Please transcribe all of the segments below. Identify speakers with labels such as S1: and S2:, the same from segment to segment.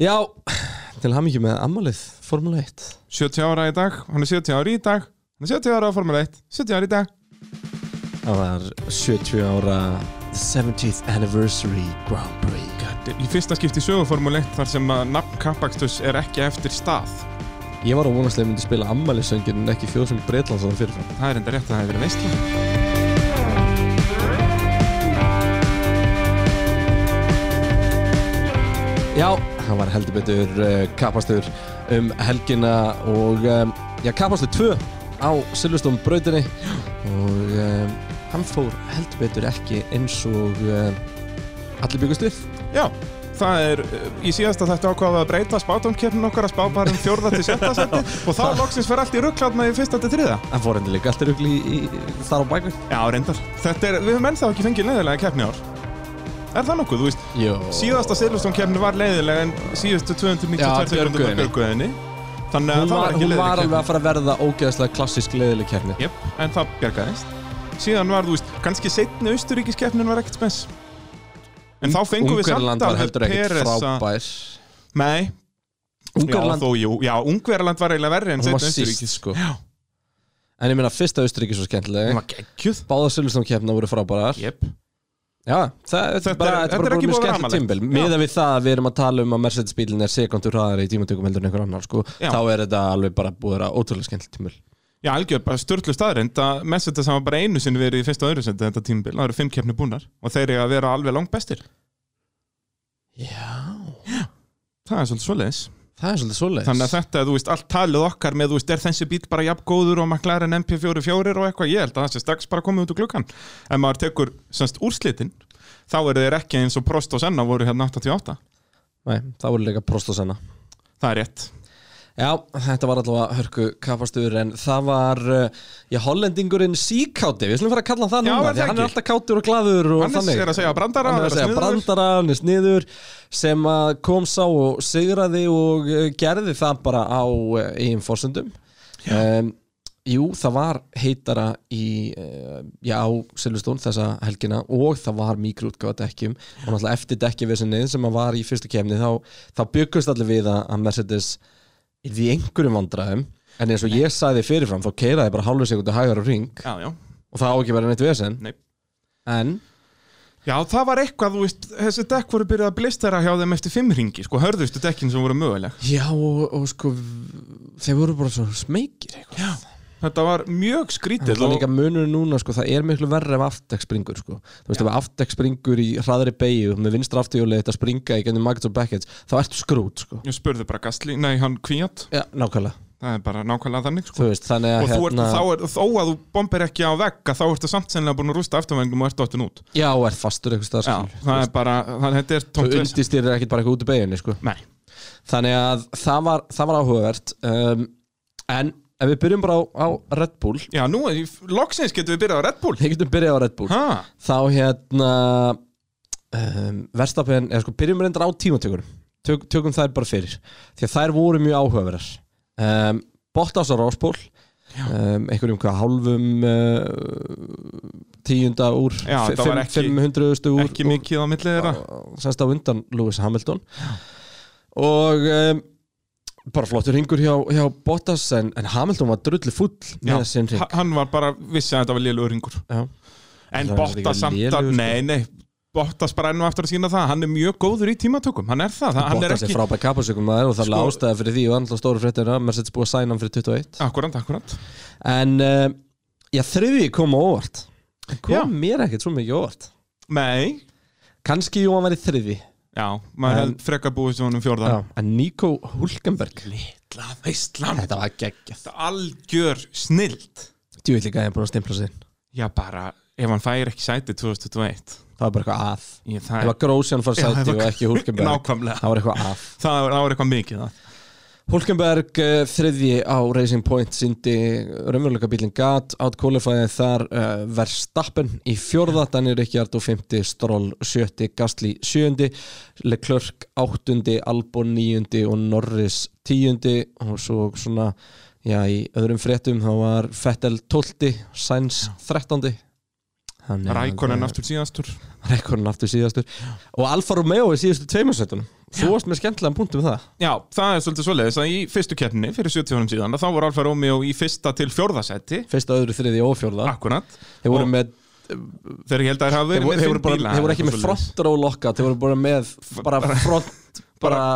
S1: Já, til hamingju með ammalið Formule 1
S2: 70 ára í dag, hann er 70 ára í dag hann er 70 ára á Formule 1, 70 ára í dag
S1: Það var 70 ára The 70th Anniversary Grand Prix
S2: Þetta er í fyrsta skipti í sögu Formule 1 þar sem að nafn Kapakstus er ekki eftir stað
S1: Ég var á vonastlega myndi spila ammaliðsöngin en ekki þjóðsöng Breitlands á það fyrirfram
S2: það er enda rétt að það hefur verið veistla
S1: Já, hann var heldur betur uh, kapastur um helgina og um, já, kapastur 2 á Silveston brautinni og um, hann fór heldur betur ekki eins og um, allir byggust við.
S2: Já, það er uh, í síðasta þetta ákvaða að breyta spátumkeppnin okkar að spá bara um fjórða til sjötta seti og þá loksins fer allt í rugglátt með í fyrsta til þriða.
S1: Hann fór hendur líka allt er í, í, í þar á bækvöld.
S2: Já, reyndar. Þetta er, við höfum ennþá ekki fengið leiðilega keppni í ár. Er það nokkuð, þú veist,
S1: Jó.
S2: síðasta Silveston keppni var leiðilega en síðustu 292
S1: Já,
S2: sekundur var
S1: björguðinni.
S2: björguðinni. Þannig
S1: Hún
S2: að það
S1: var,
S2: var ekki
S1: hún var alveg
S2: leiðilega
S1: að fara að verða ógeðslega klassísk leðileg kefni.
S2: keppni. Jöp, en það bjargaðist. Síðan var, þú veist, kannski setni Austuríkiskeppnin var ekkert spes. En þá fengum við samt
S1: var
S2: alveg
S1: heldur ekkert
S2: Perez að-
S1: frábær.
S2: Nei, já,
S1: Ungarland,
S2: þó, jú, já, Ungverland var eiginlega verri en
S1: hún var
S2: seinna Austurríki.
S1: síst sko.
S2: Já,
S1: En ég meina fyrsta Austuríki svo skemmtileg.
S2: hún var geggjuð
S1: Báða Silveston kefna voru frábærar.
S2: yep.
S1: Já, það, þetta
S2: Þetta
S1: er bara,
S2: er-
S1: þetta er
S2: þetta er
S1: bara
S2: ekki
S1: mjög
S2: búið að vera
S1: skemmt
S2: amalegt.
S1: tímbil
S2: Já.
S1: Miðað við það að við erum að tala um að Mercedes bílinn er sekundur hraðari í tímatökum heldur en einhver annar sko,
S2: Já.
S1: þá er þetta alveg bara búið að vera ótrúlega skemmt tímbil
S2: Já, algjör, bara störtlu staðrind að Messenger sem var bara einu sinni verið í fyrsta og öðru sendi þetta tímbil, það eru fimm keppni búnar og þeir eru að vera alveg langt bestir
S1: Já,
S2: Það er svolítið svoleiðis
S1: það er svolítið svoleiðis
S2: Þannig að þetta, þú veist, allt talið okkar með, þú veist, er þessi bíl bara jafn góður og McLaren MP44 og eitthvað, ég held að það sé strax bara komið út úr glukkan Ef maður tekur, semst, úrslitin þá eru þeir ekki eins og Prost og Senna voru hérna 88
S1: Nei, það voru líka prost og senna
S2: Það er rétt
S1: Já, þetta var allavega hörku kapastur en það var, uh, já, hollendingurinn síkáti, við slum fara að kalla hann það
S2: Já,
S1: núna
S2: er
S1: því
S2: það
S1: að hann er
S2: ekki?
S1: alltaf kátur og glaður og
S2: Hannes
S1: þannig
S2: er að segja brandara,
S1: hann er að
S2: vera
S1: segja
S2: sniðugur.
S1: brandara, hann er sniður sem að kom sá og sigraði og uh, gerði það bara á uh, eigin fórsöndum um, Jú, það var heitara í, uh, já, á Silvestón þessa helgina og það var mikroutgáða dekkjum og náttúrulega eftir dekkjavesinni sem að var í fyrstu kefni þá, þá byggust allir við að að Mercedes í einhverjum vandræðum en eins og ég sagði fyrirfram þá keiraði bara hálfu sekundu hægur á ring
S2: Já, já,
S1: og það á ekki að vera neitt vesen
S2: Nei.
S1: en
S2: Já, það var eitthvað, þú veist, þessi dekk voru byrjað að blistera hjá þeim eftir fimm ringi, sko, hörðustu dekkin sem voru möguleg.
S1: já og, og sko v- þeir voru bara svo smekir eitthvað
S2: Þetta var mjög skrítið
S1: Það er líka munur núna, sko, það er miklu verri ef aftæk springur, sko. Þú veist, ef aftæk springur í hraðri beigju með vinstra afturjóli þetta springa í gennum Maggots og Beckett's, þá ertu skrút, sko.
S2: Ég spurði bara Gastli, nei, hann kvíat,
S1: Já, nákvæmlega.
S2: það er bara nákvæmlega þannig, sko.
S1: Þú eh, hérna- veist, þannig
S2: Og
S1: að
S2: þú ert, þá er, þó að þú bombir ekki á vegga, þá ertu samt sennilega búin að rústa afturvengum og ertu áttin út.
S1: já, ert fastur eitthvað
S2: Já,
S1: staðskilur.
S2: það er bara, það, þetta er
S1: Þú
S2: tómt vesen.
S1: undistýrir ekkit bara eitthvað út í beigjunni, sko.
S2: Nei,
S1: Þannig að það var, það var áhugavert. Um, en ef við byrjum bara á, á Red Bull,
S2: já, nú, er- loksins getum við byrjað á Red Bull.
S1: við getum byrjað á Red Bull.
S2: Ha,
S1: þá hérna um, Verstapen, eða sko byrjum reyndar á tímatökurum Tök, tökum þær bara fyrir því að þær voru mjög áhugaverar um, Bottas á Róspól um, einhverjum hvað hálfum uh, tíunda úr
S2: Já,
S1: fi-
S2: það var
S1: fimm-
S2: ekki-
S1: 500. úr,
S2: ekki mikið á millið þeirra.
S1: úr semst á undan Lewis Hamilton og um, bara flottur ringur hjá, hjá Bottas en, en Hamilton var drullu full
S2: Já,
S1: með sinn ring
S2: ha- hann var bara, vissi að þetta var lélugur ringur.
S1: Já. Það
S2: En
S1: er líka
S2: Bottas samt að,
S1: lélegur, sko.
S2: nei, nei Bottas bara ennum aftur að sína það, hann er mjög góður í tímatökum hann er það, það hann er
S1: Bottas er
S2: ekki
S1: frábæð kapasökum maður og það er
S2: Sko-
S1: sko, ástæða fyrir því og annars stóru fréttir að Mercedes búið að sæna hann fyrir 21
S2: Akkurant, akkurant
S1: en uh, já þriði kom á óvart Hann kom
S2: Já.
S1: mér ekkert svo mikið á óvart
S2: Nei,
S1: kannski jú hann var í þriði
S2: já, maður
S1: En-
S2: en... frekar búið sem honum fjórða
S1: já. en Nico Hulkenberg
S2: Litla veistlan
S1: þetta var geggjað
S2: Algjör snilt
S1: djúið líka að hann búin að stimpla sig inn.
S2: Já, bara, ef hann fær ekki sæti 2021
S1: það var bara eitthvað að
S2: ég,
S1: það
S2: það,
S1: var Grósjan fór
S2: Já, það
S1: sæti
S2: var-
S1: og ekki Hulkenberg
S2: Nákvæmlega,
S1: það var eitthvað að
S2: það var, það var eitthvað mikið það
S1: Hulkenberg uh, þriðji á Racing Point síndi raunveruleika bílinn Gat átkólifæði þar uh, Verstappen í fjórða Daniel Ricciardo fymti, Stroll sjötti, Gastli sjöndi Leclerc áttundi, Albon níundi og Norris tíundi og svo svona já, í öðrum fréttum þá var Fettel tólti, Sainz þrettandi Þannig að-
S2: Rækonin aftur síðastur
S1: Rækonin aftur síðastur Og Alfa Romeo í síðustu tveimur setunum Þú varst með skemmtilegan punktum með það
S2: Já, það er svolítið svoleiðis að í fyrstu keppni fyrir 70 árum síðan, að þá voru Alfa Romeo í fyrsta til fjórðasæti,
S1: Fyrsta, öðru, þriði og fjórða
S2: akkurat
S1: Þeir voru
S2: og
S1: með
S2: þeir ég held að þeir hafa
S1: Þeir
S2: verið
S1: voru,
S2: með
S1: þeir
S2: fimm
S1: voru, bara,
S2: bíla
S1: þeir voru
S2: eða
S1: ekki með
S2: eitthvað svoleiðis.
S1: front row lockout Þeir voru bara með bara front bara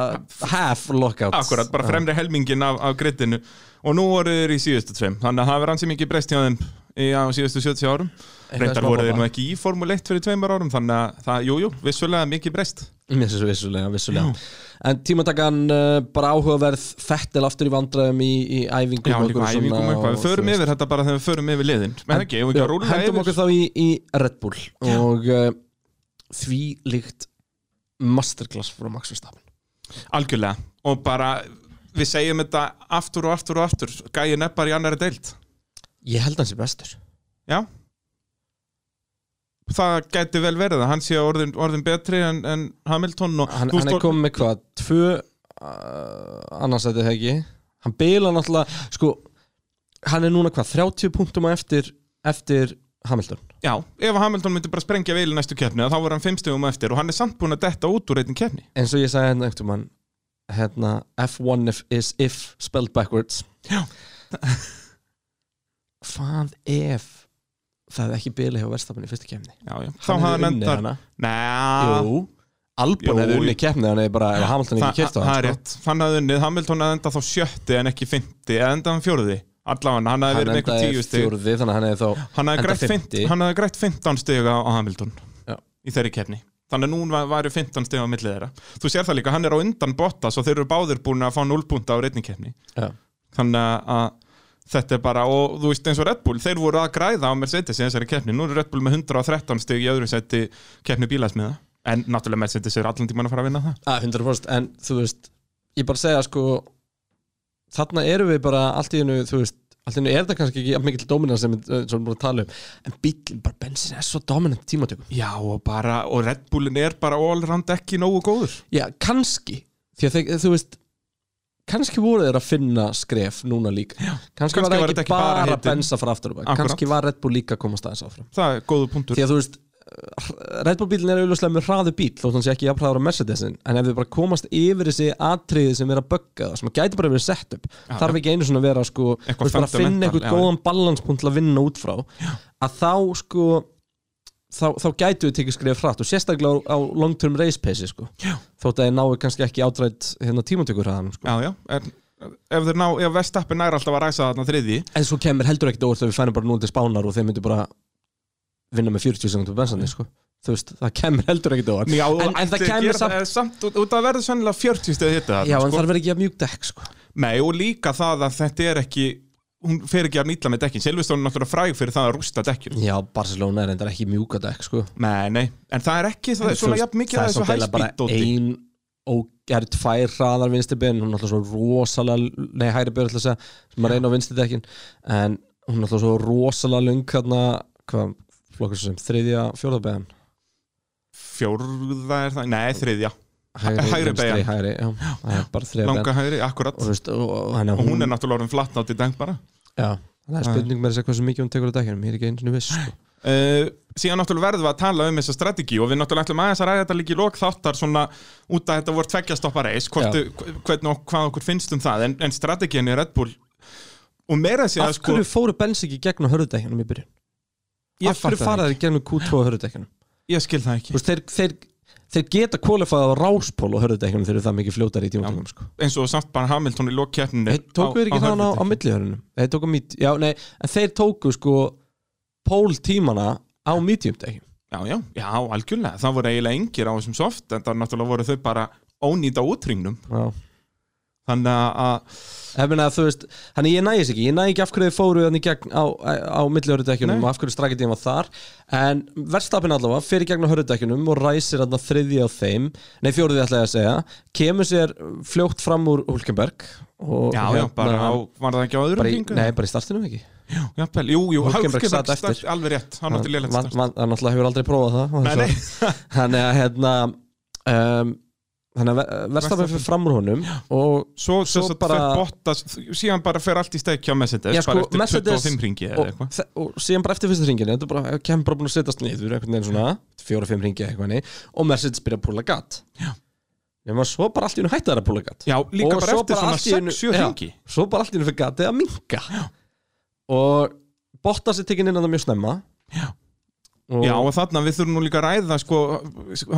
S1: half lockout
S2: Akkurat, bara fremri helmingin af, af grittinu og nú voru þeir í síðustu tveim þannig að það verður ansi mikið breyst hjá þeim í- á síðustu 70 árum
S1: Eitthvað
S2: reyndar
S1: smá
S2: voru þeir
S1: bobba.
S2: nú ekki í Formule 1 fyrir tveimur árum þannig að það, jú, jú, vissulega mikið breyst
S1: Mér finnst þessu vissulega, vissulega. En tímatakan uh, bara áhugaverð Fettel aftur í vandræðum í, í æfingum
S2: Já,
S1: og
S2: líka
S1: einhverju
S2: æfingum
S1: svona og
S2: eitthvað, við förum
S1: þú veist.
S2: yfir þetta bara þegar við förum yfir liðin menn ekki, ef við ekki að
S1: Já,
S2: rúla
S1: Hendum
S2: yfir
S1: okkur þá í, í Red Bull og uh, því líkt masterclass frá Max Verstappen
S2: algjörlega og bara við segjum þetta aftur og aftur og aftur gæði neppar í annari deild
S1: Ég held hans er bestur
S2: Já Það gæti vel verið að hann sé orðin, orðin betri en, en Hamilton og
S1: Hann,
S2: þú
S1: hann er
S2: stór-
S1: komið með hvað, tvö uh, annarsætti þegar ekki Hann bila náttúrulega, sko hann er núna hvað, 30 punktum á eftir eftir Hamilton
S2: Já, ef Hamilton myndi bara sprengja veil í næstu keppni þá voru hann fimmstugum eftir og hann er samt búin að detta út úr einnig keppni
S1: eins og ég sagði hérna einhvern mann hérna, F1 if, is if spelled backwards
S2: Já.
S1: hvað ef það er ekki bili hjá verðstafan í fyrstu kemni
S2: Já, já, þá hafði hann endar
S1: hana
S2: Næ,
S1: jú, Albon
S2: Jú,
S1: hefði
S2: jú.
S1: unnið kemni hann hefði bara, ef Hamilton
S2: það
S1: ekki kert á
S2: það er
S1: hann sko.
S2: rétt Hann hafði unnið, Hamilton hafði endað þá sjötti en ekki fymti, eða endað hann fjórði Allavega, hann hafði
S1: hann
S2: verið með einhver
S1: endaði
S2: tíu stig
S1: fjórði þannig að hann hefði þá
S2: Hann hafði
S1: Endað
S2: grætt
S1: 50.
S2: 15 hann hafði grætt 15 stig á, á Hamilton
S1: Já.
S2: í þeirri keppni Þannig að núna væri 15 stig á millið þeirra Þú sér það líka, hann er á undan Bottas og þeir eru báðir búin að fá 0 púnta á reyning keppni
S1: já,
S2: Þannig að- að þetta er bara og þú veist eins og Red Bull, þeir voru að græða á Mercedes í þessari keppni, nú eru Red Bull með 113 stig í öðru seti keppni bílasmiða en náttúrulega Mercedes er allan tíman að fara að vinna það
S1: að 100% en þú veist, ég bara segja sko þarna eru við bara allt í hennu, þú veist allt í hennu er það kannski ekki jafn mikill dominans sem við erum bara að tala um, en bílinn, bara bensin er svo dominant í tímatökum
S2: Já og bara, og Red Bullin er bara allround ekki nógu góður
S1: Já, kannski Því að þeir, þú veist Kannski voru þeir að finna skref núna líka Já, Kannski,
S2: kannski
S1: var það
S2: var
S1: ekki,
S2: þetta ekki bara
S1: bara, bara
S2: hitinn.
S1: bensa frá aftur á bak.
S2: Akkúrat.
S1: Kannski var Red Bull líka að komast aðeins áfram
S2: það er góðu punktur
S1: Því að þú veist eh, Red Bull bílinn er auðvitað með hraðu bíl þótt hann sé ekki jafn hraður á Mercedesin en ef þau bara komast yfir þessi atriði sem er að bögga það sem gæti bara verið sett upp
S2: Já,
S1: þarf ekki einu svona að vera sko þú
S2: Eitthvað
S1: veist, bara að finna
S2: fundamental,
S1: einhvern
S2: já.
S1: góðan balanspunkt til að vinna út frá að þá sko þá, þá gætu við tekið skrif hratt og sérstaklega á, á long term race pace sko
S2: Já.
S1: þótt að þeir náu kannski ekki átrætt hérna tímantökur hraðanum sko
S2: Já, já, en ef þeir ná, ef Vestappin nær alltaf að ræsa þarna þriði
S1: en svo kemur heldur ekkit óvart þegar við fænum bara núna til spánar og þeir myndu bara vinna með 40 sekundum bensinni sko þú veist, það kemur heldur ekkit óvart
S2: Já,
S1: en, en það kemur samt
S2: samt, eh, samt út, út að verður sennilega 40 stegið hitta
S1: Já, en
S2: sko.
S1: það verður ekki að mjúk dekk sko
S2: Nei, og líka það að þetta er ekki hún fer ekki að nýtla með dekkin Silveston er náttúrulega fræg fyrir það að rústa dekkjum
S1: Já, Barcelona er endar ekki mjúka dekk sko
S2: Nei, nei, en það er ekki það er svona jafn mikið að þessu
S1: Það er samt eiginlega
S2: hæspít
S1: bara
S2: dóti
S1: ein og það eru tvær hraðar vinstri bein hún er alltaf svo rosalega, nei hægri bein ætla að segja, sem er einu á vinstri dekkin en hún er alltaf svo rosalega lung hérna, hvað flokkur sem þriðja, fjórða bein
S2: Fjórða er það, nei, þriðja hægri
S1: hægri, vinstri,
S2: beygjan.
S1: hægri já, það er bara þriðja bein
S2: Langa hægri, akkurat
S1: og, þú veist, og, og, hann,
S2: Og hún er náttúrulega orðin flatt nátt í deng bara
S1: já, það er spurning með þess að hversu mikið hún tekur á dekkinum, ég er ekki einu sinni viss sko.
S2: uh, Síðan náttúrulega verðum við að tala um þessa strategi og við náttúrulega ætlum aðeins að ræða þetta líka í lok þáttar svona út að þetta voru tveggjastoppa reis hvort, hvernig, ok- hvað okkur finnst um það en, en strategin er Red Bull og meira að segja sko,
S1: af hverju fóru bens ekki gegn á hörðudekkinum í byrjun?
S2: Ég
S1: af hverju
S2: fatta það
S1: fara þeir gegn Q2 á hörðudekkinum?
S2: ég skil það ekki
S1: Þú veist, þeir, þeir, þeir geta kvalifað á ráspól og hörðudekkinum þegar það mikið fljótar í tímatökum sko.
S2: eins og samt bara Hamilton í lokkeppninni
S1: Þeir tóku þeir ekki þann á, á millihörunum Þeir tóku mít, já nei, en þeir tóku sko pól tímana á mítjumdekkin
S2: Já, já, já, algjörlega, það voru eiginlega engir á þessum soft en það náttúrulega voru þau bara ónýta útringnum
S1: Ef
S2: þannig að- að,
S1: minna þú veist, þannig ég nægis ekki, ég næg ekki af hverju þeir fóru þannig gegn á, á millihörudekjunum
S2: Nei.
S1: og af hverju strakkidíðan var þar en verðstapin allavega fyrir gegn á hörudekjunum og ræsir þarna þriðja á þeim nei fjóruði ætla ég að segja kemur sér fljótt fram úr Hulkenberg og hérna
S2: já, já, bara á, var það ekki á öðrum
S1: bara í,
S2: hringu?
S1: nei, bara í startinu ekki
S2: Jafnvel, jú, jú,
S1: Hülkenberg
S2: Hulkenberg
S1: sat
S2: start-
S1: eftir.
S2: alveg rétt, hann átti lélegt
S1: Van-
S2: start
S1: van- hann náttúrulega hefur aldrei prófað það
S2: Nei, nei,
S1: þannig að hérna um, þannig að verðstafan fyrir fram úr honum og
S2: Svo,
S1: Svo
S2: svo, svo bara,
S1: bara-
S2: Bottas, síðan bara fer allt í stækja á Mercedes,
S1: Já, sko,
S2: bara eftir
S1: Mercedes
S2: 25 ringi eða
S1: og,
S2: eitthvað
S1: þe- og síðan bara eftir fyrsta ringinu þetta er bara, kemur bara búin að setjast niður einhvern veginn svona, fjóra-fimm ringi eitthvað henni og Mercedes byrja að púla gatt
S2: Já.
S1: nema svo bara allt í hún hætti þær að púla gatt
S2: Já, líka
S1: Og
S2: bara
S1: svo
S2: eftir
S1: bara allt í
S2: svona
S1: einu-
S2: 6-7
S1: já.
S2: ringi
S1: svo bara allt í hún fyrir gatið að minka Já. og Bottas er tekinn inn að það mjög snemma
S2: Já.
S1: og,
S2: Já, og þarna við þurfum nú líka að ræða sko,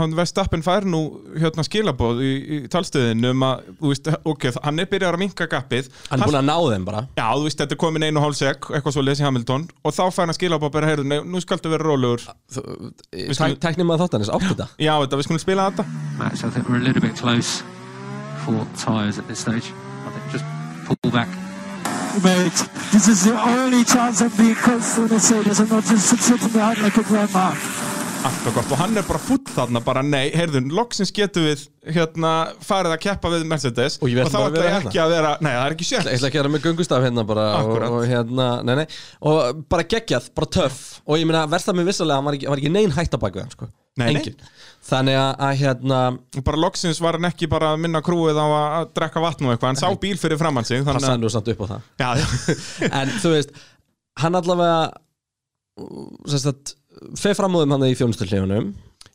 S2: hann Verstappen fær nú hérna skilabóð í, í talstöðinu um að, þú veist, ok, hann er byrjar að minka gappið
S1: hann er búin að ná þeim bara
S2: Já, þú veist, þetta er komin einu og hálf sek, eitthvað svo lesi Hamilton og þá fær hann skilabóð bara, heyrðu, nei, nú skaltu vera rólegur skulum-
S1: tæknir maður þáttanis, átt þetta
S2: Já, þetta, við skulum spila þetta
S3: match. I think we're a little bit close for tyres at this stage. I think just pull back.
S4: mate. This is the only chance of being close to Mercedes and not just sitting behind like a grandma.
S2: Allt og gott, og hann er bara fúll þarna bara, nei, heyrðu, loksins getum við hérna, farið að keppa við Mercedes
S1: Og ég verð
S2: þá
S1: bara að
S2: ætla
S1: vera hérna.
S2: ég ekki að vera, nei, það er ekki
S1: Ég
S2: sjálf
S1: ætla ekki að vera með göngustaf hérna bara og,
S2: Akkúrat.
S1: og hérna, nei nei og bara geggjað, bara töff og ég meina versta með vissalega, hann var ekki, var ekki nein hægt að baka við hann sko,
S2: Nei, nei.
S1: engin þannig að, að hérna,
S2: og bara loksins var hann ekki bara að minna krúið á að að drekka vatn og eitthvað, hann sá bíl fyrir framann sig þannig
S1: passaði
S2: að,
S1: nú samt upp á það
S2: já, já,
S1: en þú veist, hann allavega sem sagt fer fram úr þeim hann í þjónustillífunum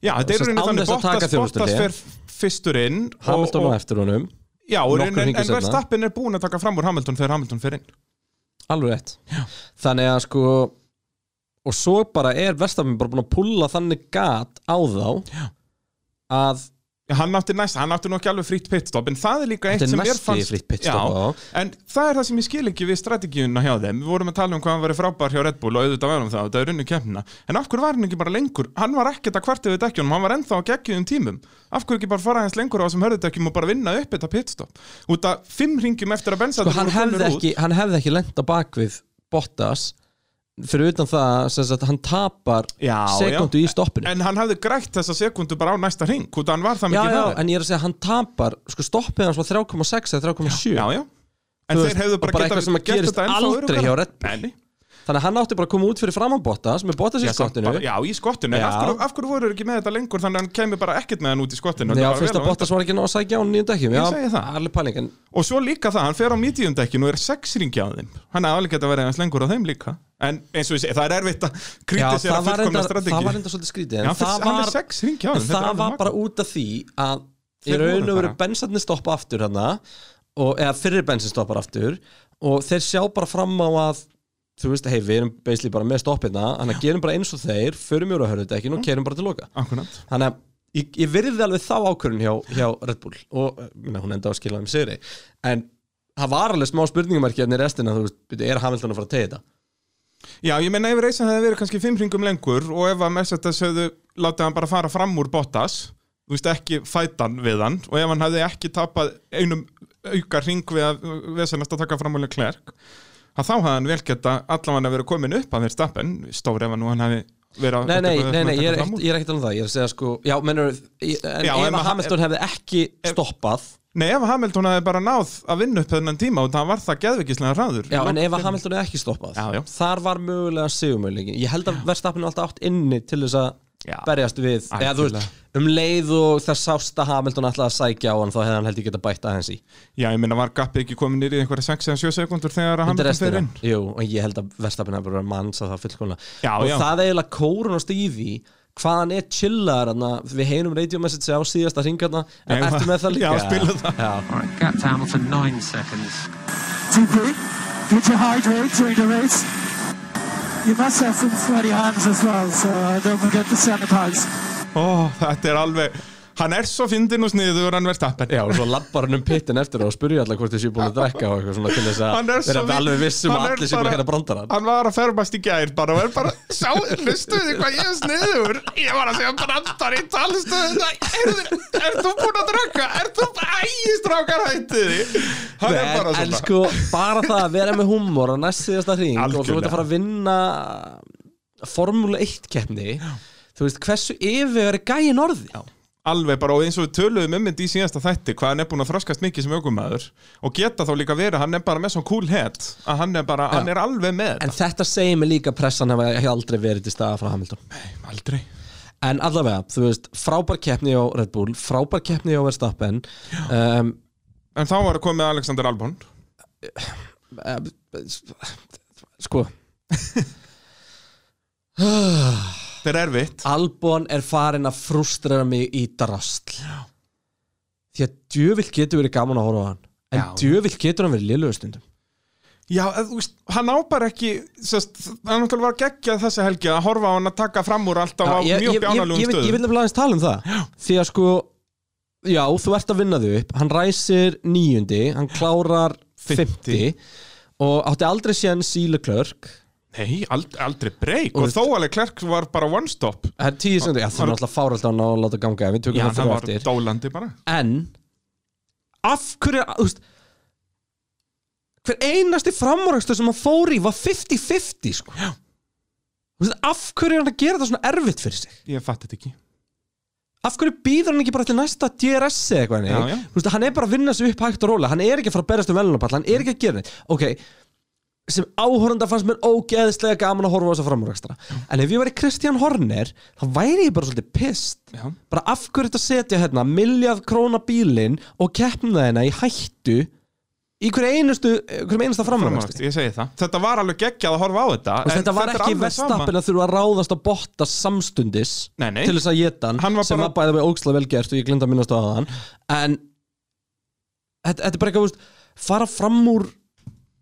S2: já þetta
S1: Sem
S2: er í rauninni
S1: sagt, án
S2: þannig
S1: þess að taka
S2: Bottas,
S1: þjónustuhlé.
S2: Bottas fer fyrstur inn og,
S1: Hamilton á
S2: og,
S1: eftir honum,
S2: já, og
S1: nokkrum
S2: rauninni- en,
S1: hringum
S2: en
S1: seinna.
S2: verðstappin er búin að taka fram úr Hamilton þegar Hamilton fer inn
S1: alveg rétt Já. þannig að sko og svo bara er verstafinn bara búin að pulla þannig gat á þá Já. að
S2: Já, hann átti næst, hann átti nú ekki alveg frýtt pitstop en það er líka eitt
S1: Þetta er
S2: sem mér
S1: næsti
S2: fannst
S1: frítt pitstop á
S2: já,
S1: þá.
S2: en það er það sem ég skil ekki við strategíuna hjá þeim við vorum að tala um hvað hann var frábær hjá Red Bull og auðvitað verðum það, þetta er runni kemna en af hverju var hann ekki bara lengur, hann var ekkert að kvarta við dekkjunum, hann var ennþá að geggjum tímum af hverju ekki bara fara hans lengur á þessum hörðudekkjum og bara vinna upp þetta pitstop út að fimm ringjum eftir að bensa
S1: sko, hann, hefði ekki, hann hefði ekki lent á bakvið Bottas fyrir utan það sem sagt, hann tapar
S2: Já,
S1: sekundu í stoppinu
S2: en hann hefði grætt þessa sekundu bara á næsta ring út að hann var það
S1: já,
S2: mikið
S1: já,
S2: hraður.
S1: en ég er að segja hann tapar sko, stoppið hans var 3,6 eða 3,7
S2: já, já. En
S1: Þú
S2: þeir
S1: veist,
S2: hefðu
S1: og
S2: bara,
S1: bara
S2: getað
S1: eitthvað sem að
S2: gert
S1: gerist
S2: þetta ennþá
S1: aldrei hjá
S2: öruggara.
S1: Red Bull.
S2: Nei, nei.
S1: þannig að hann átti bara að koma út fyrir framan Bottas með Bottas í
S2: Já, samt
S1: skottinu
S2: bara- Já, í skottinu, en
S1: Já.
S2: af hverju, af hverju voru þeir ekki með þetta lengur þannig að hann kemur bara ekkert með hann út í skottinu
S1: já,
S2: Þetta var
S1: fyrst
S2: vel
S1: að
S2: á
S1: Bottas var ekki náða að sækja á nýjum dekkjum já,
S2: segi það.
S1: alveg pæling en
S2: undan. Og svo líka það, hann fer á mediumdekkinu og er sex ringi á þeim Hann hefði alveg gett að vera eins lengur á þeim líka En eins og ég segi, það er erfitt að
S1: já,
S2: kritisera
S1: það var
S2: fullkomna
S1: enda
S2: strategi
S1: það var enda svolítið skrítið en
S2: Já, hann fer-
S1: það
S2: hann fer
S1: var,
S2: sex hringi á
S1: en
S2: þeim, þetta er
S1: það
S2: alveg
S1: var
S2: magnað.
S1: bara út af því að í
S2: Þeir
S1: raun
S2: voru
S1: og veru
S2: bara-
S1: bensarnir stoppa aftur hana og, eða fyrir bensin stoppar aftur og þeir sjá bara fram á að þú veist, hei, við erum basically bara með stoppina þannig að gerum bara eins og þeir, förum mjög á hörðutekkin og
S2: Mm.
S1: kerum bara til loka
S2: Akkurat
S1: þannig að ég, ég virði alveg þá ákvörun hjá, hjá Red Bull og eh, minna, hún enda á að skila um sigri en það var alveg smá spurningamarki hérna í restina, þú veist, byrju, er Hamilton að fara að tegja þetta?
S2: Já, ég meina ef reysan hefði verið kannski fimm ringum lengur og ef að Mercedes hefðu látið hann bara fara fram úr Bottas þú veist ekki fætan við hann og ef hann hefði ekki tapað einum auka ring við að vesenast að taka fram úr Klerk að þá hefði hann vel geta allavega verið komin upp að verið stappen stóri ef að nú hann hefði verið að
S1: Nei, nei, nei,
S2: að-
S1: nei,
S2: að taka
S1: ég er
S2: fram
S1: ekkert
S2: úr.
S1: ég er ekkert alveg það, ég er að segja sko Já, mennur, en
S2: Já,
S1: ef að
S2: en ma-
S1: Hamilton hefði ekki stoppað
S2: Nei, ef að Hamilton hefði bara náð að vinna upp þennan tíma og það var það geðvikislega hraður
S1: Já, en ef að Hamilton hefði ekki stoppað
S2: Já, já.
S1: Þar var mögulega sigumöðlingin Ég held að verðstapinu alltaf átt inni til þess að
S2: Já.
S1: berjast við Eða þú veist, um leið og það sást að Hamilton alltaf að sækja á hann þá hefði hann held ég geta bætt aðeins í
S2: Já, ég meina var gappið ekki komin nýrið einhverja 6 eða 7 sekundur þegar að
S1: Undir
S2: Hamilton fyrir
S1: restina.
S2: inn
S1: Jú, og ég held að verðstapinu hefði bara manns að það fullkomlega
S2: Já,
S1: Og
S2: já.
S1: það er eiginlega kórunast í því hvað hann er chillar við heinum radiomessage á síðasta hringarna en
S2: Nei,
S1: ertu með það líka
S2: já, spilum það.
S1: Já.
S3: All right, gap to Hamilton, nine seconds.
S4: TP, did you hydrate during the race? You must have some sweaty hands as well, so uh, don't forget to sanitize.
S2: Ó, þetta er alveg Hann er svo fyndin og sniður hann verð stappen
S1: Já, og svo labbar hann um pittin eftir það og spurja allar hvort þessi er búin að drekka og eitthvað svona til þess
S2: Hann
S1: að
S2: er svo
S1: vera
S2: vi-
S1: alveg vissum
S2: hann
S1: að
S2: er
S1: allir sem
S2: bara-
S1: hérna brandar hann.
S2: Hann var að fermast í gær bara og er bara, sjá, hlustuðu þið hvað ég er sniður Ég var að segja brandar í talstöðuna Erðu, er þú búin að drakka? Er þú, æ, strákar hættið þið Hann er
S1: En,
S2: bara
S1: en
S2: svona
S1: sko, bara það að vera með húmor á næst síðasta hring og þú
S2: Algjörlega.
S1: veit að fara að vinna Formule 1 keppni þú veist, hversu yfir er gæin orði? Já.
S2: Alveg bara, og eins og við töluðum um myndi í síðasta þætti hvað hann er búin að þroskast mikið sem ökumæður og geta þá líka verið, hann er bara með svona cool head að hann er bara, hann er alveg með
S1: En þetta segir mig líka að pressan hafa aldrei verið til staða frá Hamilton
S2: Nei, aldrei
S1: en allavega, þú veist, frábær keppni á Red Bull, frábær keppni á Verstappen um,
S2: En þá var að komið Alexander Albon
S1: eh, sko
S2: Þetta er erfitt
S1: Albon er farin að frustrera mig í drastl því að djövill getur verið gaman að horfa á hann en
S2: Já.
S1: djövill getur hann verið liðlega stundum
S2: Já, eð, þú veist, hann á bara ekki sest, Hann náttúrulega var geggjað þessa helgi að horfa á hann að taka fram úr alltaf á
S1: Já, ég, ég,
S2: mjög
S1: ég, ég,
S2: bjánalugum
S1: ég, vil- ég
S2: stöðum
S1: vil nefnilega aðeins tala um það já. því að sko já, þú ert að vinna þau upp, hann ræsir níundi, hann klárar 50,
S2: 50.
S1: og átti aldrei séðan síle klörk
S2: Nei, ald, aldrei breyk
S1: Og
S2: og,
S1: veist-
S2: þó alveg Klerk var bara one stop
S1: það er tíu sekundi, já þú er alltaf fáralt á hann að láta ganga við tökum
S2: Já,
S1: það
S2: hann
S1: þrjá
S2: var
S1: eftir
S2: dólandi bara
S1: en af hverju þú veist, hver einasti framúrækstu sem hann fór í var 50-50 sko. Þú veist, af hverju er hann að gera þetta svona erfitt fyrir sig
S2: Ég fatt þetta ekki
S1: af hverju býður hann ekki bara til næsta DRS eða eitthvað
S2: Já, já.
S1: hannig veist, hann er bara að vinna sig upp hægt og róla hann er ekki að fara að berast um velunarpall hann er ekki að gera neitt ok sem áhorunda fannst mér ógeðislega gaman að horfa á þessa framúrækstra en ef ég væri Kristján Horner þá væri ég bara svolítið pist
S2: Já.
S1: bara af hverju þetta setja hérna miljard króna bílinn og keppna þeina í hættu í hverju einustu, hverju einasta framúrækstu
S2: Framúrvöxt, ég segi það Þetta var alveg geggjað að horfa á þetta
S1: Og
S2: en
S1: þetta var
S2: er
S1: ekki
S2: alveg
S1: verðstappin að þurfa að ráðast að botta samstundis
S2: Nei, nei.
S1: til þess að geta hann,
S2: Hann var
S1: sem
S2: bara-
S1: var bæðið með ógslag velgert og ég glinda að minnast á hann en þetta, þetta er bara eitthvað, veist, fara fram úr
S2: sama.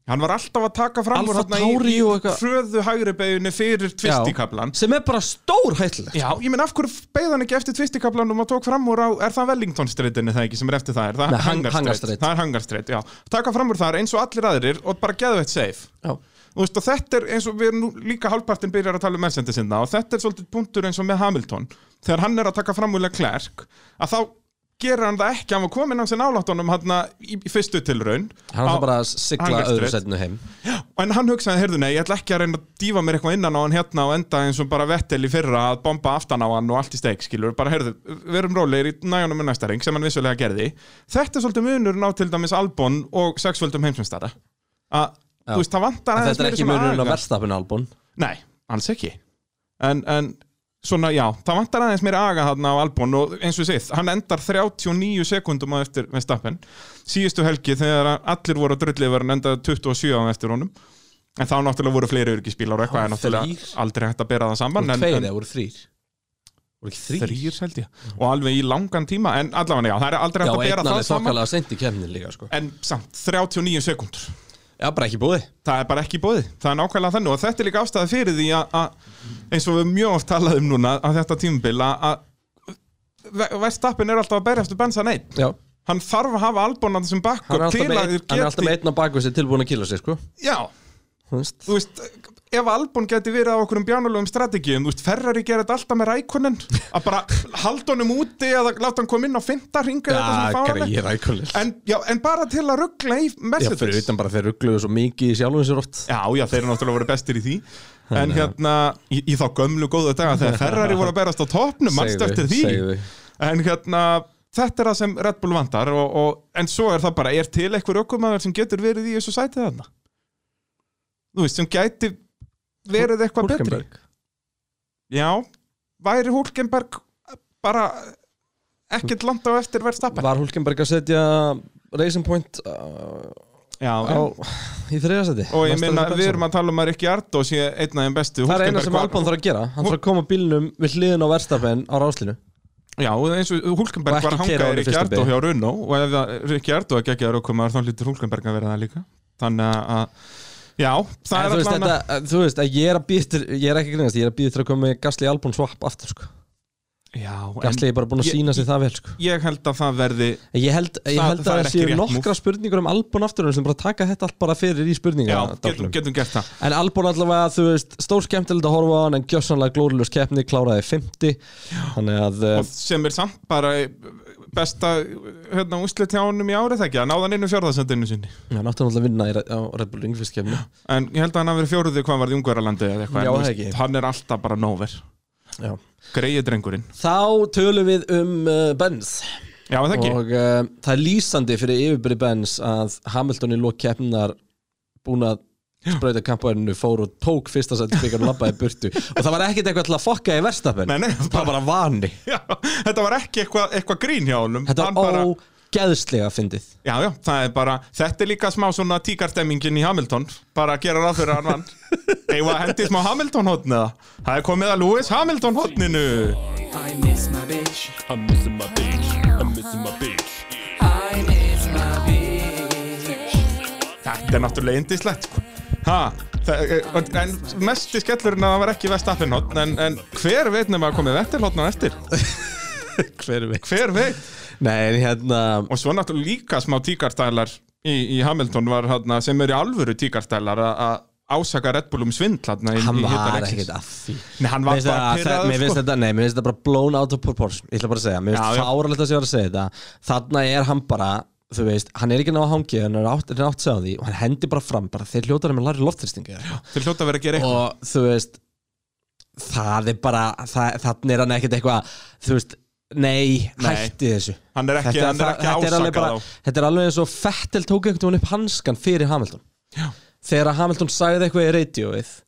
S2: Hann var alltaf að taka fram úr
S1: Alfa
S2: þarna
S1: Tauri
S2: í,
S1: og
S2: í
S1: eitthvað.
S2: fröðu hægri beginni fyrir tvistikablan
S1: sem er bara stór hættilegt
S2: Já, ég menn af hverju beigð hann ekki eftir tvistikablanum og tók fram úr á, er það Wellington streitinni það ekki sem er eftir það, er það
S1: Nei, hang-
S2: Hangar
S1: Hangar
S2: Strait?
S1: Strait.
S2: Það er hangarstreit, já, taka fram úr þar eins og allir aðrir og bara geðu eitt safe
S1: Já.
S2: Þú veist, og þetta er eins og við erum nú líka hálfpartin byrjar að tala um Mercedes sinna og þetta er svolítið punktur eins og með Hamilton þegar hann er að taka framúlega klærk að þá gerir hann það ekki, hann var komin hans í nálattunum hann í í fyrstu tilraun
S1: hann var
S2: Á-
S1: bara að sigla
S2: Hangar
S1: öðru
S2: Strait.
S1: setinu heim
S2: en hann hugsaði, heyrðu nei, ég ætla ekki að reyna að dífa mér eitthvað innan á hann hérna og enda eins og bara vettel í fyrra að bomba aftan á hann og allt í steik, skilur, bara heyrðu verum rólegir í næjónum með næsta ring sem hann vissulega gerði, þetta er svolítið munurinn á til dæmis Albon og sexföldum heimsumstæða að, þú veist, það vantar
S1: en
S2: aðeins
S1: þetta er
S2: meiri
S1: ekki
S2: svona
S1: munurinn á
S2: aga.
S1: verðstappin albún
S2: Nei, alls ekki En, en svona, já, það vantar aðeins meira aga hann á Albon og eins og sið hann endar 39 sekundum á eftir Verstappen síðustu helgi þegar allir voru að drulli var hann endaði 27 á eftir honum en þá náttúrulega voru fleiri örgispílar og eitthvað
S1: Já,
S2: er náttúrulega
S1: þrír.
S2: aldrei hægt að bera það saman
S1: voru
S2: en,
S1: tveir
S2: en
S1: eða voru þrýr voru ekki þrýr,
S2: þrýr held ég og alveg í langan tíma en allavega, já, það er aldrei
S1: já,
S2: hægt að bera
S1: einn
S2: það
S1: alveg
S2: saman
S1: þokkalega sent í kemnin líka sko.
S2: en samt, 39 sekundur
S1: já, bara ekki búið
S2: það er bara ekki bóði, það er nákvæmlega þannig og þetta er líka ástæða fyrir því að að- eins og við mjög oft talaðum núna á þetta tímubil að að verðstappin er alltaf að berja eftir bensa neitt
S1: já.
S2: hann þarf að hafa albónan sem
S1: hann er
S2: bakkur
S1: alltaf
S2: Sko, til
S1: með,
S2: að
S1: einn-
S2: þeir
S1: hann er alltaf
S2: geti
S1: með einn á baku sér tilbúin að kýla sér sko.
S2: já,
S1: Þú veist.
S2: þú veist ef albón geti verið á okkur um bjánulögum strategíum þú veist, Ferrari gerir þetta alltaf með rækunin að bara halda honum úti eða láta hann koma inn á fynda ringa
S1: Já, greið, rækulegt
S2: en, já, en bara til að ruggla í
S1: Já,
S2: Mercedes
S1: fyrir utan bara þeir ruggluðu svo mikið í sjálfum sér oft
S2: Já, já, þeir eru náttúrulega voru bestir í því En hérna, í, í þá gömlu góðu daga Þegar Ferrari voru að berast á topnum Manstu eftir því
S1: segðu.
S2: En hérna, þetta er það sem Red Bull vantar og, og, En svo er það bara, er til einhver ökumæður Sem getur verið í þessu sætið þarna Þú veist, sem gæti Verið eitthvað betri
S1: Hulkenberg.
S2: Já, væri Hulkenberg Bara ekkert langt á eftir verðstappen
S1: Var Hulkenberg að setja Racing Point uh,
S2: Já,
S1: á, í þriðasæti
S2: og ég minna, við erum að tala um að Rikki Ardó sé einn af þeim
S1: Það
S2: bestu
S1: er eina
S2: Hulkenberg
S1: sem
S2: var-
S1: Albon þarf að gera Hann þarf að koma bílnum við hliðin á verðstafin á ráslinu
S2: Já, og eins og
S1: Og
S2: Hulkenberg
S1: ekki keyra
S2: var
S1: á
S2: hangaði
S1: hann í
S2: Rikki
S1: fyrstu
S2: Ardó
S1: beygju.
S2: hjá Runó og ef það Rikki Ardó ekki ekki að raukumar þá hlýtur Hulkenberg að vera það líka þannig að, já, það
S1: En
S2: er
S1: þú veist,
S2: allan að
S1: þetta, þú veist, að ég er að býða Ég er ekki að grínast, ég er að býða til að koma með Gasly Albon swap aftur sko.
S2: Já,
S1: Gasly
S2: en
S1: er bara búin að
S2: ég-
S1: sína sig það vel sko.
S2: ég held að það verði
S1: En Ég held, ég
S2: Það-
S1: held
S2: það
S1: að
S2: er
S1: það
S2: ekki
S1: séu
S2: rétt
S1: nokkra spurningur um Albon aftur sem bara taka þetta allt bara fyrir í
S2: Já,
S1: spurningar
S2: getum, getum gert það
S1: En Albon allavega, þú veist, stór skemmtilegt að horfa á hann en gjössanlega glóriljus keppni, kláraði 50 Þannig að eh,
S2: og sem er samt bara eh, besta hérna, úslit hjá honum í árið ekki að náða hann inn í fjórðasendinu sinni
S1: Já, náttúrulega að vinna í, á Red Bull Ringfist kemni
S2: en ég held að hann hafi verið fjóruði hvað hann varði ungverðarlandi eða eitthvað,
S1: Já,
S2: en, þú
S1: það
S2: veist,
S1: ekki.
S2: hann er alltaf bara nóver
S1: Já.
S2: greiði drengurinn,
S1: Þá tölum við um uh, Benz
S2: já, er það ekki
S1: og uh, það er lýsandi fyrir yfirbyrði Benz að Hamilton í lók keppnar búin að sprautakamparinu fór og tók fyrsta sættisbyggarn og labbaði í burtu og það var ekkert eitthvað til að fokka í verstafinn
S2: Nei, nei,
S1: það var bara vani
S2: Já, þetta var ekki eitthvað eitthva grín hjá honum
S1: þetta
S2: Hann
S1: var
S2: bara,
S1: ógeðslega fyndið
S2: Já, já, það er bara Þetta er líka smá svona tíkarstemmingin í Hamilton Bara að gera ráð fyrir að hann vann Eigum við að hendi í smá Hamilton hotnið Það er komið að Lewis Hamilton hotninu
S5: I miss my bitch.
S6: I'm missing my bitch. I'm missing my bitch.
S5: I miss my bitch.
S2: Þetta er náttúrulega indislegt sko. Ha, það, eh, en mesti skellurinn að það var ekki Vestappin hotn en, en hver veit nema að komið Vettel hotn á eftir
S1: hver veit
S2: Hver veit
S1: nei, en hérna,
S2: Og svo náttúrulega líka smá tíkarstælar í, í Hamilton var hann sem eru alvöru tíkarstælar að- að ásaka Red Bull um svindl hann í,
S1: hann
S2: í
S1: var
S2: hitareiksins.
S1: ekkert að því
S2: Nei, hann var
S1: Mér finnst
S2: bara
S1: það-
S2: pirraður,
S1: það- mér finnst
S2: sko.
S1: þetta, nei, mér finnst þetta bara blown out of proportion ég ætla bara að segja, mér
S2: Já, já.
S1: finnst fáralegt að sé að vera að segja þetta þarna er hann bara, þú veist hann er ekki náða hangið, hann er átt, hann er átt sig á því og hann hendi bara fram, bara þeir hljótar með larri loftristingu
S2: Þeir hljóta að vera að gera eitthvað
S1: og þú veist það er bara, það, þannig er hann ekkert eitthvað, þú veist Nei,
S2: Nei.
S1: hætti þessu
S2: Hann er ekki-
S1: Þetta
S2: hann er
S1: það-
S2: ekki
S1: þetta
S2: að
S1: alveg
S2: ásaka
S1: bara- Þetta er alveg eins og Fettel tók einhvern veginn upp hanskan fyrir Hamilton
S2: Já.
S1: Þegar að Hamilton sagði eitthvað í radioið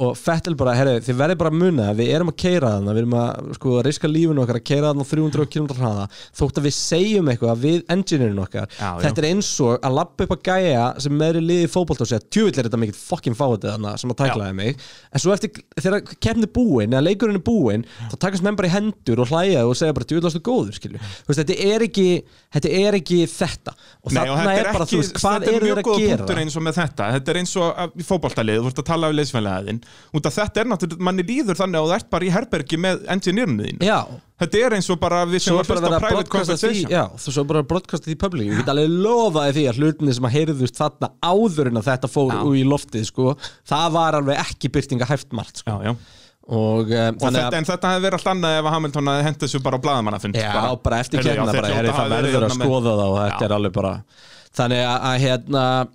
S1: og Fettel bara, herri, þið verðið bara að muna að við erum að keira þarna, við erum að sko, riska lífinu okkar að keira þarna á 300 km hraða þótt að við segjum eitthvað við engineerin okkar,
S2: Já, já.
S1: þetta er eins og að lappa upp að gæja sem meðri liði í fótbolt og segja, tjúvill er þetta mikið fucking fáið þarna sem að tæklaði mig, en svo eftir þegar keppni er búin, eða leikurinn er búin þá takast menn bara í hendur og hlæja og segja bara tjúvill ástu góður, skilju, þú veist, þetta er ekki þetta er ekki þetta og
S2: Nei, og
S1: þarna
S2: þetta
S1: er bara, þú veist, hvað
S2: þetta er
S1: eru
S2: mjög
S1: þeir að
S2: góður
S1: gera
S2: punktur eins og með þetta Þetta er eins og að- í fótboltalið, þú ert að tala við leysfælegaðin Út af þetta er náttúrulega, manni líður þannig að þú ert bara í herbergi með engineerinu þín
S1: Já,
S2: Þetta er eins og bara
S1: sem
S2: við sem
S1: var
S2: að
S1: bara verið
S2: hlusta á
S1: að broadcasta því
S2: private conversation
S1: já, þú svo bara að broadcasta því public ég get alveg lofaði því að hlutinni sem að heyrðust þarna áður en að þetta fór úr í loftið sko, það var alveg ekki byrtinga hæft margt sko.
S2: Já, já
S1: og, um,
S2: Og
S1: þannig
S2: þetta,
S1: að
S2: en þetta hefði verið allt annað ef að Hamilton hefði hendt þessu bara á blaðamannafund sko.
S1: já, bara, eftir
S2: Heyrðu, já,
S1: kemna
S2: þeir
S1: bara
S2: hljóta
S1: heyri, það
S2: hafa verið
S1: verður að
S2: þarna með-
S1: skoða það og þetta er alveg bara þannig að, að hérna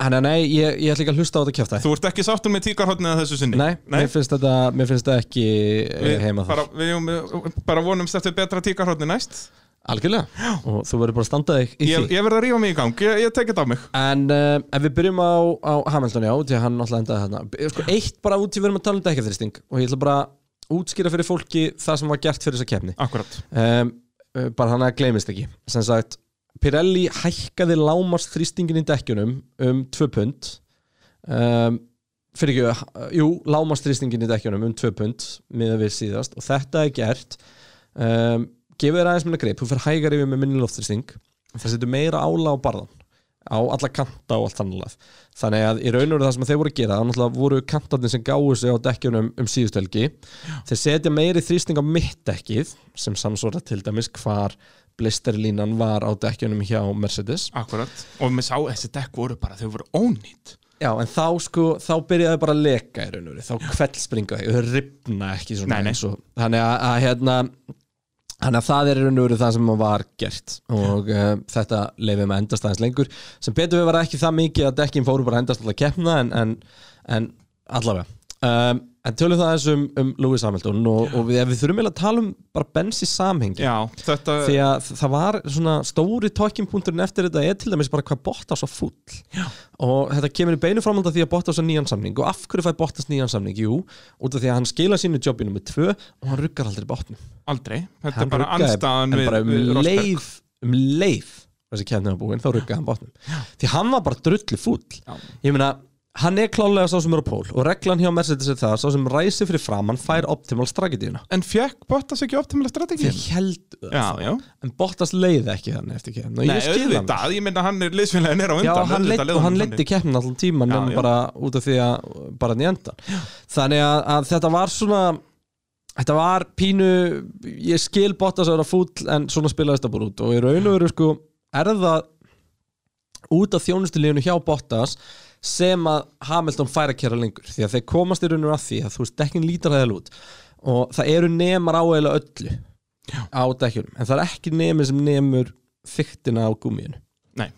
S1: hann er nei, ég, ég ætla ekki að hlusta á þetta kjöfta
S2: Þú ert ekki sáttur með tíkarhóttnið að þessu sinni
S1: nei, mér finnst þetta mér finnst þetta ekki eh,
S2: Við
S1: heima
S2: bara,
S1: þar
S2: við, við, bara vonumst eftir betra tíkarhóttni næst
S1: algjörlega, og þú verður bara að standa þig í
S2: Ég,
S1: því
S2: ég verð að rífa mig í gang, ég, ég tekið á mig
S1: En, uh, en við byrjum á, á Hamilton, já, því að hann náttúrulega endaði þarna B- sko, Eitt bara út í við erum að tala um dekkjafþristing og ég ætla bara að útskýra fyrir fólki það sem var gert fyrir þessa keppni
S2: Akkurat
S1: um, uh, bara hann að gleymist ekki sem sagt, Pirelli hækkaði lámars þrýstingin í dekkjunum um 2 pund um, fyrir ekki, uh, jú, lámars þrýstingin í dekkjunum um 2 pund miðað við síðast og þetta er gert um, gefur þér aðeins minna grip þú fyrir hægar yfir með minni loftþrýsting það setur meira ála á barðan á alla kanta og allt þannig að þannig að í raun og veru það sem þeir voru að gera það náttúrulega voru kantarnir sem gáðu sig á dekkjunum um síðustelgi þeir setja meiri þrýsting á mitt dekkið sem samsvara til dæmis hvar blisterlínan var á dekkjunum hjá Mercedes
S2: Akkurat Og mér sá þessi dekk voru bara, þau voru ónýtt
S1: Já, en þá sko, þá byrjaði bara að leka í raun og veru, þá kveldspringa þau, þau ripna ekki svona
S2: Nei, nei.
S1: eins og þannig að, að hérna þannig að það er í raun og veru það sem var gert og uh, þetta leifið með endast aðeins lengur, sem betur við var ekki það mikið að dekkin fóru bara að endast alltaf að keppna en, en, en allavega um, en tölum það aðeins um, um Lewis Hamilton og, og við, ef við þurfum eiginlega að tala um bara Benz í samhengi
S2: Já, þetta
S1: því að það var svona stóri tókinpunkturinn eftir þetta er til dæmis bara hvað Bottas var fúll Já. og þetta kemur í beinu framhald af því að Bottas var nýjan samning og af hverju fær Bottas nýjan samning? Jú, út af því að hann skila sínu jobbi nummið tvö og hann ruggar aldrei bátnum
S2: aldrei Þetta er
S1: hann
S2: bara
S1: ruggaði-
S2: anstaðan
S1: en
S2: við,
S1: bara um
S2: við Rosberg.
S1: leið, um leið þessi kefnið var búinn, þá ruggaði hann bátnum því hann var bara drullu fúll ég meina, hann er klálega sá sem er á pól og reglan hjá Mercedes er það, sá sem ræsi fyrir fram hann fær optimal strategiðina
S2: En fekk Bottas ekki optimal strategið?
S1: þeir heldu það
S2: Já, já
S1: en Bottas leiði ekki þannig eftir keppni og
S2: Nei,
S1: ég skil hann
S2: auðvitað, ég myndi að hann er liðsfélagin er
S1: já,
S2: á undan
S1: hann
S2: auðvitað
S1: leiddi,
S2: leið
S1: og hann
S2: þannig.
S1: leiddi keppnin allan tíman
S2: Já,
S1: nema
S2: já.
S1: bara út af því að bara hann í endan þannig að, að þetta var svona þetta var pínu ég skil Bottas að vera fúll en svona spilaðist það bara út og í raun og veru sko er það út af þjónustulífinu hjá Bottas sem að Hamilton fær að kera lengur því að þeir komast í raun og veru að því að þú veist dekkin lítar það út og það eru nemar á eða öllu á dekkjunum en það er ekki nemi sem nemur þyktina á gúmíinu
S2: Nei,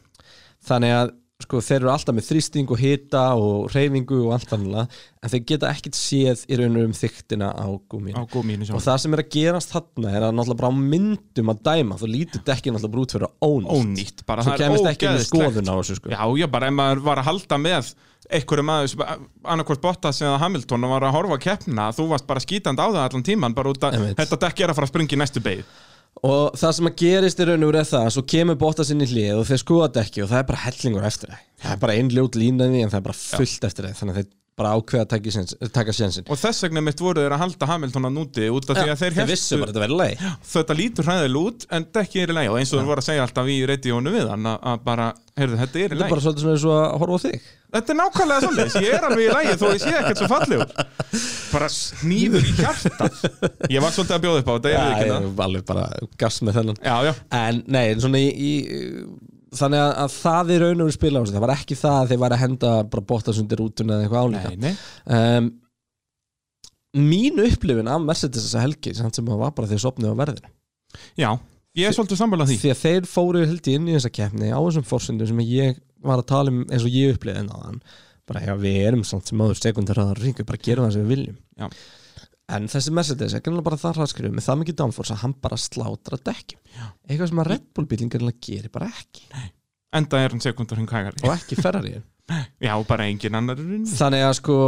S1: þannig að sko, þeir eru alltaf með þrýsting og hita og reyfingu og allt annað en þeir geta ekkit séð í raunum um þyktina á gúminu
S2: á gómínu
S1: og
S2: sjálf
S1: það sem er að gerast þarna er að náttúrulega bara á myndum að dæma þú lítið dekkin náttúrulega brút fyrir ónýtt
S2: ónýtt bara,
S1: svo
S2: það er
S1: kemist ekki með
S2: ógeðslegt.
S1: skoðun á þessu sko.
S2: Já, já, bara ef maður var að halda með einhverju maður, annarkvort Bottas eða Hamilton og var að horfa að keppna, þú varst bara skítandi á það allan tíman, bara út að
S1: Einmitt.
S2: þetta dekk er að fara að springa í næstu beig
S1: og það sem að gerist í raun og verið það svo kemur Bottas inn í hlið og þeir skoða dekki og það er bara hellingur eftir þeim það er bara ein ljót línaði en það er bara fullt eftir þeim þannig að þeir bara ákveða að taka séns- taka sjensin
S2: og þess vegna mitt voru þeir að halda Hamilton að núti út af því að þeir
S1: vissu
S2: hefstu
S1: bara að þetta verið leið
S2: þetta lítur hræðil út en dekki er í læg og eins og þeir voru að segja alltaf í reytíónu við hann að- að bara, heyrðu, þetta er í
S1: þetta er
S2: læg
S1: bara svolítið svona eins og að horfa á þig
S2: Þetta er nákvæmlega svolítið, ég er alveg í lægi þó ég sé ekkert svo fallegur bara snýður í hjartað ég var svolítið að bjóða upp á þetta, ég veit ekki
S1: Já, ég alveg bara gass með þennan
S2: Já, já,
S1: en nei, svona í, í þannig að, að það er raun og verið spila á þessu það var ekki það að þeir væri að henda bara Bottas undir útuna eða eitthvað álíka
S2: nei
S1: um, mín upplifin af Mercedes þessa helgi samt sem það var bara þeir sopnið á verðinu
S2: Já, ég er svolítið sambalað því
S1: því að þeir fóru held ég inn í þessa keppni á þessum forsendum sem ég var að tala um eins og ég upplifði náðan bara já við erum samt sem áður sekundar að ringa bara gerum það sem við viljum
S2: Já.
S1: en þessi Mercedes er grannlega bara það hraðskrifu með það mikið downforce að hann bara slátra dekkjum já. eitthvað sem að Red Bull bílinn grannlega gerir bara ekki
S2: enda er hann sekundar hinn kægari
S1: og ekki Ferrari
S2: Já, bara engin annar er unni.
S1: þannig að sko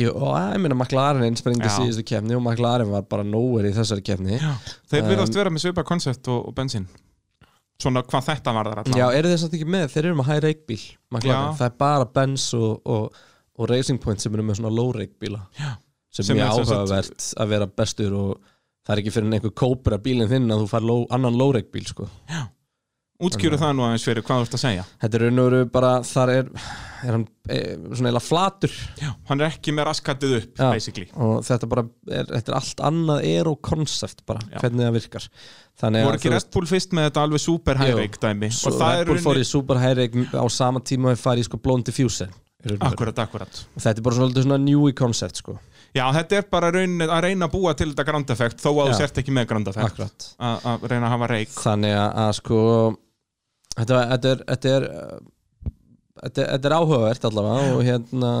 S1: jú, og að, ég meina McLaren einsprengdi
S2: Já.
S1: síðustu keppni og McLaren var bara nowhere í þessari keppni já,
S2: Þeir
S1: Um,
S2: virðast vera með svipa koncept og, og bensín Svona hvað þetta var þar allan
S1: eru þeir samt ekki með, þeir eru með high rake bíl McLaren,
S2: Já.
S1: það er bara Benz og, og, og Racing Point sem eru með svona low rake bíla
S2: Já.
S1: sem,
S2: Sem
S1: er
S2: er sem sagt-
S1: áhugavert að vera bestur og það er ekki fyrir en einhver kópur að bílinn þinn að þú fær low, annan low rake bíl sko.
S2: Útskýru það nú aðeins fyrir hvað þú ert að segja
S1: þetta er raun og veru bara, þar er, er hann e, svona eila flatur
S2: Já, hann er ekki með raskatið upp,
S1: Já.
S2: basically
S1: og þetta bara er, þetta er allt annað er og koncept bara,
S2: Já.
S1: hvernig það virkar þannig
S2: Voru
S1: að
S2: ekki
S1: þú veist-
S2: Red Bull fyrst með þetta alveg super
S1: Jú.
S2: hægveik dæmi
S1: Svo
S2: Og það
S1: Red
S2: er
S1: Bull fór í
S2: unni
S1: Super High-Reg á sama tíma og þeir farið í sko Blond Diffuser í raun og veru.
S2: Akkurat, akkurat
S1: og þetta er bara svolítið svona newy concept sko
S2: Já, þetta er bara raunin, að reyna að búa til þetta ground effect Þó að þú
S1: Já.
S2: sért ekki með ground effect
S1: akkurat
S2: Að að reyna að hafa reik
S1: þannig að, að sko þetta, var- þetta er þetta er, uh, þetta, þetta er áhugavert allavega og hérna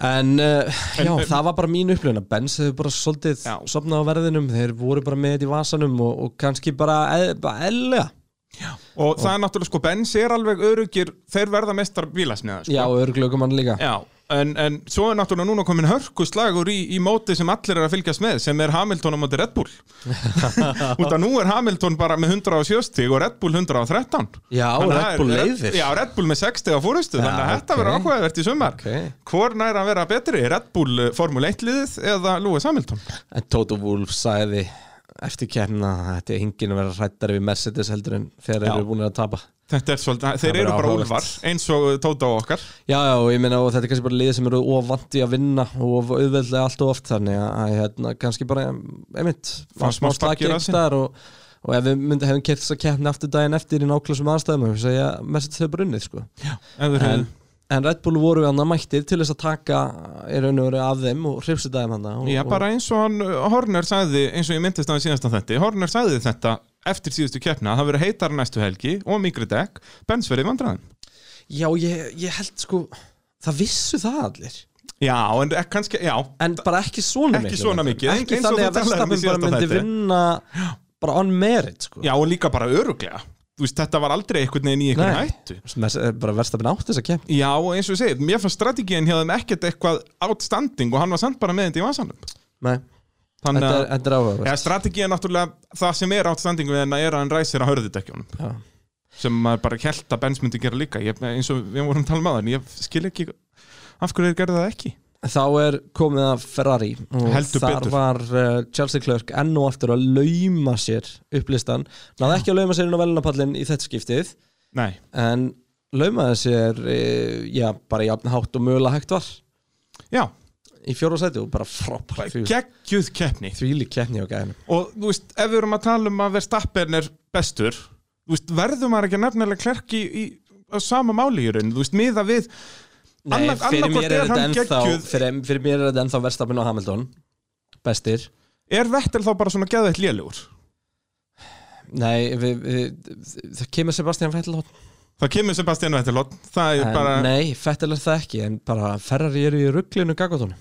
S1: en uh,
S2: En-
S1: já,
S2: en-
S1: það var bara mín upplifun að Benz hefur bara svolítið
S2: Já.
S1: sopnað á verðinum, þeir voru bara með þetta í vasanum og, og kannski bara, eð, bara elga
S2: Og það er náttúrulega sko, Benz er alveg örugir Þeir verða mestar bílasniða sko.
S1: já, og örglökumann líka
S2: Já, en, en svo er náttúrulega núna komin hörku slagur í, í móti sem allir er að fylgjast með sem er Hamilton á móti Red Bull út að nú er Hamilton bara með 107 stig og Red Bull 113
S1: já
S2: Þannig að
S1: Red Bull
S2: það er-
S1: leiðir
S2: Já, Red Bull með 60 á
S1: Já,
S2: fórustu þannig að þetta
S1: ok.
S2: verður áhugavert í sumar
S1: Ok.
S2: Hvor nær að vera betri, Red Bull eh, Formule 1 liðið eða Lewis Hamilton
S1: En Toto Wolff sagði eftir kemna að þetta er enginn að vera hrættar við Mercedes heldur en þegar þeir
S2: Já.
S1: eru búin að tapa
S2: Þetta er svolítið, þeir
S1: verður
S2: eru bara
S1: áhugavert.
S2: úlfar eins og eh, Tóta og okkar
S1: Já, já, og ég meina og þetta er kannski bara lið sem eru ofandi að vinna og of- auðveldlega allt og oft þannig að- að hérna, kannski bara, einmitt
S2: Fá smá spark í rassinn.
S1: staðar og, og ef við myndum hefum kert þess að kemna aftur daginn eftir í nákvæmlega aðstæðum og segja að Mercedes hefur brunnið sko en,
S2: en,
S1: en Red Bull voru hann að mættir til þess að taka í raun og veru af þeim og hrifsa daginn hann og,
S2: Já, bara eins og hann, uh, Horner sagði, eins og ég myndist á hann síðast á þetta, Horner sagði þetta eftir síðustu keppna, að það verið heitar næstu helgi og mikri dekk, Benz verið vandræðin.
S1: og, Já, ég, ég held sko það vissu það allir
S2: Já, en ek- kannski, já,
S1: en bara ekki svona
S2: Ekki
S1: mikið
S2: svona mikið,
S1: ekki
S2: eins og
S1: þannig að
S2: þú
S1: Vestapen
S2: talaðir um í
S1: bara
S2: síðasta
S1: myndi
S2: þætti.
S1: vinna bara on merit sko.
S2: já, og líka bara öruglega. Þú veist, þetta var aldrei einhvern veginn í einhvern
S1: Nei.
S2: hættu.
S1: Sem er- bara Vestapen átti þess að kemna
S2: Já, og eins og ég segið, mér fannst strategíin hjá þeim ekkert eitthvað outstanding og hann var samt bara með þetta í vasanum. Þannig
S1: þetta
S2: að,
S1: er, þetta er áhuga
S2: ja, strategíin náttúrulega, það sem er outstanding við henn er að hann ræsir að hörðu dekkjónum.
S1: Já.
S2: sem maður bara held að Benz myndi gera líka ég, eins og við vorum talað með hann ég skil ekki af hverju þeir gerðu það ekki
S1: þá er komið að Ferrari og
S2: Heldur
S1: þar
S2: betur.
S1: var uh, Chelsea Clerk enn og aftur að lauma sér upplistan, náði ekki að lauma sér inn á velunapallin í þetta skiptið
S2: Nei,
S1: en laumaði sér uh, já, bara jafn hátt og mögulega hægt var
S2: já,
S1: í fjóra sæti og bara frábært því,
S2: geggjuð keppni
S1: því lík keppni og gæðinu
S2: og þú veist, ef við erum að tala um að Verstappen er bestur þú veist, verður maður ekki nefnilega klerk í, í á sama máli í raun, þú veist, miða við
S1: Nei,
S2: Annað-
S1: fyrir,
S2: annað hvort
S1: mér er
S2: er
S1: þetta
S2: hann
S1: ennþá,
S2: geggjuð-
S1: fyrir, fyrir mér er þetta ennþá Verstapin og Hamilton Bestir
S2: er Vettel þá bara svona geðveitt lélugur
S1: Nei, við, við, það kemur Sebastian Vettel á
S2: Það kemur Sebastian Vettelot Það er
S1: En,
S2: bara,
S1: Nei, Fettel er það ekki, en bara Ferrari eru í rugglinu gagvatónum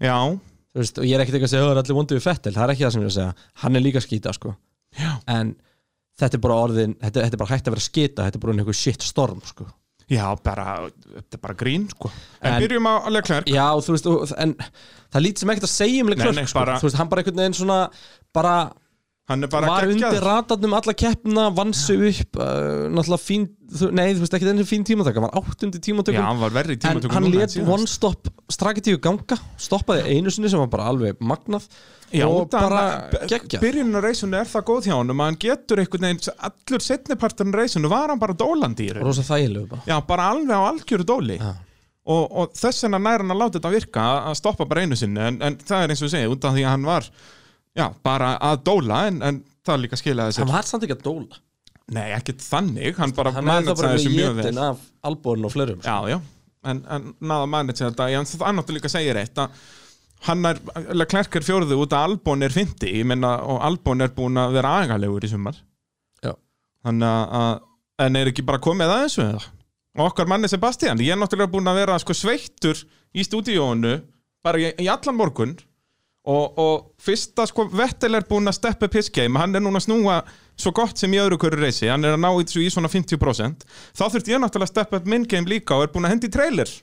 S2: já
S1: Þú veist, og ég er ekkert eitthvað að segja "Ó, það er allir vondið við Fettel, það er ekki það sem ég er að segja hann er líka skýta sko
S2: Já.
S1: en þetta er bara orðin, þetta, þetta er bara hægt að vera skita þetta er bara einhver shit storm sko
S2: Já, bara, þetta er bara grín sko. En,
S1: En-
S2: byrjum á Leclerc
S1: já og þú veist, og, en það er lítið sem ekkert að segja um
S2: Nei, nei,
S1: Leclerc sko,
S2: bara-
S1: þú veist, hann bara einhvern veginn svona bara,
S2: Hann er bara
S1: var
S2: geggjaður.
S1: undir ratarnum alla keppna, vann sig upp uh, náttúrulega fín, þú, nei þú veist ekki þenni fín tímatökum, hann var áttundi
S2: Já,
S1: tímatökum
S2: hann var verri í
S1: en
S2: tímatökum
S1: hann
S2: núna en
S1: let
S2: síðast.
S1: one stop straketíu ganga, stoppaði einu sinni sem var bara alveg magnað
S2: Já,
S1: og
S2: það-
S1: bara geggja
S2: Byrjunin á reysunni er það góð hjá honum að Hann getur einhvern veginn, allur setnipartin reysunni Var hann bara dólandi í raun
S1: rosa þægilegu bara
S2: Já, bara alveg á algjöru dóli og, og þess vegna nær hann að láta þetta virka að- að stoppa bara einu sinni en, en það er eins og ég segi, út af því að hann var já, bara að dóla en, en það líka skilaði sér
S1: hann var samt ekki að dóla
S2: Nei, ekkert þannig, hann bara
S1: hann er það bara
S2: manetsaði þessu
S1: verið
S2: mjög vel
S1: jetin af albúrun og flerum sko.
S2: Já, já, en, en náða manetsaði þetta en það annáttu líka segir eitt að hann er, Leclerc er fjórði út að Albon er fymti, ég menna, og Albon er búin að vera agalegur í sumar
S1: Já.
S2: þannig að- að, en er ekki bara komið að þessu eða? og okkar manni Sebastian, ég er náttúrulega búin að vera sko sveittur í stúdíónu bara í, í allan morgun og, og fyrsta sko Vettel er búin að steppa upp his game, hann er núna að snúa svo gott sem í öðru hverju reysi, hann er að ná í, þessu í svona 50% þá þurft ég náttúrulega að steppa upp minn game líka og er búin að hendi trailer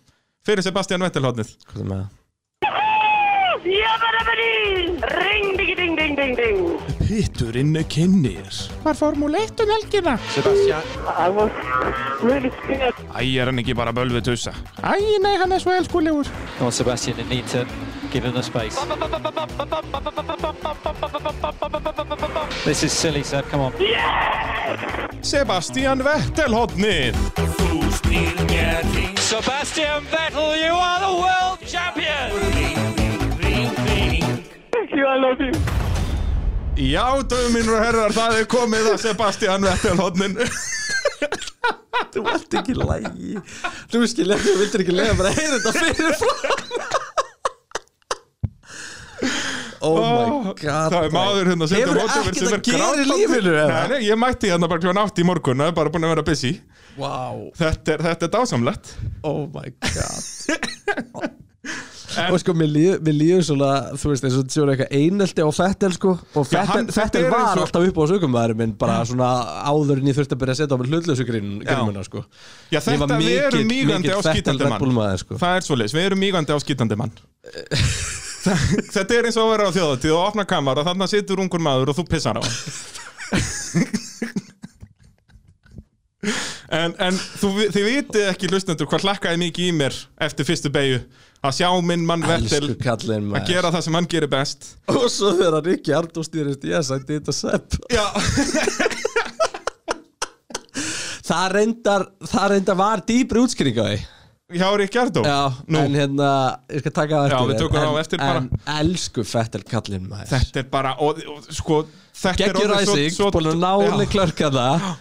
S2: fyrir Sebastian Vettel hodnið
S1: Hvað er með það?
S7: Jabba-dabba-dee! Ring, diggy, ding, ding, ding, ding.
S2: Pitturinn kynnir Var formúl 1 um helgina Sebastian
S7: I was really scared.
S2: Æ, er hann ekki bara bölvið tussa? Æ, nei, hann er svo elskulegur
S8: Come on, Sebastian and Nita, give him the space. This is silly, Seb. Come on.
S2: Sebastian Vettel hodnið
S8: Sebastian Vettel, you are the world champion.
S7: Thank you, I love you.
S2: Já, döfum mínur og herrar, það er komið að Sebastian Vettel hodnin
S1: Þú ert ekki lægi Þú skil ekki, þú vildir ekki lega bara heyra þetta fyrir fram Oh my god
S2: Það er maður hérna sem
S1: Hefur
S2: mótorinn
S1: ekkert að gera í
S2: grátandi.
S1: lífinu eða?
S2: Nei, nei, ég mætti hérna bara kljóðan átt í morgun Það er bara búin að vera busy
S1: Wow,
S2: Þetta er, þetta er dásamlegt
S1: oh my god Og sko, mér líður, mér líður svona Þú veist, eins og þetta séu eitthvað einelti á Fettel sko Og
S2: Já, hann-
S1: Fettel, Fettel
S2: þetta er eins
S1: var
S2: og-
S1: alltaf upp á sögumæður minn Bara svona áður en ég þurfti að byrja að setja á mig hlutlösugrinuna sko
S2: Já,
S1: Ég var
S2: þetta við
S1: mikill-
S2: erum mígandi
S1: mikill
S2: á
S1: Vettel
S2: skítandi
S1: Red Bull
S2: mann
S1: maður, sko.
S2: Það er svoleiðis, við erum mígandi á skítandi mann Það- Þetta er eins og að vera á þjóðatíð og opna kamara, þannig að situr ungur maður og þú pissar á hann En, en þú, vi- þið vitið ekki hlustendur hvað hlakkaði mikið í mér eftir fyrstu beigju að sjá minn mann Vettel
S1: Elsku kallinn
S2: að
S1: maður
S2: gera það sem hann gerir best
S1: Og svo þegar hann ekki Arndó stýrist Ég sætti þetta sepp
S2: Já,
S1: Það reyndar, það reyndar var dýbri útskýring á því
S2: hjá Ríkjardó
S1: Já,
S2: Nú,
S1: en hérna, ég skal taka það
S2: Já,
S1: eftir
S2: við
S1: en-
S2: tökum það á
S1: en-
S2: eftir bara.
S1: En elsku Fettel kallinn maður
S2: þetta er bara og, og, sko, þetta
S1: Geggjur
S2: er orðið
S1: æsing, búin að náli
S2: Já.
S1: klörka það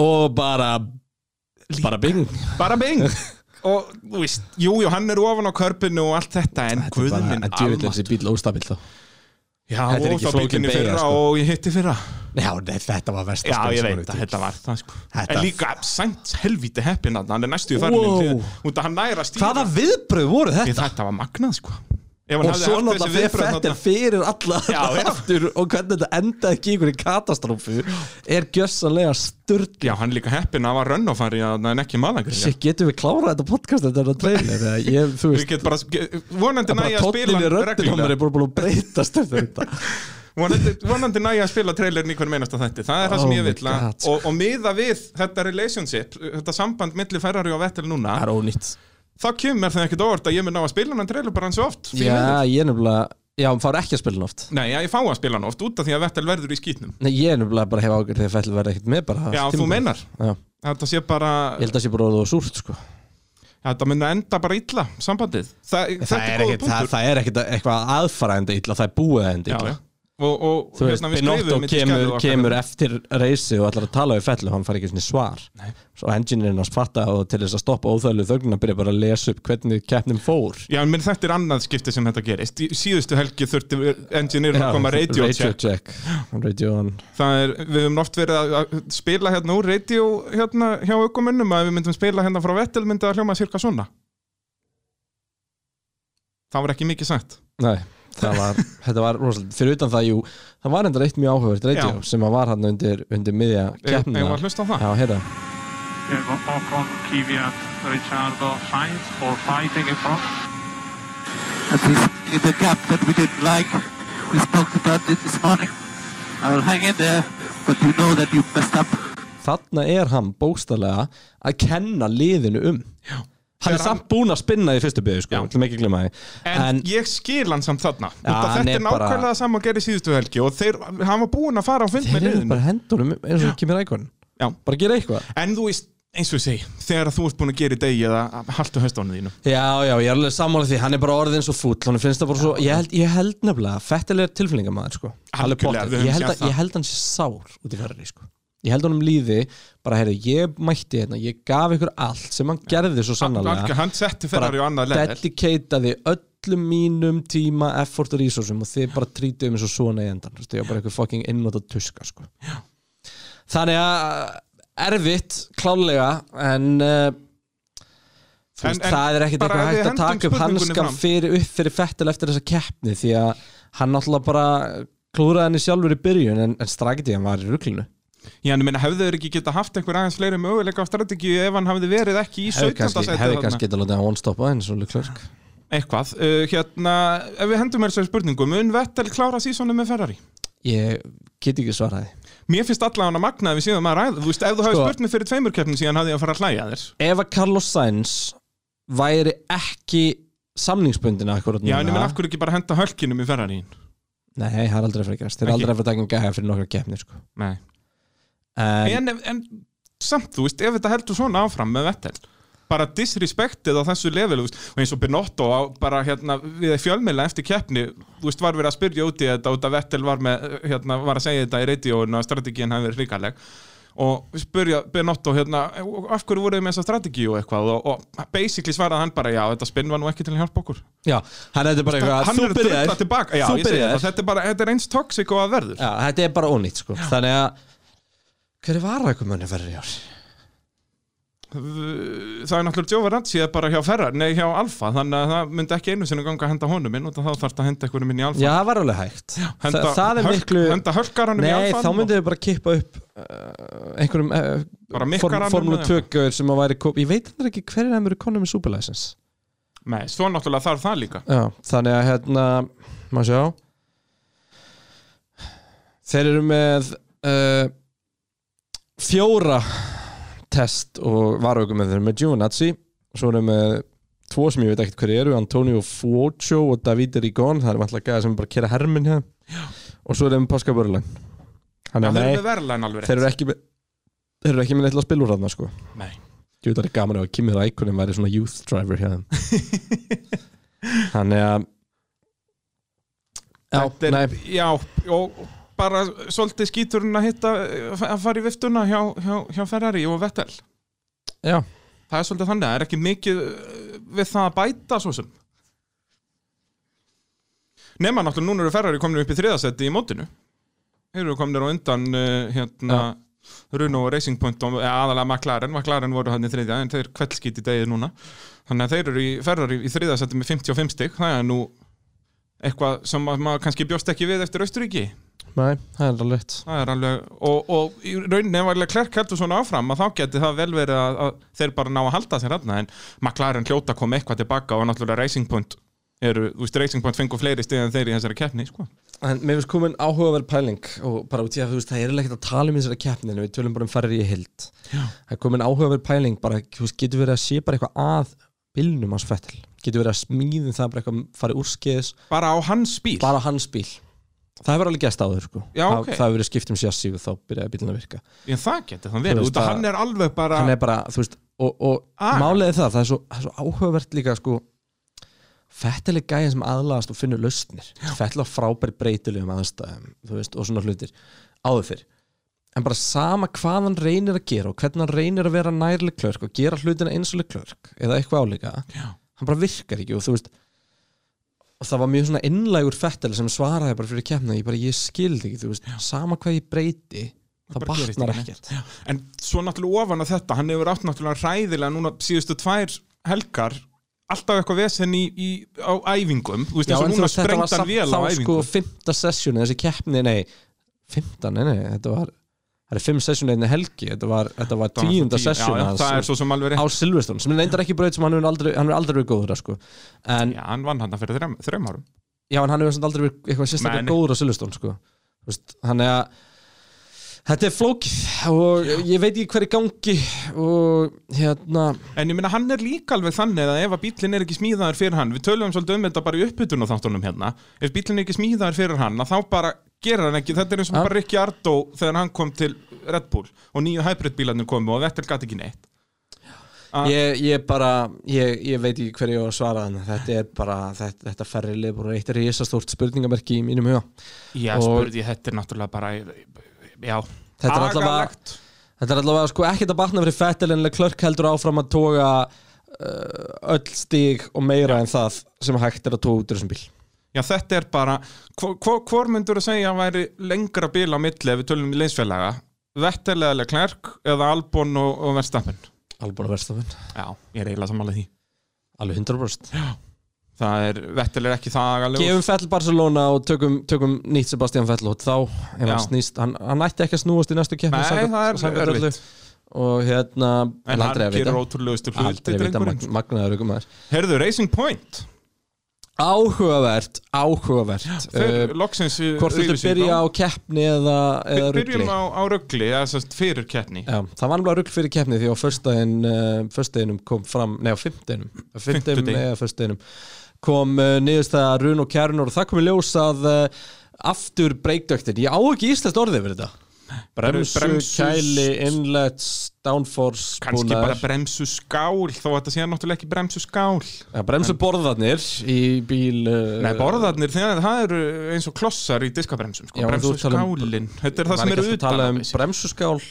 S1: Og bara, bara bing
S2: bara bing og þú veist, jú, jú, hann er ofan á körpinu og allt þetta, en guðum minn
S1: djúvill
S2: almáttugur.
S1: þessi bíl óstabil þá
S2: já,
S1: Þetta er
S2: og
S1: ekki
S2: það
S1: flókin
S2: bílinn í
S1: beygja,
S2: fyrra
S1: sko.
S2: og ég hitti fyrra
S1: Já, nei, þetta var versta
S2: já,
S1: spil
S2: ég
S1: sem
S2: veit
S1: var
S2: að
S1: í
S2: þetta var það sko.
S1: Þetta-
S2: en líka sænt helvíti heppin að hann er næstu í farnum
S1: Wow.
S2: wow. út að hann næra
S1: því.
S2: stíð
S1: Hvaða viðbröð voru þetta?
S2: þetta var magnað sko. Ef hann
S1: Og
S2: hefði
S1: svo
S2: haft þessi
S1: náttúrulega fyrir
S2: viðbrögð
S1: Fettel
S2: þarna-
S1: fyrir alla
S2: Já, já.
S1: aftur Og hvernig þetta endaði ekki í einhverju katastrófu Er gjössanlega sturt
S2: já, hann er líka heppin að var rönn á fari en ekki malangri
S1: Sér getum við klárað þetta podcast Þetta er að treyna Þegar ég, þú
S2: Við
S1: veist
S2: getum bara, vonandi
S1: bara
S2: næja að spila
S1: tóttinni
S2: hann
S1: röddinn á mér
S2: reglulega.
S1: er bara búin að breytast eftir þetta
S2: vonandi, vonandi næja að spila trailerin í hverjum einasta þætti, það er það sem
S1: Oh
S2: ég
S1: my
S2: vil að-
S1: God.
S2: og, og miða við þetta relationship þetta samband milli Ferrari og Vettel núna
S1: er ónýtt
S2: þá kemur það ekkit óvart að ég mun ná að spila hann trailer bara hann svo oft því miður.
S1: Já, ég er nefnilega Já, hann fár ekki að spila hann oft
S2: Nei, já, ég fá að spila hann oft út af því að Vettel verður í skýtnum
S1: Nei, ég er nefnilega bara hef ágjörð þegar fæll verði ekkert með bara það
S2: Já, þú
S1: tímabil.
S2: meinar.
S1: Já,
S2: þetta sé bara,
S1: ég held að sé bara orðið og súrt sko
S2: þetta mun að enda bara illa sambandið, það, þetta
S1: Það
S2: er
S1: er
S2: góð
S1: ekkert, það,
S2: punktur
S1: það er ekkert eitthvað aðfaraðandi illa Það er búiðandi
S2: Já,
S1: illa
S2: já. og, og
S1: Þú veist,
S2: hérna, við
S1: Binotto
S2: skrifuðum þetta í skjalið
S1: kemur,
S2: okkar. hérna.
S1: kemur eftir reysi og ætlar að tala við fellu, hann fær ekki svona svar Nei. Svo engineerinn hans fatta og til þess að stoppa óþæglu þögnuna byrja bara að lesa upp hvernig keppnin fór
S2: Já, menn þetta er annað skipti sem þetta gerist Í síðustu helgi þurfti engineerin að koma radio
S1: radio
S2: check
S1: check Radio on
S2: Það er, við höfum oft verið að- að spila hérna úr radio hérna hjá aukumennum að ef við myndum spila hérna frá Vettel myndi að hljóma cirka svona Það var ekki mikið sagt
S1: Nei, það var, þetta var rosalega Fyrir utan það, jú, það var enda eitt mjög áhugavert radio
S2: Já.
S1: sem að var hann undir, undir miðja
S2: Ég
S1: keppnina
S2: var að hlusta á það
S1: Já, hérna,
S3: You've got Ocon, Kvyat, Ricciardo, Sainz, all fighting in front.
S4: At least in the gap that we didn't like, we spoke about it this morning. I will hang in there, but you know that you messed up.
S1: þarna er hann bóstalega að kenna liðinu um Já Hann er
S2: Þegar
S1: samt búinn að spinna í fyrstu byrju sko,
S2: Já.
S1: ætlum ekki að glemma því
S2: En, ég skil hann samt þarna ja,
S1: hann er
S2: Þetta er
S1: bara-
S2: nákvæmlega bara... saman að gera í síðustu helgi og þeir, hann var búinn að fara á fund
S1: þeir
S2: með
S1: eru
S2: liðinu
S1: bara hendurum eins og kemur ækon
S2: Já.
S1: bara gera eitthvað
S2: En þú veist, eins og ég segi, þegar þú ert búinn að gera í degi eða haltu höstónu þínu
S1: já, já, ég er alveg sammála því, hann er bara orðin svo fúll hann finnst það bara svo, ég held, ég held nefnilega fettilegar tilfinningamæður sko Alveg
S2: Algjörlega,
S1: pottþétt.
S2: við höfum
S1: ég, held
S2: séð
S1: að-
S2: það.
S1: ég held hann sé sár út í verri sko ég held honum líði, bara heyrðu, ég mætti hérna ég gaf ykkur allt sem hann gerði svo
S2: Algjör,
S1: sannarlega
S2: Hann setti Ferrari á
S1: bara
S2: annað level
S1: dedikataði öllum mínum tíma, effort og resursum og þið bara trítið um eins og svona í endan þú veist, ég var bara eitthvað fucking innóta tuska sko. þannig að erfitt, klálega en, uh, þú
S2: En-
S1: veist,
S2: en
S1: það er ekkert
S2: bara
S1: eitthvað
S2: ef við
S1: hægt að
S2: hendum
S1: taka upp
S2: spurningunni
S1: hanskan
S2: fram.
S1: fyrir, upp fyrir fettil eftir þessa keppni því að hann náttúrulega bara klúraði henni sjálfur í byrjun en, en strakkið hann var í ruglinu
S2: Já, en ég meina, hefðu þeir ekki geta haft einhver aðeins fleiri möguleika á strategíu ef hann hafði verið ekki í
S1: hefði
S2: 17.
S1: kannski,
S2: sæti
S1: hefði
S2: þarna?
S1: kannski getað látið að one-stoppa henni svo lukklark
S2: Eitthvað, uh, hérna, ef við hendum mér þessu spurningu mun Vettel klára sísónu með Ferrari?
S1: ég get ekki svaraði
S2: Mér finnst allan að magna að við síðan að ræða Þú veist, ef þú hefði
S1: Sko.
S2: spurt mig fyrir tveimur keppnum síðan hafði ég að fara að hlæja að þér
S1: ef að Carlos Sainz væri ekki samningsbundin akkurat
S2: Já, en ég menn
S1: núna
S2: af hverju ekki bara henda hölkinum í Ferrarin
S1: Nei, það er aldrei að fara að gerast Þeir eru
S2: Ekki?
S1: aldrei að fara að taka um gæja fyrir nokkra keppni sko.
S2: Nei
S1: en,
S2: en, en, en samt, þú veist, ef þetta heldur svona áfram með Vettel bara disrespektið á þessu level þú veist, og eins og Benotto á bara hérna við fjölmiðla eftir keppni þú veist, var verið að spyrja út í þetta út að Vettel var, með, hérna, var að segja þetta í radióinu að strategíin hafi verið hrikaleg og spyrja Benotto hérna af hverju voruð þið með þessa strategíu og eitthvað og, og basically svaraði hann bara já, þetta spinn var nú ekki til að hjálpa okkur
S1: Já, hann er þetta bara eitthvað
S2: hann
S1: Þú
S2: er að drulla
S1: byrjaðir
S2: tilbaka já,
S1: Þú
S2: ég segi
S1: byrjaðir.
S2: það, þetta, er bara, þetta er eins toxic og að verður
S1: Já, þetta er bara ónýtt sko. Þannig að Hver er varaðkumunni verður í ár?
S2: það er náttúrulega Jóvar Ratsið bara hjá Ferrar, nei hjá Alfa þannig að það myndi ekki einu sinni ganga að henda honum inn og þá þarf það að henda einhverjum inn í Alfa
S1: Já, það var alveg hægt
S2: henda,
S1: Þa, Það er
S2: hölk-
S1: miklu
S2: henda hölkaranum í
S1: Nei,
S2: Alfa
S1: þá myndum við bara kippa upp uh, einhverjum uh,
S2: sko. Bara
S1: form,
S2: mikkaranum
S1: formúlu
S2: eða
S1: 2-gauður sem að væri kop- Ég veit þetta ekki hverjir þeim eru konum með superlicense
S2: nei, svo náttúrulega þarf það líka
S1: Já, þannig að hérna maður sjá þeir eru með uh, fjóra test og varugum með þeir eru með Giovinazzi svo eru með tvo sem ég veit ekkert hverju eru Antonio Fuocho og Davide Rigon það er vantlega gæða sem bara kera herminn hér og svo eru þeir með Pascal Börlein
S2: Já,
S1: þannig að
S2: þeir eru með
S1: nei,
S2: verðlæn alveg
S1: þeir eru ekki með þeir eru ekki með neitt til að spila úr þarna sko
S2: Nei.
S1: Ég veit að það er gaman ef að Kimi Rækonin væri svona youth driver hjá þeim Þannig að
S2: Þetta
S1: Já,
S2: er,
S1: nei,
S2: já, og bara svolítið skíturinn að hitta að fara í viftuna hjá, hjá, hjá Ferrari og Vettel
S1: já
S2: það er svolítið þannig, það er ekki mikið uh, við það að bæta svo sem nema náttúrulega núna eru Ferrari komin upp í þriðasetti í mótinu þeir eru komin á undan uh, hérna Runo og Racing Point og ja, aðalega McLaren, McLaren voru hann í þriðja en þeir kveldskýt í degið núna þannig að þeir eru í Ferrari í þriðasetti með 55 stygg, það er nú eitthvað sem að maður kannski bjóst ekki við eftir Austuríki
S1: Nei, það er alveg rétt
S2: Það er alveg, og, og í rauninni ef alveg Klerk heldur svona áfram að þá geti það vel verið að, að þeir bara ná að halda sér hann en McLaren hljóta kom eitthvað tilbaka og náttúrulega Racing Point eru, þú veist Racing Point fengur fleiri stig en þeir í þessari keppni sko.
S1: En mér finnst komin áhugaverð pæling og bara út í að þú veist, það er ekkert að tala um þessari keppnin en við tölum bara um ferri í hild
S2: Já.
S1: Það er komin áhugaverð pæling bara, þú veist, getur verið að sé bara eitthvað að bílnum hans fettil getur verið að smíðin það bara eitthvað farið úrskeiðis
S2: bara á hans bíl
S1: bara hans bíl Það hefur alveg gæst áður sko
S2: Já,
S1: Það-
S2: ok.
S1: Það hefur verið skipt um sjassi og þá byrjaði bílinn að virka
S2: en það geti þann
S1: Þú
S2: verið,
S1: veist
S2: út að
S1: að-
S2: hann er alveg bara Ah.
S1: hann er bara, þú veist og, og
S2: Aga.
S1: málið er það, það er svo, það er svo áhugavert líka sko Fettel er gæðin sem aðlagast og finnur lausnir Fettel á frábæri breytilegum aðstæðum þú veist, og svona hlutir áður fyrr en bara sama hvað hann reynir að gera og hvernig hann reynir að vera nærleg klörk og gera hlutina eins og klörk eða eitthvað álíka
S2: Já.
S1: hann bara virkar ekki og þú veist og það var mjög svona innlægur Fettel sem svaraði bara fyrir kemna ég bara ég skildi ekki, þú veist, sama hvað ég breyti það
S2: bara gerist
S1: batnar
S2: ekki
S1: ekkert
S2: En svo náttúrulega ofan á þetta, hann hefur átt náttúrulega ræðilega núna síðustu tvær helgar alltaf eitthvað vesen í, í, á æfingum, þú veist
S1: Já,
S2: eins og
S1: en þú
S2: núna
S1: veist, þetta var
S2: sprengt hann
S1: samt
S2: vel á
S1: þá sko
S2: æfingu
S1: fymta sessjoni, þessi keppni, nei fymta, nei, nei, þetta var það er fimm sessjoni einni helgi, þetta var, þetta var
S2: Það var
S1: tíunda
S2: tíu-
S1: sessjoni
S2: já, já, það er svo sem alveg
S1: á
S2: rétt
S1: Silverstone, sem er reyndar ekki braut sem hann er aldrei, hann er aldrei verið góður, á, sko en, já,
S2: Já, hann vann hann fyrir þreim, þreim árum
S1: en hann hefur samt aldrei verið eitthvað sérstaklega
S2: Nei, nei.
S1: góður á Silverstone, sko Þú veist, hann er að Þetta er flókið og ég veit ekki hver er í gangi og hérna,
S2: En ég meina hann er líka alveg þannig að ef að bílinn er ekki smíðaður fyrir hann Við tölum svolítið um þetta bara í uppbytun og þáttunum hérna Ef bílinn er ekki smíðaður fyrir hann að þá bara gerir hann ekki Þetta er eins og
S1: Ja.
S2: bara Rikki Ardó þegar hann kom til Red Bull og nýju hybrid bílarnir komu og Vettel gæti ekki neitt Ah.
S1: ég, ég bara ég, ég veit ekki hverju ég á að svara þannig þetta er bara, þetta, þetta ferri lið og eitt er risastórt spurningamerki í mínum huga
S2: Já,
S1: Og-
S2: spurði ég, þetta er náttúrulega bara Já,
S1: Þetta er allavega-
S2: agalegt.
S1: Þetta er allavega sko ekkert að batna fyrir Fettel en Leclerc heldur áfram að toga uh, öll stíg og meira en það sem hægt er að toga út úr þessum bíl
S2: Já, þetta er bara hvo- hvo- Hvor myndur að segja að væri lengra bíl á milli ef við tölum í leinsfélaga Vettel eða Leclerc eða Albon og, og Verstappen
S1: Alveg bara verðstofun
S2: Já, ég er eiginlega sammála því
S1: Alveg 100%
S2: Það er, Vettel er ekki það agalegu
S1: Gefum Fettel Barcelona og tökum, tökum nýtt Sebastian Fettel og þá ef
S2: Já.
S1: hann snýst hann, hann ætti ekki að snúast í næstu keppni
S2: Nei,
S1: samkvæmt-
S2: það er
S1: samkvæmt
S2: erfitt.
S1: öllu. Og hérna
S2: En hann
S1: aldrei að
S2: gerir
S1: vita
S2: ótrúlegustu hluti
S1: Aldrei að vita
S2: drengurinn
S1: mag- magnaður ykkur maður
S2: Herðu, Racing Point
S1: Áhugavert, áhugavert uh,
S2: Þeir loksins
S1: Hvort þetta byrja á keppni eða, eða
S2: Við
S1: rugli?
S2: byrjum á, á ruggli, eða sérst fyrir keppni
S1: Já, það var alveg rugl fyrir keppni því á föstudaginn, uh, föstudaginnum kom fram, nei á fymtudaginnum, á fymtudaginnum
S2: Fimmtudegi.
S1: eða föstudaginnum kom uh, niðurstaða Run og Kjærnur og það kom í ljós að uh, aftur breykdöktin, ég á ekki íslenskt orðið fyrir þetta bremsu,
S2: bremsus-
S1: kæli, inlets, downforce
S2: Kanski bara bremsu skál Þó að þetta sé náttúrulega ekki bremsu skál
S1: ja, bremsu borðarnir í bíl uh,
S2: Nei, borðarnir, þegar það eru eins og klossar í diskabremsum sko.
S1: Já, en
S2: Bremsu
S1: þú tala um-
S2: skálin Þetta er það
S1: var
S2: sem
S1: ekki
S2: eru
S1: alltaf að
S2: utan
S1: tala
S2: af
S1: um
S2: þessu.
S1: bremsuskál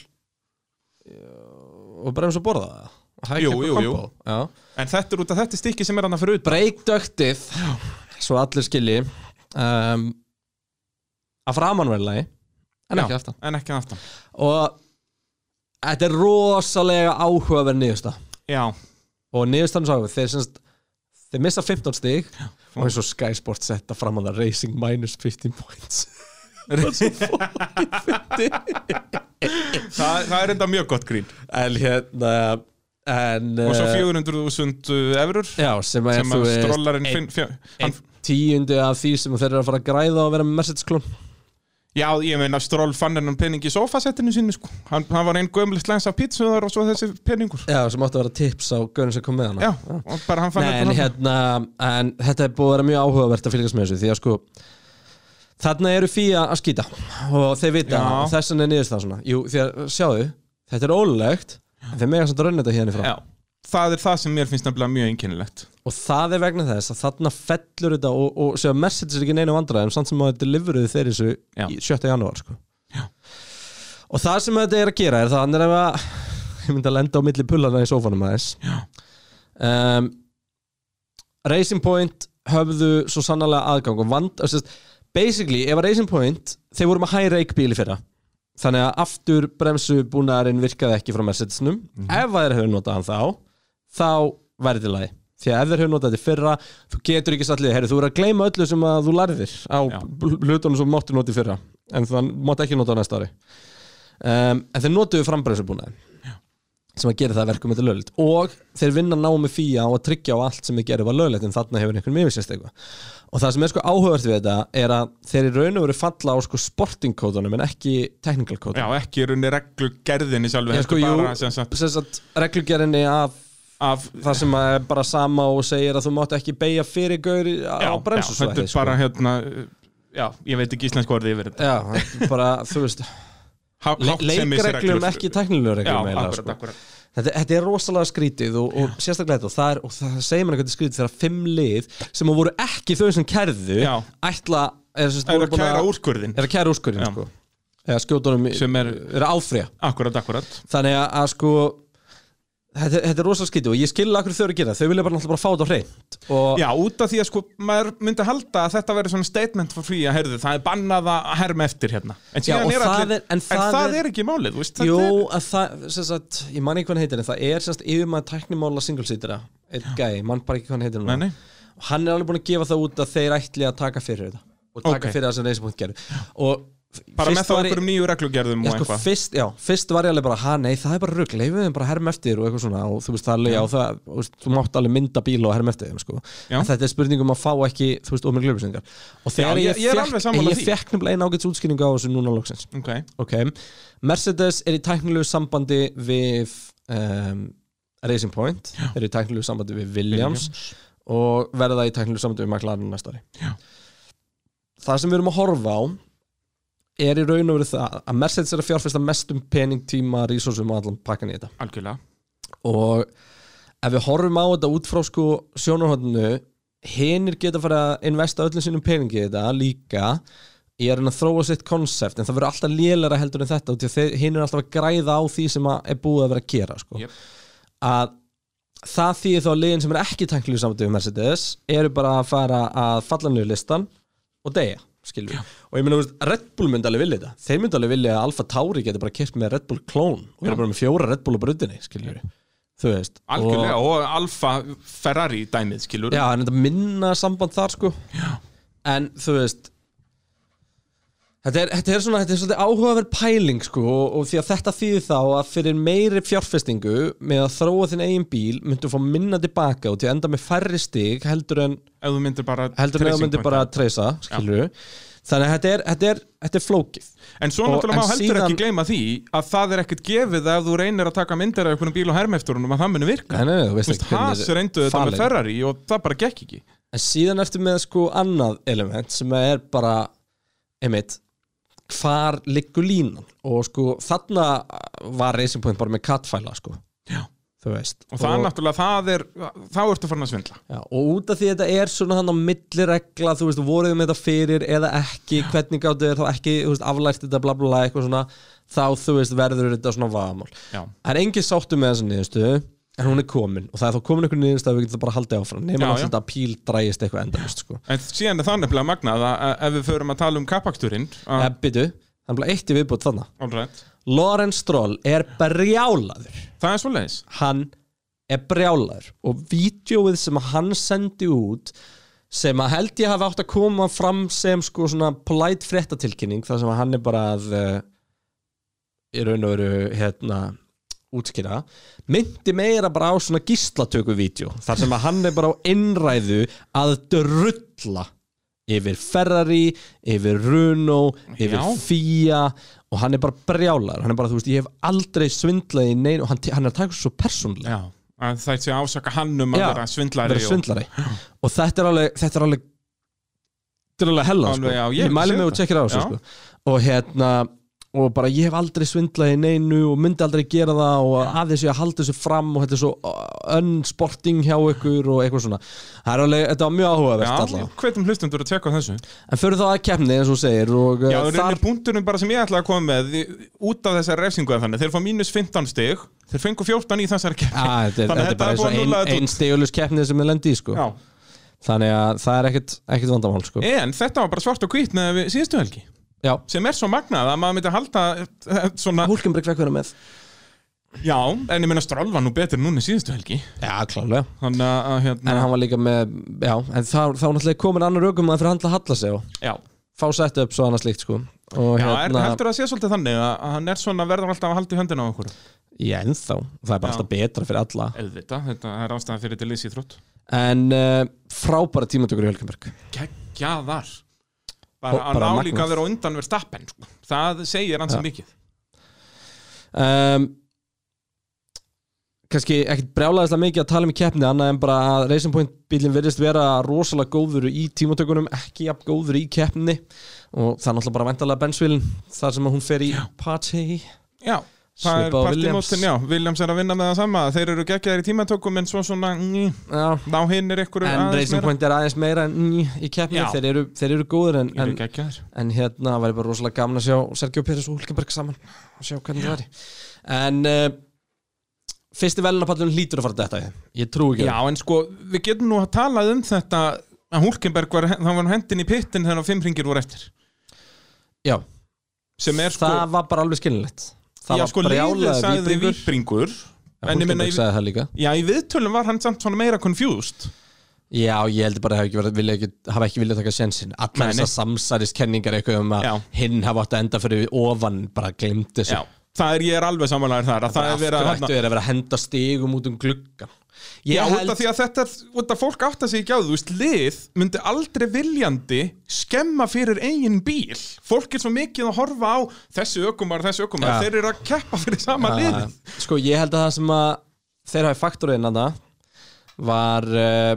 S1: eh, og bremsu borða
S2: Jú, jú, jú.
S1: já
S2: En þetta er út af þetta stikki sem er annað fyrir utan
S1: breykdöktið svo allir skilji um, að framan verði lagi en ekki
S2: Já,
S1: aftan
S2: En ekki aftan
S1: og þetta er rosalega áhugaverð niðursta
S2: Já,
S1: og niðurstanum sá við þeir, semst, þeir missa 15 stig og eins og Sky Sports setta fram að það racing minus 15 points
S2: það, það er enda mjög gott grín
S1: en hérna en,
S2: Og svo
S1: eh,
S2: 400.000 eurur
S1: já, sem að,
S2: sem
S1: þú
S2: að
S1: veist,
S2: strollarinn
S1: einn-
S2: finn, fjö, hann,
S1: einn tíundi af því sem þeir eru að fara að græða og vera með Mercedes klón
S2: Já, ég meina stról fann hennan pening í sofasettinu sínu sko. hann, hann var einn gömlega slæns af pítsuðar og svo þessi peningur
S1: já, sem áttu að vera tips á gönn sem kom með hana
S2: Já, og bara hann fann
S1: Nei, en,
S2: þetta hann.
S1: hérna, en þetta er búið að vera mjög áhugavert að fylgjast með þessu því að sko þarna eru fíja að skýta og þeir vita
S2: Já.
S1: að þessan er niðurstað svona Jú, því að sjáðu, þetta er ólulegt en þeir mega samt að rauna þetta hérna frá
S2: Já, það er það sem mér finnst nefnilega mjög einkennilegt
S1: og það er vegna þess að þarna fellur þetta og, og séu að message er ekki neina vandræðum samt sem að þetta deliveruðu þeir þessu
S2: Já.
S1: í 7. janúar sko. og það sem þetta er að gera er það hann er að ég myndi að lenda á milli pullana í sófanum aðeins um, Racing Point höfðu svo sannarlega aðgang og vand og sérst, basically ef að Racing Point þeir voru með high rake bíli fyrra þannig að aftur bremsu búnaðarinn virkaði ekki frá Mercedesnum ef að þeir höfðu notað hann þá þá verði til lagi því að ef þeir höfðu notað þetta í fyrra þú getur ekki sallið, herri, þú er að gleyma öllu sem að þú lærðir á
S2: Já.
S1: bl- hlutunum sem þú máttu notið í fyrra en þann mátt ekki nota á næsta ári um, en þeir notuðu frambremsubúnaðin sem að gera það að verkum þetta löglegt og þeir vinna námi fíja á að tryggja á allt sem þeir gerir var löglegt en þarna hefur einhvern yfirsést eitthvað og það sem er sko áhugavert við þetta er að þeir í raun og veru falla á sko sportingkóðunum en ekki technical
S2: Já,
S1: kóðunum
S2: ekki er unni reglugerðin í sjálfu
S1: Já, sko,
S2: heldur
S1: jú.
S2: bara, sem sagt,
S1: sem sagt reglugerinni af
S2: af,
S1: það sem að er bara sama og segir að þú mátt ekki beigja fyrir gaur í-
S2: já,
S1: á
S2: já, þetta
S1: bremsusvæði sko.
S2: er bara hérna uh, Já, ég veit ekki íslensk orðið yfir þetta
S1: Já, þetta er bara, þú veist
S2: Há-
S1: le
S2: háttsemisreglur.
S1: leikreglum ekki teknilegur
S2: Já,
S1: reglum eiginlega,
S2: akkurat,
S1: sko.
S2: akkurat
S1: þetta, þetta er rosalega skrítið og, og sérstaklega þetta og það, er, og það segir mér eitthvað skrítið þegar fimm lið sem að voru ekki þau sem kærðu
S2: Já.
S1: ætla er, sérst,
S2: er að kæra úrskurðin
S1: er að kæra úrskurinn
S2: Já.
S1: sko. eða skjótunum
S2: Sem er-
S1: er að áfrýja
S2: Akkurat, akkurat
S1: þannig að, að sko þetta, þetta er rosalega skrítið og ég skil akkur þau eru að gera það. þau vilja bara náttúrulega bara fá þetta á hreint og
S2: Já, út af því að sko, maður myndi halda að þetta verður svona statement for free að heyrðu, það er bannað að herma eftir hérna En,
S1: Já,
S2: síðan
S1: og
S2: er
S1: það
S2: allir,
S1: er- en það
S2: það
S1: er-
S2: er ekki málið, þú veist
S1: Jú,
S2: þetta er-
S1: að það, sem sagt, ég man ekki hvað hann heitir en það er sem sagt yfirmaður tæknimála singlesítira einn gæi, ég man bara ekki hvað hann heitir núna.
S2: Nei, nei.
S1: og hann er alveg búin að gefa það út að þeir ætli að taka fyrir þetta og taka
S2: Ok.
S1: fyrir það sem reysapunkt gerðu og
S2: Bara
S1: fyrst
S2: með þá
S1: var ég-
S2: okkur um nýju reglugerðum
S1: Já,
S2: og
S1: sko,
S2: eitthvað
S1: fyrst, já, fyrst var ég alveg bara, ha nei, það er bara rugg, leifum þeim bara herm eftir og eitthvað svona og þú veist, það er leið á það, þú veist, þú mátt alveg mynda bíla og herm eftir þeim, sko
S2: Já.
S1: en þetta er spurningum að fá ekki, þú veist, ómjög glöfusingar og þegar
S2: Já, ég-
S1: ég,
S2: ég er alveg
S1: fekk,
S2: sammála
S1: ég
S2: því.
S1: fekk nefnilega eina ágæts útskýringu á þessu núna loksins
S2: Ok,
S1: ok, Mercedes er í tæknilegu sambandi við um, Racing Point já. er í tæknilegu sambandi við Williams, og verða í tæknilegu sambandi við McLaren næsta ári
S2: Já.
S1: það sem við erum að horfa á er í raun og veru það að Mercedes er að fjárfesta mest um pening, tíma, resursum og allan pakkan í þetta
S2: algjörlega
S1: og ef við horfum á þetta út frá sko sjónarhóttinu hinnir geta að fara að investa öllum sínum peningi í þetta líka ég er að reyna að þróa sitt konsept en það verður alltaf lélæra heldur en þetta og hinn er alltaf að græða á því sem að er búið að vera að gera sko.
S2: Jep.
S1: að það þýðir þá að liðin sem er ekki tanklíu samtíð við Mercedes eru bara að fara að falla niður listan og deyja skilur við, og ég meina þú veist, Red Bull myndi alveg vilja þetta, þeir myndi alveg vilja að Alfa Tauri geti bara kert með Red Bull klón og vera bara með fjóra Red Bull á brutinni, skilur við þú veist,
S2: Algjörlega, og, Alfa Ferrari dæmið, skilur
S1: Já, en þetta minna samband þar sko Já. En þú veist Þetta er, þetta er svona, þetta er svolítið áhugaverð pæling sko og, og því að þetta þýðir þá að fyrir meiri fjárfestingu með að þróa þinn eigin bíl myndu fá minna tilbaka og til að enda með færri stig heldur en
S2: Ef þú myndir bara
S1: heldur en að
S2: tracing
S1: myndu
S2: point.
S1: bara að treysa skilur þannig að þetta er, þetta er, þetta er flókið
S2: En svo
S1: Og-
S2: náttúrulega
S1: en
S2: má heldur
S1: síðan-
S2: ekki gleyma því að það er ekkert gefið að ef þú reynir að taka myndir af einhvern bíl og hermefturunum að það muni virka
S1: Nei, nei, nei, þú veist ekki hvernig
S2: Haas
S1: þetta er
S2: reyndu þetta
S1: falin.
S2: með Ferrari og það bara gekk ekki
S1: En síðan eftir með sko annað element sem er bara einmitt, hvar liggur línan og sko þarna var Racing Point bara með kattfæla sko
S2: Já.
S1: þú veist
S2: og það er náttúrulega, það er, þá ertu farin að svindla
S1: já, og út af því þetta er svona hann á milli regla þú veist, voruðu með þetta fyrir eða ekki hvernig gáttu þér þá ekki, þú veist, aflært þetta bla bla bla eitthvað svona, þá þú veist verður þetta svona vagamál
S2: Já,
S1: það er engin sáttu með þessa niðurstöðu en hún er komin og það er þá komin einhver niðurstöð við getum það bara haldið áfram nema
S2: Já,
S1: að
S2: já.
S1: þetta píl drægist eitthvað endalust sko.
S2: en síðan er það nefnilega magnað að að ef við förum að tala um kappaksturinn
S1: ja.
S2: að-
S1: Ebbitu, Eh, hann bleið eitt í viðbútt þarna
S2: all right,
S1: Lorenz Stroll er brjálaður
S2: það er svoleiðis
S1: hann er brjálaður og vídjóið sem hann sendi út sem að held ég hafi átt að koma fram sem sko svona polite fréttatilkynning þar sem að hann er bara að eh, í raun og veru hérna útskýra, myndi meira bara á svona gíslatöku vídjó þar sem að hann er bara á innræðu að drulla yfir Ferrari, yfir Runo yfir
S2: Já.
S1: FIA og hann er bara brjálar, hann er bara, þú veist, ég hef aldrei svindlaði nein og hann, hann er að taka þessu svo persónlega
S2: Já, að það sé að ásaka hann um að
S1: Já,
S2: vera svindlari
S1: vera svindlari og þetta er alveg þetta er alveg, þetta er alveg hella
S2: Alveg,
S1: sko.
S2: já, ég
S1: ég mæli
S2: sé
S1: mig og
S2: það.
S1: tjekkir á
S2: Já.
S1: þessu sko. og hérna og bara ég hef aldrei svindlaði neinu og myndi aldrei gera það og aðeins ég að halda þessu fram og þetta er svo unsporting hjá ykkur og eitthvað svona það er alveg, þetta var mjög áhugavert
S2: Já,
S1: allavega
S2: hvernig hlustundur að tjekka á þessu
S1: en fyrir þá að kemni eins og þú segir og
S2: Já,
S1: uh,
S2: það er punkturinn bara sem ég ætlaði að koma með í- út af þessari refsingu en þannig, þeir fá mínus 15 stig þeir fengu 14 í þessari keppni
S1: Já, þetta er,
S2: Þannig að
S1: þetta er bara eins og
S2: búið að
S1: ein,
S2: núlla þetta
S1: ein stegulus keppni sem er lendi í sko
S2: út.
S1: þannig að það er ekkit, ekkit vandamál sko
S2: Já, en þetta var bara svart og hvít með við síðustu helgi
S1: já,
S2: sem er svo magnað að maður myndi halda eh, svona,
S1: Hulkenberg fekk vera með
S2: já, en ég meina Stroll var nú betur núna í síðustu helgi
S1: já, klálega
S2: þannig að,
S1: En
S2: hérna,
S1: hann var líka með, já, en þá, þá náttúrulega komin annar aukum að fyrir handla að halla sig og
S2: já
S1: fá sett upp svo annað slíkt, sko. Og
S2: Já, er,
S1: hérna,
S2: heldur það að sé svolítið þannig að að hann er svona verður alltaf að halda í höndina á okkur
S1: ég ennþá, það er bara
S2: Já.
S1: alltaf betra fyrir alla.
S2: Eðvita, þetta er ástæðan fyrir til lýsi þrótt
S1: En uh, frábæra tímatökur í Hölkenberg.
S2: Gekkjaðar
S1: Og
S2: bara að
S1: bara
S2: ná
S1: magnað.
S2: líka að vera á undan verð stappen sko. það segir hann
S1: Já.
S2: mikið
S1: Um, Kanski ekkit brjálæðislega mikið að tala um í keppni, annað en bara að Racing Point bílinn virðist vera rosalega góður í tímatökunum, ekki jafn góður í keppni og það er náttúrulega bara vendalega bensvílinn þar sem að hún fer í party
S2: Já, Það er
S1: Svipað og Williams.
S2: partymótin, já, Williams er að vinna með það sama Þeir eru geggjaðir í tímatökum en svo svona ný,
S1: Já,
S2: Ná hinn er ykkur
S1: en Racing Point er aðeins meira en ný í keppni,
S2: Já.
S1: þeir eru, þeir eru góðir en,
S2: Þeir
S1: en,
S2: eru geggjaðir
S1: en hérna væri bara rosalega gaman að sjá Sergio Pérez og Hulkenberg saman og sjá hvernig það væri en uh, fyrsti velunarpallun hlýtur að fara þetta ég trú ekki
S2: Já, en sko, við getum nú að tala um þetta að Hulkenberg var, hann var hendin í pittin þegar fimm ringir voru eftir
S1: Já,
S2: sem er sko,
S1: það var bara alveg skilinlegt það
S2: já,
S1: var
S2: sko liðið
S1: brjálaði
S2: sagði
S1: víbringur
S2: víbringur en ég meina,
S1: Hulkenberg
S2: í-
S1: sagði það líka
S2: já, í viðtölum var hann samt svona meira confused
S1: Já, ég heldur bara að hafa ekki, verið- vilja ekki, hafa ekki viljað taka sjensin allar
S2: Nei, nei.
S1: þessar samsæriskenningar eitthvað um að
S2: Já.
S1: hinn hafa átt að enda fyrir ofan bara glemt þessu
S2: Já, það er, ég er alveg samanlegaður þar að
S1: af
S2: það er
S1: hverju
S2: verið að hérna-
S1: ættu þeir að vera að henda stigum út um gluggan ég
S2: Já, út
S1: held
S2: af því að þetta, út af fólk átt að segja ekki á því, þú veist, lið myndi aldrei viljandi skemma fyrir eigin bíl. Fólk er svo mikið að horfa á þessi ökumar, þessi ökumar,
S1: Já.
S2: þeir eru að keppa fyrir sama
S1: að-
S2: lið.
S1: sko ég held að það sem að þeir hafi faktorinn að það var uh,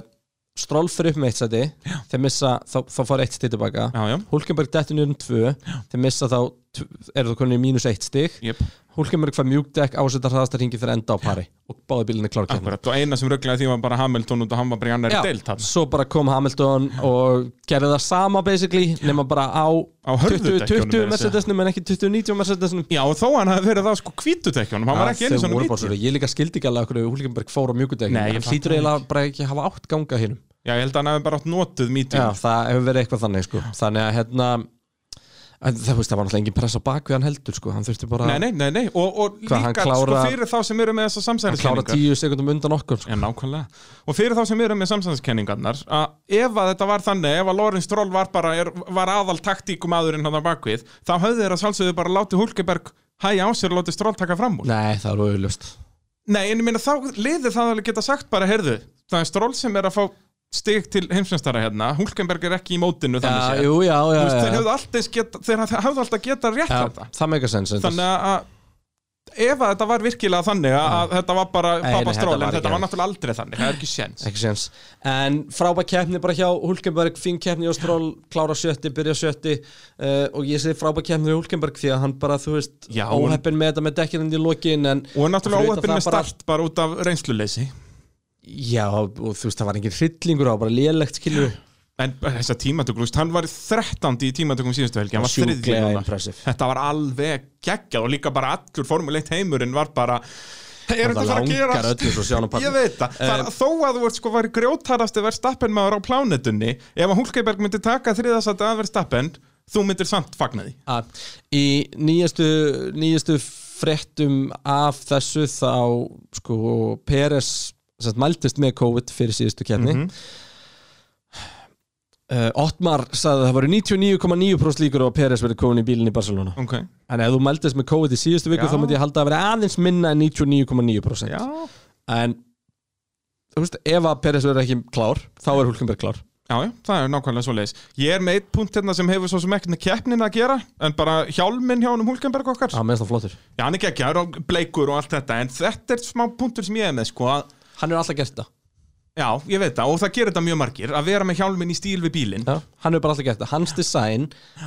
S1: stról fyrir upp með eitt sæti þeir missa, þá, þá fara eitt stíð tilbaka
S2: Já, já,
S1: Hulkenberg dettur niður um tvö þeir missa þá, tv- eru þú konin í mínus eitt stík
S2: jöp,
S1: Hulkenberg fær mjúkdekk ásettar hraðastarhingi þegar enda á pari og báði bílinni klárkjörn
S2: akkurat. Og eina sem röglega því var bara Hamilton út að hann var bara í annari deilt hann.
S1: svo bara kom Hamilton og gerði það sama basically nema bara á,
S2: Á hörðu
S1: 20, 20
S2: dekkjunum meira að segja.
S1: Mercedesnum en ekki 20-90 Mercedesnum
S2: Já, og þó hann hafði verið það sko kvítutekjunum, hann var ekki einu
S1: Þau
S2: svona
S1: voru bara
S2: mítið.
S1: svona, ég líka skildi ekki alveg okkur Hulkenberg fór á mjúkudegin
S2: Nei, ég
S1: hann
S2: fatta
S1: hlýtur
S2: það
S1: eiginlega bara ekki að hafa átt ganga hinnum
S2: Já, ég held að hann hafi bara átt notuð
S1: já,
S2: mítið.
S1: það hefur verið eitthvað þannig sko. þannig að hérna en það, veist, það var náttúrulega engin press á bakvið hann heldur sko. hann þurfti bara
S2: Nei, nei, nei, nei, og, og
S1: Hvað, hann
S2: líka sko
S1: klárar-
S2: fyrir þá sem eru með þessa
S1: að klára
S2: samsæðiskenningar.
S1: tíu sekundum undan okkur sko.
S2: Já, nákvæmlega. Og fyrir þá sem eru með samsæðiskenningarnar, að ef að þetta var þannig, ef að Lorenz Stroll var bara, er, var aðal taktíkum aðurinn hann á bakvið, þá höfðu þeir að sálsögðu bara látið Hulkeberg hæja á sér og látið Stroll taka fram úr. Nei,
S1: nei, það var auðlust
S2: en ég meina þá liðið það alveg geta sagt bara, heyrðu, það er Stroll sem er að fá stig til heimsveimstara hérna, Hulkenberg er ekki í mótinu
S1: já,
S2: þannig séð.
S1: jú, já, já,
S2: Þú veist,
S1: já, já.
S2: Þeir höfðu alltaf geta, þeir höfðu alltaf geta rétt
S1: Já,
S2: þetta.
S1: það meika sens reyndar.
S2: Þannig að- að ef að þetta var virkilega þannig að, að þetta var bara
S1: Mm. Nei, nei,
S2: pappa
S1: þetta
S2: Stroll,
S1: var
S2: en
S1: ekki
S2: þetta var
S1: hægt.
S2: náttúrulega aldrei þannig, það er ekki séns.
S1: ekki séns en frábæk keppni bara hjá Hulkenberg fín keppni og stról, klára sjötti, byrja sjötti uh, og ég segi frábæk keppni hjá Hulkenberg því að hann bara, þú veist,
S2: Já, hún-
S1: óheppin með þetta með dekkin inn í lokin en
S2: Og
S1: Fyrir
S2: náttúrulega
S1: utan
S2: óöppin
S1: það
S2: með
S1: bara-
S2: start bara út af reynsluleysi
S1: já, og þú veist, það var engin hryllingur á, bara lélegt skilju
S2: En eh, þessa tímatökum, þú veist, hann var 13. í tímatökum síðustu helgi, hann var þriðji
S1: sjúklega
S2: núna.
S1: impressive
S2: Þetta var alveg geggjað og líka bara allur formuleitt heimurinn var bara
S1: Það
S2: Er þetta fara að
S1: langar
S2: gerast?
S1: öllu frá sjónarpartnum.
S2: Ég veit það, það
S1: Eh,
S2: Þó að þú ert sko var grjótarasti verðstappen maður á plánetunni Ef að Hulkeberg myndi taka þriðasætti að verðstappen Þú myndir samt fagna því
S1: að í nýjastu, nýjastu fréttum af þessu þá sko Peres sem sagt, mæltist með COVID fyrir síðustu keppni mm
S2: Mhm.
S1: Ottmar sagði að það voru 99,9% líkur á að Peres verið komin í bílinn í Barcelona
S2: Ok,
S1: en ef þú mæltist með COVID í síðustu viku
S2: Já.
S1: þá myndi ég halda að vera aðeins minna en 99,9%
S2: já
S1: en þú veist, ef að Peres verið ekki klár þá er Hulkenberg klár
S2: Já, já, það er nákvæmlega svo leiðis. Ég er með eitt punkt hérna sem hefur svo sem ekkert með keppnin að gera, en bara hjálminn hjá honum Hulkenberg okkar.
S1: hann meðst það flottur
S2: Já, hann er geggjaður og bleikur og allt þetta En þetta er smá punktur sem ég er með sko að,
S1: hann er alltaf gert það
S2: Já, ég veit það og það gerir þetta mjög margir Að vera með hjálminn í stíl við bílinn
S1: Já, hann hefur bara alltaf gert það, hans design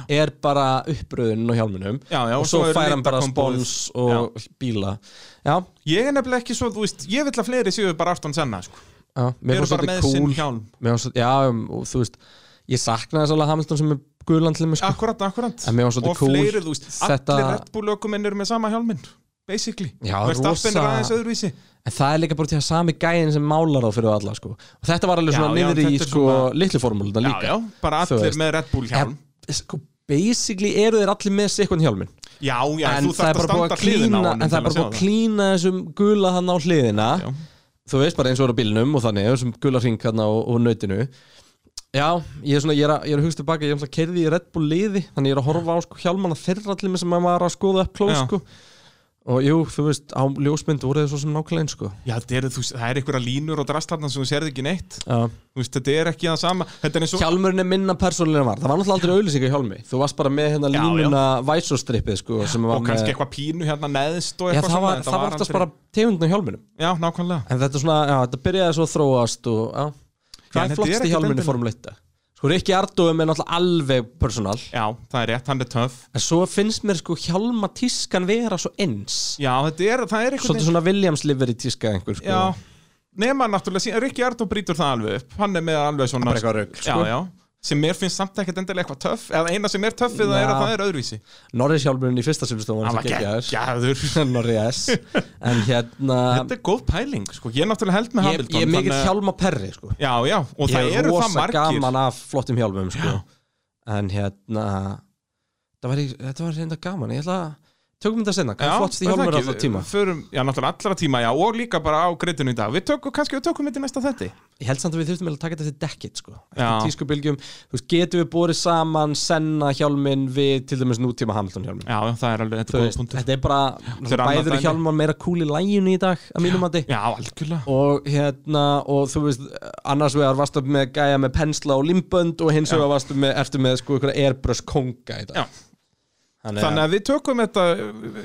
S1: er bara uppröðun og hjálmunum
S2: Já, já,
S1: og svo
S2: eru
S1: fær hann bara
S2: litakombóið.
S1: spons og bíla já,
S2: Ég er nefnilega ekki svo, þú veist, ég vil að fleiri séu bara aftan senna sko.
S1: já, mér
S2: Eru
S1: fannst
S2: bara
S1: þetta
S2: með
S1: cool
S2: sinn hjálm
S1: Mér fannst þetta- já, um, og þú veist ég saknaði þess alveg Hamilton sem er guðland til mig sko.
S2: Akkurat, akkurat
S1: En mér var svolítið
S2: Og
S1: cool
S2: fleiri, þú veist,
S1: þetta-
S2: allir Red Bull ökuminn eru með sama hjálminn Basically
S1: Já,
S2: Verstappen
S1: rosa-
S2: er aðeins öðruvísi
S1: en það er líka bara til að sami gæðin sem málar á fyrir alla sko. og þetta var alveg
S2: Já,
S1: svona
S2: já,
S1: niður í
S2: þetta er
S1: sko,
S2: svona-
S1: litlu formúluna
S2: Já,
S1: líka
S2: já, bara
S1: Þú
S2: allir
S1: veist.
S2: með Red Bull hjálm
S1: En, sko, basically eru þeir allir með sikon hjálmin
S2: Já, já,
S1: en
S2: þú
S1: það er
S2: þarft að
S1: bara búið
S2: standa
S1: að
S2: hliðina
S1: klína
S2: á honum
S1: en það
S2: til
S1: er bara búið að
S2: sjá
S1: klína þessum gula hann á hliðina
S2: Já.
S1: þú veist bara eins og er á bílnum og þannig þessum gula hring hann á, og nautinu já, ég er svona, ég er að, ég er að hugsa tilbaka ég er að kerði í Red Bull liði þannig ég er að horfa á sko, hjálmana þeirra allir með sem maður var að skoða upp klóð
S2: Já.
S1: sko. og jú, þú veist, á ljósmynd voru þið svo sem nákvæmlega eins sko.
S2: Já, þetta eru, þú veist, það er einhverja línur og drastarnar sem þú serði ekki neitt
S1: Já.
S2: Þú veist, þetta er ekki það sama Þetta er eins og
S1: hjálmurinn er minna persónulega var það var náttúrulega aldrei auðlýsing í hjálmi þú varst bara með hérna
S2: Já, já.
S1: línuna væsostrippið sko, sem var
S2: og
S1: með
S2: kannski eitthvað pínu hérna neðst og
S1: Já,
S2: eitthvað
S1: það
S2: svona,
S1: var,
S2: en
S1: það var oftast
S2: aldrei-
S1: bara tegundin á hjálminum
S2: Já, nákvæmlega
S1: En þetta er svona, já, þetta byrjaði svo að þróast og, já,
S2: Já,
S1: hvað
S2: en
S1: er
S2: þetta er
S1: flottst í
S2: ekkert
S1: hjálminni
S2: endilega-
S1: Formule 1? Sko Rikki Ardóum er náttúrulega alveg personal
S2: Já, það er rétt, hann er töff
S1: En svo finnst mér sko Hjalma tískan vera svo eins
S2: Já, þetta er, það er
S1: Svolítið
S2: eitthvað
S1: svona Williams livery tíska einhver sko
S2: Já, nema náttúrulega, síðan- Rikki Ardó brýtur það alveg upp Hann er með alveg svona
S1: bara eitthvað rugl, sko.
S2: Já, já sem mér finnst samt ekkert endilega eitthvað töff eða eina sem er töff við það er að
S1: Já.
S2: það er öðruvísi
S1: Norris Hjalmurinn í fyrsta silvestum
S2: hann var geggjaður
S1: Norri S En hérna
S2: þetta er góð pæling sko. ég náttúrulega held með
S1: Ég,
S2: Hamilton
S1: ég er mikill
S2: þannig að-
S1: Hjalma perri sko
S2: já, já, og
S1: Ég
S2: það
S1: er
S2: eru það
S1: rosa
S2: margir
S1: gaman af flottum hjálmum sko. En hérna það var, Þetta var reynda gaman Ég ætla að Tökum þetta senna, hvað
S2: Já,
S1: er flottst í
S2: er það
S1: hjálmur
S2: ekki?
S1: alltaf tíma?
S2: Förum, já, náttúrulega allra tíma, já, og líka bara á greitunum í dag Við tökum, kannski við tökum þetta í næsta þetti
S1: Ég held samt að við þurftum eiginlega að taka þetta til dekkit sko.
S2: Já.
S1: Eftir tískubilgjum, þú veist, getum við borið saman Senna hjálmin við til dæmis nútíma Hamilton hjálmin
S2: Já, það er alveg, þetta
S1: Þú
S2: er góða
S1: veist,
S2: punktur
S1: Þetta er bara,
S2: er annað
S1: bæður
S2: dæmi.
S1: hjálmar meira kúl í læginu í dag að mínum að
S2: Já, algjörlega
S1: og hérna og þú veist, annars vegar varstu með gæja með pensla og limbönd og hins vegar varstu með, ertu með sko ykkur airbrush konga í dag
S2: Já.
S1: þannig
S2: Þannig
S1: að
S2: að við tökum þetta,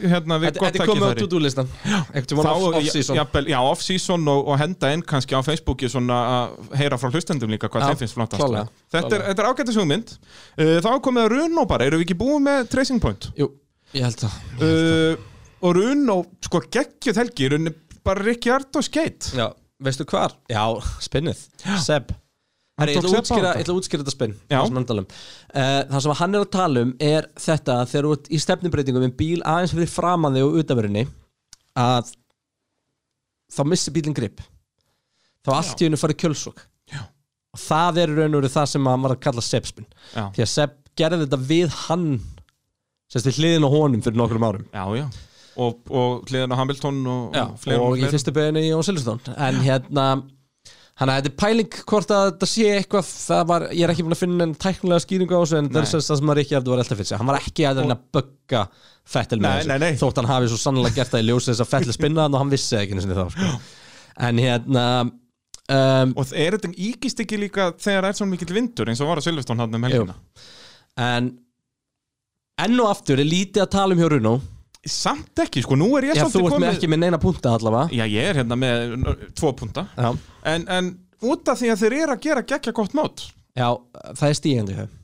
S2: hérna, við
S1: þetta þetta er komið á
S2: tækifæri.
S1: to-do listan ekkert um
S2: Þá-
S1: hann off-season
S2: ja- jafnvel- Já, off-season og, og henda inn kannski á Facebooki svona að heyra frá hlustendum líka hvað
S1: Já,
S2: þeim finnst flottast
S1: klálega,
S2: Þetta er,
S1: klálega.
S2: þetta er ágættis hugmynd Uh, Þá er komið að Runo bara, erum við ekki búin með Tracing Point?
S1: jú, ég held það
S2: Uh, og Runo, sko, geggjuð helgi, Runo bara Ricciardo skeitt
S1: já, veistu hvar? já, spinnið, Seb Herri, ég ætla að
S2: tók Seb á
S1: útskýra-
S2: þetta.
S1: ég ætla að útskýra þetta spinn
S2: Já.
S1: það sem, hann tala um. Eh, það sem hann er að tala um er þetta að þegar þú ert í stefnubreitingum með bíl aðeins fyrir framan þig og utanverðinni að þá missir bílinn grip þá allt í hennu farið kjölsók
S2: Já.
S1: og það er í raun og veru það sem hann var að kalla Seb spinn
S2: Já.
S1: því að Seb gerði þetta við hann sérst við hliðin á honum fyrir nokkrum árum
S2: Já, já Og, og hliðan á Hamilton og,
S1: Já,
S2: og fleira
S1: og
S2: og
S1: í
S2: fleira
S1: fyrstu beginni Jón Silveston en hérna hann að þetta er pæling hvort að þetta sé eitthvað það var, ég er ekki búin að finna en tæknilega skýringu á þessu en það
S2: Nei.
S1: er sem það sem að Rikki Ardu var alltaf fyrir sig hann var ekki að reyna að bögga Fettel með
S2: Nei,
S1: þessu
S2: nei, nei.
S1: þótt hann hafi svo sannlega gert það í ljósi þess að Fettel spinnaði hann og hann vissi það ekki einu sinni þá sko. en hérna um,
S2: Og er þetta íkist ekki líka þegar er svona mikill vindur eins og var að Silveston hann um helgina
S1: en enn og aftur er lítið að tala um hjá Runo
S2: Samt ekki, sko, nú er ég
S1: já, þú
S2: svolítið
S1: ert með ekki með neina punta allavega
S2: Já, ég er hérna með uh, tvo punta
S1: já,
S2: en, en út af því að þeir eru að gera geggja gott mót
S1: já það er stígjandi hjá þeim.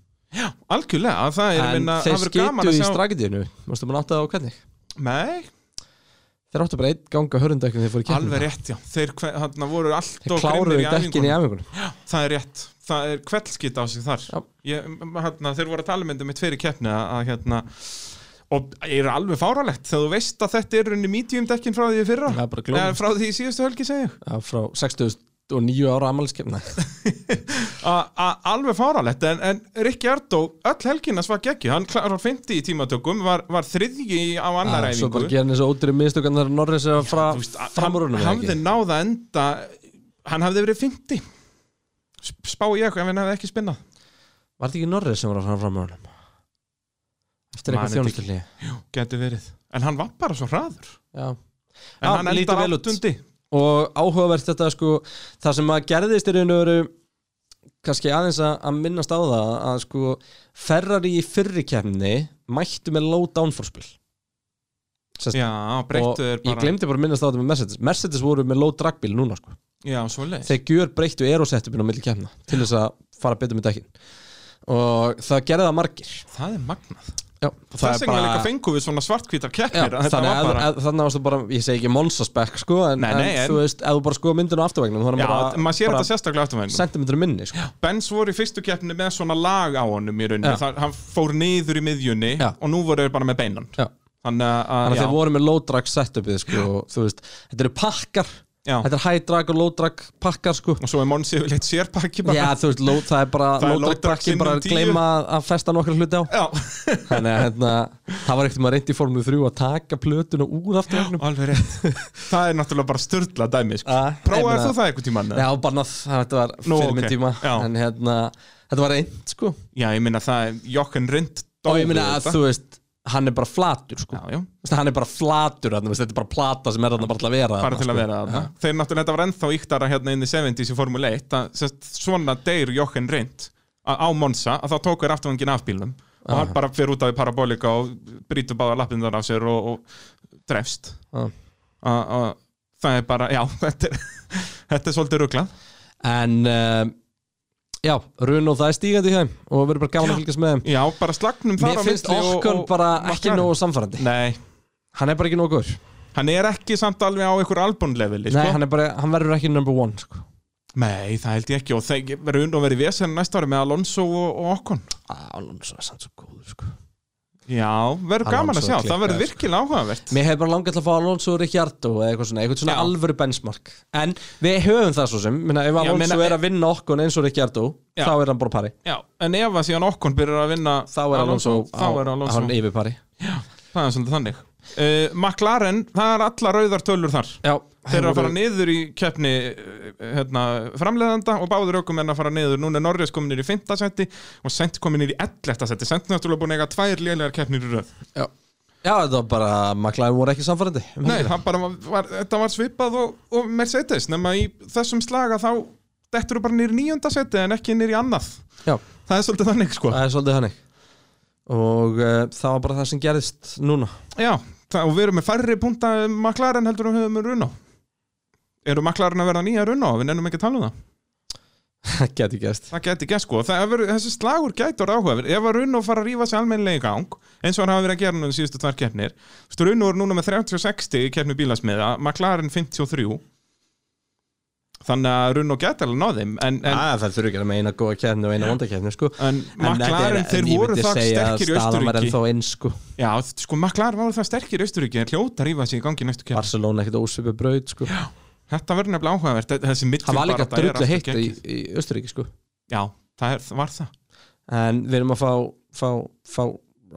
S2: Algjörlega, að það er
S1: en
S2: minna
S1: þeir
S2: það verður gaman
S1: skýttu
S2: að
S1: í
S2: sjá-
S1: strakitíðinu mástu maður áttaði á hvernig
S2: Nei,
S1: Þeir áttu bara einn ganga hörundökkum þegar þeir fóru í keppnina.
S2: alveg rétt, já Þeir hve- þarna voru allt
S1: Þeir
S2: og
S1: kláruðu
S2: grimmir
S1: dekkin í
S2: æfingunum.
S1: æfingunum
S2: Það er rétt, það er kveldskýt á sig þar
S1: Já.
S2: ég, hérna, Þeir voru að tala myndum mitt fyrir keppni að, að hérna og er alveg fáralegt þegar þú veist að þetta er runni medium dekkin frá því í fyrra
S1: Það er bara glóð.
S2: Eða frá því í síðustu helgi segja
S1: Já, frá 69 ára amaliskeppna
S2: alveg fáralegt en, en Rikki Ardó, öll helginas var geggi hann klarar 50 í tímatökum var, var þriðji í- á annar
S1: Ah, Svo
S2: æfingu
S1: bara gera þessu ódýri mistökan þar Norris eða frá,
S2: Þú veist, að-
S1: fram úr honum
S2: hann
S1: eða
S2: hafði
S1: ekki?
S2: náð að enda hann hafði verið 50 Sp- spá ég ef hann hafði ekki spinnað
S1: Var þetta ekki Norris sem var að fara fram úr honum? Eftir eitthvað
S2: Man, þetta ekki.
S1: þjónustilni
S2: geti verið, en hann var bara svo hraður
S1: Já
S2: en
S1: Já,
S2: hann
S1: lítur
S2: endar
S1: vel út.
S2: áttundi
S1: og áhugavert þetta sko það sem að gerðist í raun og veru kannski aðeins að, að minnast á það að sko Ferrari í fyrri kefni mættu með low downforce bíl Sest,
S2: já,
S1: og
S2: breyttu er
S1: ég
S2: bara
S1: glemdi bara að minnast á þetta með Mercedes Mercedes voru með low drag bíl núna sko
S2: já, svo leið
S1: þeir gjör breyttu aerosettupin á milli kefna til þess að fara betur með dekkin og það gerði það margir
S2: það er magnað
S1: Já,
S2: þess vegna líka fengum við svona svartkvítar
S1: Já,
S2: keppir að þetta
S1: þannig
S2: var
S1: að,
S2: bara
S1: að þannig varstu bara, ég segi ekki monsaspekk sko, en,
S2: Nei, nei,
S1: en
S2: en-
S1: þú veist, ef þú bara sko myndin á afturvegnum þá er hann
S2: já,
S1: bara,
S2: maður sér
S1: bara
S2: þetta sérstaklega afturveginn
S1: sentimentur minni sko.
S2: Benz voru í fyrstu keppni með svona lag á honum í rauninni,
S1: Já.
S2: Þar, hann fór niður í miðjunni
S1: Já.
S2: og nú voru þeir bara með beinan
S1: Já.
S2: þannig að,
S1: þannig
S2: að
S1: að þeir
S2: já,
S1: voru með low drag setupið sko, og þú veist, þetta eru pakkar
S2: Já.
S1: þetta er high drag og low drag pakkar sko.
S2: og svo er Monsi yfirleitt sérpakki bara
S1: já, þú veist, low, það er bara
S2: Það er
S1: low drag pakkin
S2: sinnum
S1: bara að
S2: tíu.
S1: gleyma að- að festa nokkra hluti á
S2: já.
S1: þannig að hérna, það var ekkert maður reyndi í formule 3 að taka plötuna úr afturvegnum
S2: alveg rétt það er náttúrulega bara störtla dæmi sko.
S1: Ah, ég
S2: prófaði
S1: meina-
S2: þú það einhvern tímann?
S1: já, bannað, þetta var
S2: Nú,
S1: fyrir minn
S2: ok.
S1: tíma
S2: Já.
S1: en hérna, þetta var reynd sko.
S2: já, ég minna það er Jokken Rind
S1: og ég minna að þú veist hann er bara flatur sko.
S2: já, já,
S1: Þú veist, hann er bara flatur, þarna, þú veist, þetta er bara plata sem er þarna bara til að vera
S2: bara
S1: þarna,
S2: til að
S1: sko.
S2: vera þarna þeir náttúrulega þetta var ennþá íktara hérna inn í 70s í Formule 1 að, sest, svona deyr Jokken Rind á Monsa að þá tók þér afturvangin af bílnum og
S1: Ah.
S2: hann bara fyrir út af í parabolika og brýtur báða lappindar af sér og, og drefst
S1: Já.
S2: að að það er bara, já, þetta er, þetta er svolítið ruglað
S1: en uh, já, já, run og það er stígandi hjá þeim og verður bara gaman að fylgjast með þeim
S2: Já, bara slagnum þar
S1: Mér
S2: á
S1: finnst
S2: milli og-
S1: Okkon
S2: og-
S1: bara
S2: og
S1: ekki
S2: McLaren.
S1: nógu samfærandi
S2: Nei, sko.
S1: Hann er bara ekki nógu góður
S2: hann er ekki samt alveg á einhver albúnleveli
S1: Nei,
S2: sko.
S1: hann, er bara, hann verður ekki number one sko.
S2: Nei, það held ég ekki og það verður unn og verið vesen næsta ári með Alonso og, og Okkon
S1: Alonso er sann svo góður sko.
S2: Já, verður
S1: Alonso
S2: gaman að sjá,
S1: klikkar,
S2: það verður
S1: sko.
S2: virkilega áhugavert
S1: Mér hefði bara langað til að fá Alonso og Ricciardo eða eitthvað svona, eitthvað svona
S2: Já.
S1: alvöru benchmark e- En við höfum það svo sem Minna, Ef
S2: Já,
S1: Alonso
S2: meina-
S1: er að vinna Okkon eins og Ricciardo
S2: Já.
S1: þá er hann bara á pari
S2: Já, en ef að síðan Okkon byrjar að vinna
S1: Þá er Alonso,
S2: þá er
S1: á,
S2: Alonso.
S1: hann yfir pari
S2: það er svolítið þannig uh, McLaren, það er alla rauðar tölur þar
S1: Já,
S2: Þeir eru að fara
S1: voru-
S2: niður í keppni eh, hérna, framleiðanda og báður okkur menn að fara niður. Núna er Norris komin niður í 5. seti og Sent komin niður í 11. seti. Sent náttúrulega búin að eiga tvær lélegar keppnir í röð.
S1: Já, Já þetta var bara, McLaren voru ekki samfærandi um
S2: Nei,
S1: helgina.
S2: það bara var, var, þetta var svipað og, og Mercedes. Nefna í þessum slaga þá dettur þú bara niður í 9. seti en ekki niður í annað.
S1: Já,
S2: Það er svolítið þannig sko.
S1: það er svolítið hannig Og uh, það var bara það sem gerðist núna
S2: Já, það, og við erum með færri punta McLaren heldur en við höfum með Runo. Eru McLaren að verða nýja Runo? Við nennum ekki að tala um það.
S1: Það geti gerst
S2: Það geti gert sko, það er, þessi slagur gæti orðið áhugaverð, ef að Runno fara að rífa sér almennilega í gang, eins og hann hafa verið að gera núna síðustu tvær keppnir, Þú veist, Runno er núna með 30-60 í keppni bílasmiða, McLaren 53 þannig að Runno gæti alveg að ná þeim en, en,
S1: Æ, Það þurfi ekki að meina góða kefni og eina vonda kefni sko.
S2: en McLaren, þeir voru það sterkir í
S1: Staðan var
S2: Östuríki
S1: ennþá eins sko.
S2: Já, sko, McLaren voru það sterkir í Östuríki en hljóta að rífa sér í gangi í næstu keppni
S1: Barcelona ekkert ósvipu braut sko. Það
S2: Þetta verður nefnilega áhugavert, þessi midfield
S1: var líka
S2: baráttu er
S1: drullu
S2: alltaf
S1: heitt í,
S2: geggjuð.
S1: í Östuríki sko.
S2: Já, það er, var það
S1: En við erum að fá, fá, fá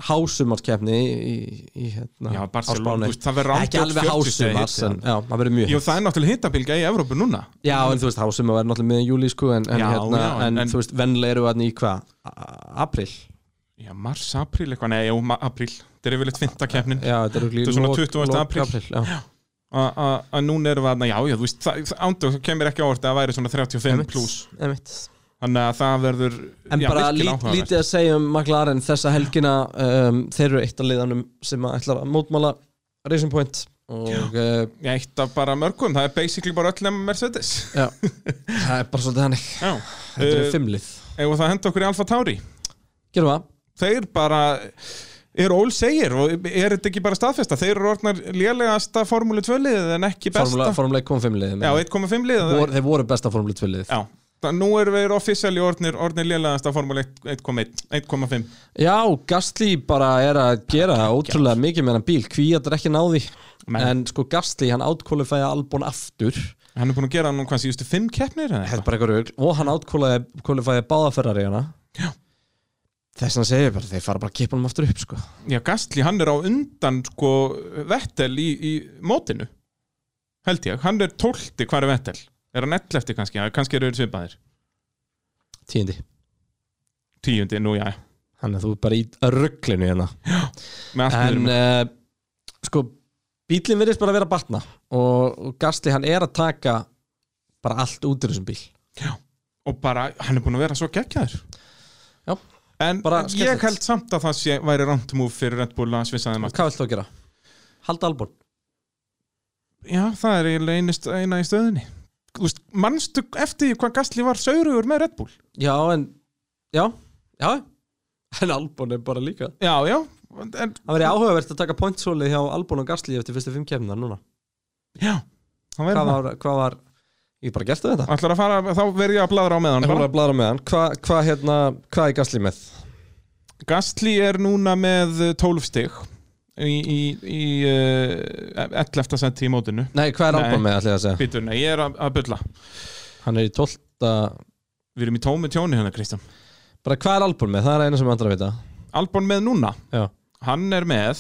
S1: hásumarskefni í, í, í hérna,
S2: Já,
S1: á
S2: Barcelona,
S1: Spáni.
S2: þú veist, það verður
S1: Ekki
S2: ándjótt
S1: alveg
S2: 40 stiga
S1: hásumars
S2: hiti
S1: en,
S2: þarna.
S1: Já, það verður mjög
S2: Jú,
S1: heitt.
S2: það er náttúrulega hitabylga í Evrópu núna
S1: Já, en þú veist, hásumar verður náttúrulega miðan júli sko, en, en,
S2: Já,
S1: hérna,
S2: já,
S1: en,
S2: en-
S1: þú veist, venlega eru við hann í hvað? A- Apríl?
S2: Já, mars, apríl eitthvað, nei, jú, ma- apríl Þetta er yfirleitt fynda keppnin
S1: Já, þetta eru
S2: Þetta
S1: líka
S2: er svona
S1: lok-
S2: 20.
S1: lok
S2: apríl.
S1: já.
S2: A- a- að núna erum við aðna, já, já, þú veist það- það- ándu, það kemur ekki á orðið að það væri svona 35
S1: Einmitt,
S2: pluss
S1: einmitt.
S2: Þannig að það verður,
S1: En
S2: já,
S1: bara
S2: virkilega
S1: lít,
S2: áhugavert.
S1: lítið að segja um McLaren þessa helgina um, þeir eru eitt af liðanum sem að ætlar að mótmála Racing Point og uh,
S2: Já, eitt af bara mörgum, það er basically bara öll nema Mercedes
S1: já, það er bara svolítið hannig
S2: Já,
S1: þetta
S2: Eh,
S1: eru fimmlið
S2: ef það henda okkur í Alfa Tauri
S1: Gerum það?
S2: Þeir bara eru ól segir og er þetta ekki bara staðfesta þeir eru orðnar lélegasta Formúlu 2 liðið en ekki besta
S1: Formule- Formule 1 kom fimmlið
S2: Já, 1,5 liðið
S1: Vor, þeir voru besta Formule 2 liðið
S2: Já, það, nú erum við offisjali orðnir, orðnir lélegasta Formúlu 1,1, 1,5
S1: Já, Gastli bara er að gera ótrúlega mikið með hann bíl Kvíat er ekki náði
S2: Nei.
S1: En sko Gastli, hann átkólifæði Albon aftur
S2: Hann er búin að gera nú hvað síðustu fimm keppnir eða
S1: Þetta
S2: eitthvað?
S1: er bara eitthvað rugl Og hann átkólifæði báða ferrari hana
S2: Já.
S1: Þess vegna segir ég bara, þeir fara bara að kippa hann aftur upp sko
S2: Já, Gastli, hann er á undan sko Vettel í, í mótinu held ég, hann er tólti hvar er Vettel, er hann 11 kannski já, kannski eru þeir svipaðir,
S1: Tíundi
S2: tíundi, nú já
S1: Þannig að þú er bara í rugglinu hérna
S2: með allt niður
S1: En
S2: með-
S1: uh, sko Bílinn virðist bara að vera að batna og, og Gastli hann er að taka bara allt út úr þessum bíl
S2: og bara, hann er búin að vera svo geggjaður
S1: Já,
S2: en
S1: bara
S2: ég
S1: skemmtilegt.
S2: held samt að það sé, væri rámt múf fyrir Red Bull að svissa þeim aftur.
S1: Hvað vilt þú að gera? Halda albúr
S2: já, það er eiginlega einu st- eina í stöðinni Þú veist, manstu eftir því hvað Gastli var saurugur með Red Bull
S1: Já, en Já, já En Albon er bara líka
S2: já, já, en,
S1: Það verið áhugavert að taka pointsólið hjá Albon og Gastli eftir fyrstu fimm kemnar núna
S2: já hann verður
S1: Hvað
S2: það.
S1: var, hvað var Ég bara gertu þetta
S2: Ætlar að fara, þá verð ég að bladra á með hann
S1: Ég
S2: bara.
S1: voru að blara með hann Hvað hva, hérna, hva er Gastli með?
S2: Gastli er núna með 12 stig í, í, í uh, 11. senti í mótinu
S1: Nei, hvað er
S2: Nei.
S1: Albon með allir að segja?
S2: Býtur, nei, ég er að, að bulla
S1: Hann er í 12
S2: Við erum í tómi tjóni hérna, Kristján
S1: Bara hvað er Albon með? Það er eina sem andra vita
S2: Albon með núna,
S1: Já
S2: hann er með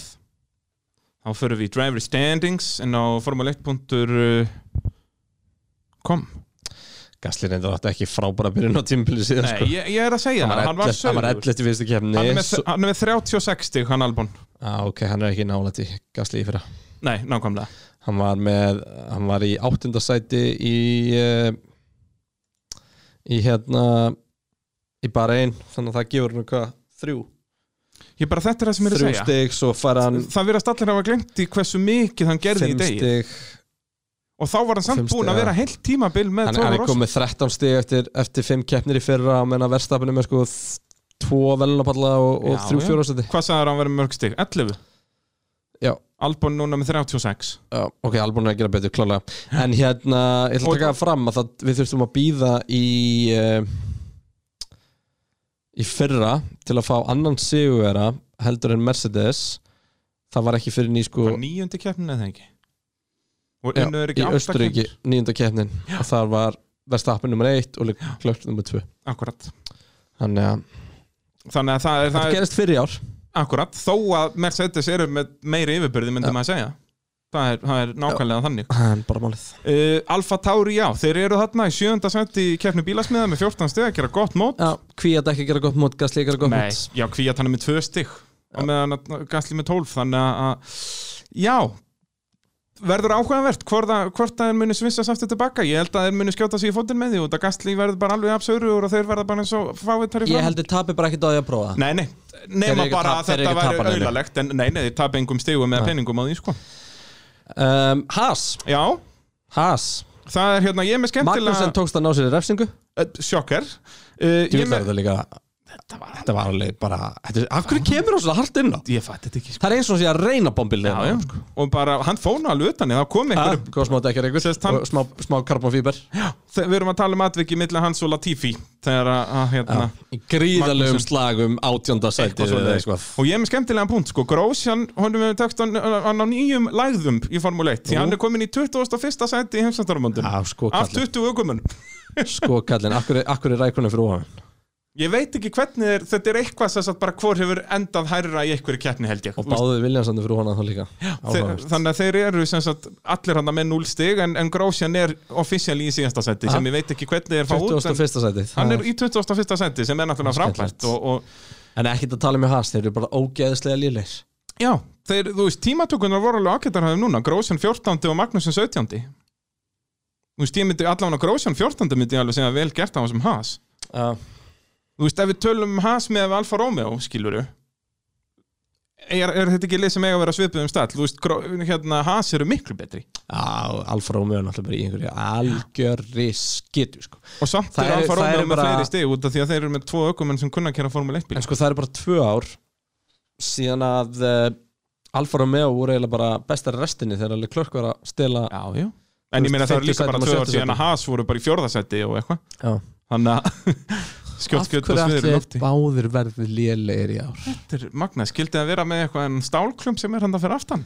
S2: þá förum við í driver standings en á uh, formule1.com
S1: Gasly reyndur átti ekki frábæra byrjun á tímbili síðan
S2: Nei,
S1: sko.
S2: ég, ég er að segja
S1: hann
S2: það,
S1: var
S2: hann var
S1: 11 hann var 11
S2: sögur
S1: í fyrstu kefni
S2: Hann er, með,
S1: svo...
S2: hann er með 36 stig, hann Albon
S1: ah, ok, hann er ekki nálægt í Gasly í fyrra
S2: Nei, nákvæmlega
S1: hann var, með, hann var í áttundasæti í uh, í hérna í bara einn, þannig að það gefur hann hvað þrjú,
S2: Ég bara, þetta er það sem ég er að
S1: þrjú
S2: segja
S1: stig svo fær hann
S2: Það verðast allir hafa glemt í hversu mikið hann gerði í
S1: fimm
S2: degi
S1: stig
S2: og þá var hann samt
S1: Fimm
S2: búin
S1: stiga.
S2: að vera heilt tímabil með
S1: hann, hann
S2: Toro
S1: er
S2: Rosso
S1: komið 13 stig eftir, eftir 5 keppnir í fyrra á menna verðstapunum er sko þ- tvo velunapalla og, og
S2: Já,
S1: þrjú
S2: já.
S1: fjórastæti
S2: hvað sagði hann verið mörg stig? 11
S1: Já.
S2: Albon núna með 36
S1: Já, ok, Albon er að gera betur klálega en hérna, ég ætla
S2: Og-
S1: að taka það fram að það, við þurftum að býða í uh, í fyrra til að fá annan sigurvera heldur en Mercedes það var ekki fyrir ný sko
S2: var nýjöndi keppnin eða ekki og
S1: já,
S2: unnu er
S1: í
S2: ekki átta
S1: Östuríki,
S2: keppnir?
S1: nýjunda keppnin og þar var verðstapin nummer 1 og klökt nummer 2
S2: akkurat
S1: þannig að
S2: þannig að það er,
S1: þetta
S2: það er
S1: gerist fyrir í ár
S2: akkurat þó að Mercedes eru með meiri yfirbyrði myndum að segja það er, það er nákvæmlega þannig
S1: en bara málið
S2: uh, Alfa Tauri já, þeir eru þarna í sjönda senti í keppni bílasmiða með 14 steg að gera gott mót
S1: Já, kvíat ekki að gera gott mót, gasli gera gott
S2: Nei,
S1: mót
S2: já, kvíat hann er með 2 steg og meðan að Gasly með 12 þannig að, já verður áhugaverð hvort að, hvort að þeir muni svissa aftur tilbaka ég held að þeir muni skjóta sig í fótinn með því og að Gasly verður bara alveg absöru og þeir verða bara eins og fáið þar í
S1: Ég
S2: fram
S1: held þið tapir bara ekkert á því að prófa það
S2: Nei, nei,
S1: Þeir eru
S2: nema
S1: ekki
S2: bara
S1: tap-
S2: að
S1: þeir eru
S2: þetta
S1: ekki
S2: væri
S1: tapar neinu.
S2: auðalegt en nei, nei, þeir tapa engum stigum eða
S1: Nei.
S2: peningum á því sko
S1: um, Haas,
S2: Já,
S1: Haas
S2: það er hérna, ég er með
S1: Magnussen
S2: skemmtilega
S1: tókst að ná sér í refsingu
S2: Eh, sjokker uh,
S1: Ég með þetta líka Þetta var alveg bara þetta, Af hverju kemur hún svona hart inn á?
S2: Ég fætti þetta ekki sko.
S1: Það er eins og hún sé að reyna bombilið
S2: já, já. Og bara, hann fóna alveg utan í, þá kom einhverjum
S1: Góð smá dekkar ykkur
S2: Sest hann-
S1: og smá, smá karbonfíber
S2: Þe- Við erum að tala um atviki milli hans og Latifi Þegar að, að hérna
S1: Í gríðalegum
S2: Magnussen.
S1: slagum átjónda sæti
S2: eitthvað svoleiðis. Og ég er með skemmtilegan punkt sko Grósjan, honum hefur tækt hann, hann á nýjum lægðum í Formule 1 Því hann er komin í 21. sæti í heimsandarbundum
S1: Já, sko
S2: Af
S1: kallinn
S2: 20 ökumunum
S1: Sko kallinn, af hverju- af hverju er rækunum fyrir ofan
S2: Ég veit ekki hvernig er, þetta er eitthvað sem sagt bara hvor hefur endað hærra í einhverju keppni held ég
S1: Og báðuði Viljansandur fyrir ofan að þá líka
S2: Þeir,
S1: Áhugavert.
S2: þannig að þeir eru sem sagt allir hann með 0 stig en, en Grósjan er offisjali í síðasta seti
S1: Aha.
S2: sem ég veit ekki hvernig er að fá út en
S1: 21. sæti
S2: hann er í 21. seti sem er náttúrulega
S1: Skemmtilegt.
S2: frábært og, og
S1: En ekkert að tala með Haas, þeir eru bara ógeðislega lýleir
S2: já, þeir, þú veist, tímatökunar voru alveg ágættar hafðum núna, Grósjan 14. og Magnusson 17. Þú veist, ég myndi allan á Grósjan 14. myndi ég alveg segja vel gert á þessum Haas
S1: Já,
S2: Þú veist, ef við tölum um Haas með Alfa Romeo, skilur er, er þetta ekki lið sem eiga að vera svipuð um stall? Þú veist, gró- hérna, Haas eru miklu betri
S1: Alfa Romeo er náttúrulega bara í einhverju algjörri skitu sko.
S2: og samt
S1: Það
S2: er
S1: eru-
S2: Alfa
S1: það
S2: Romeo
S1: eru
S2: með
S1: bara-
S2: fleiri stig út af því að þeir eru með tvo ökumenn sem kunna að kera Formule 1 bíl
S1: En sko það er bara tvö ár síðan að uh, Alfa Romeo voru eiginlega bara bestar í restinni þegar alveg klörk var að stela
S2: Já, já En ég meina það
S1: 50
S2: eru líka bara
S1: sætum og
S2: tvö ár
S1: 70
S2: síðan að Haas voru bara í fjórðasetti og eitthvað
S1: Já.
S2: Þannig að skjótt skjótt og
S1: Af
S2: sviður í
S1: hverju
S2: lofti
S1: allir báðir verði lélegir í ár
S2: Þetta er magnað, skildi að vera með eitthvað en stálklum sem er handa fyrir aftan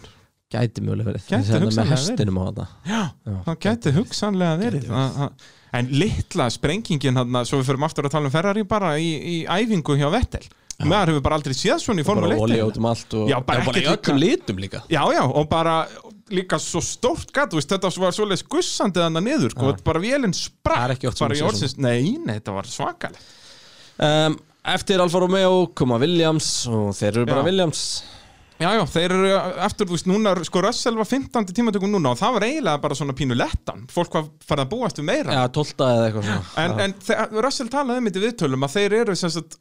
S1: Gæti mjögulega verið
S2: Gæti
S1: Þessi hérna
S2: hugsanlega
S1: með hestinum á þetta
S2: Já,
S1: Já.
S2: það gæti hugsanlega verið að, að, En litla sprengingin hann, svo við förum aftur að tala um Ferrari bara í, í æfingu hjá Vettel Meðar hefur bara aldrei séð svona í
S1: Bara
S2: Formule 1
S1: olí
S2: eiginlega.
S1: átum allt og
S2: Já,
S1: Já,
S2: bara
S1: í
S2: ekkert
S1: öllum litum líka
S2: Já, já, og bara líka svo stórt gat, þú veist, þetta var svoleiðis gussandi þannig niður, sko, bara
S1: Það
S2: vélinn
S1: er
S2: sprakk
S1: ekki oft sem
S2: bara
S1: þú
S2: í
S1: sér
S2: orðsins, nei, nei, þetta var svakalegt
S1: um, Eftir Alfa Romeo koma Williams og þeir eru bara
S2: Já.
S1: Williams
S2: Já, já, þeir eru aftur, þú veist, núna, sko, Russell var 15. tímatökum núna og það var eiginlega bara svona pínu lettan, fólk var farið að búast við meira
S1: Já, 12 eða eitthvað svona
S2: En, en þe- Russell talaði um þetta í viðtölum að þeir eru sem sagt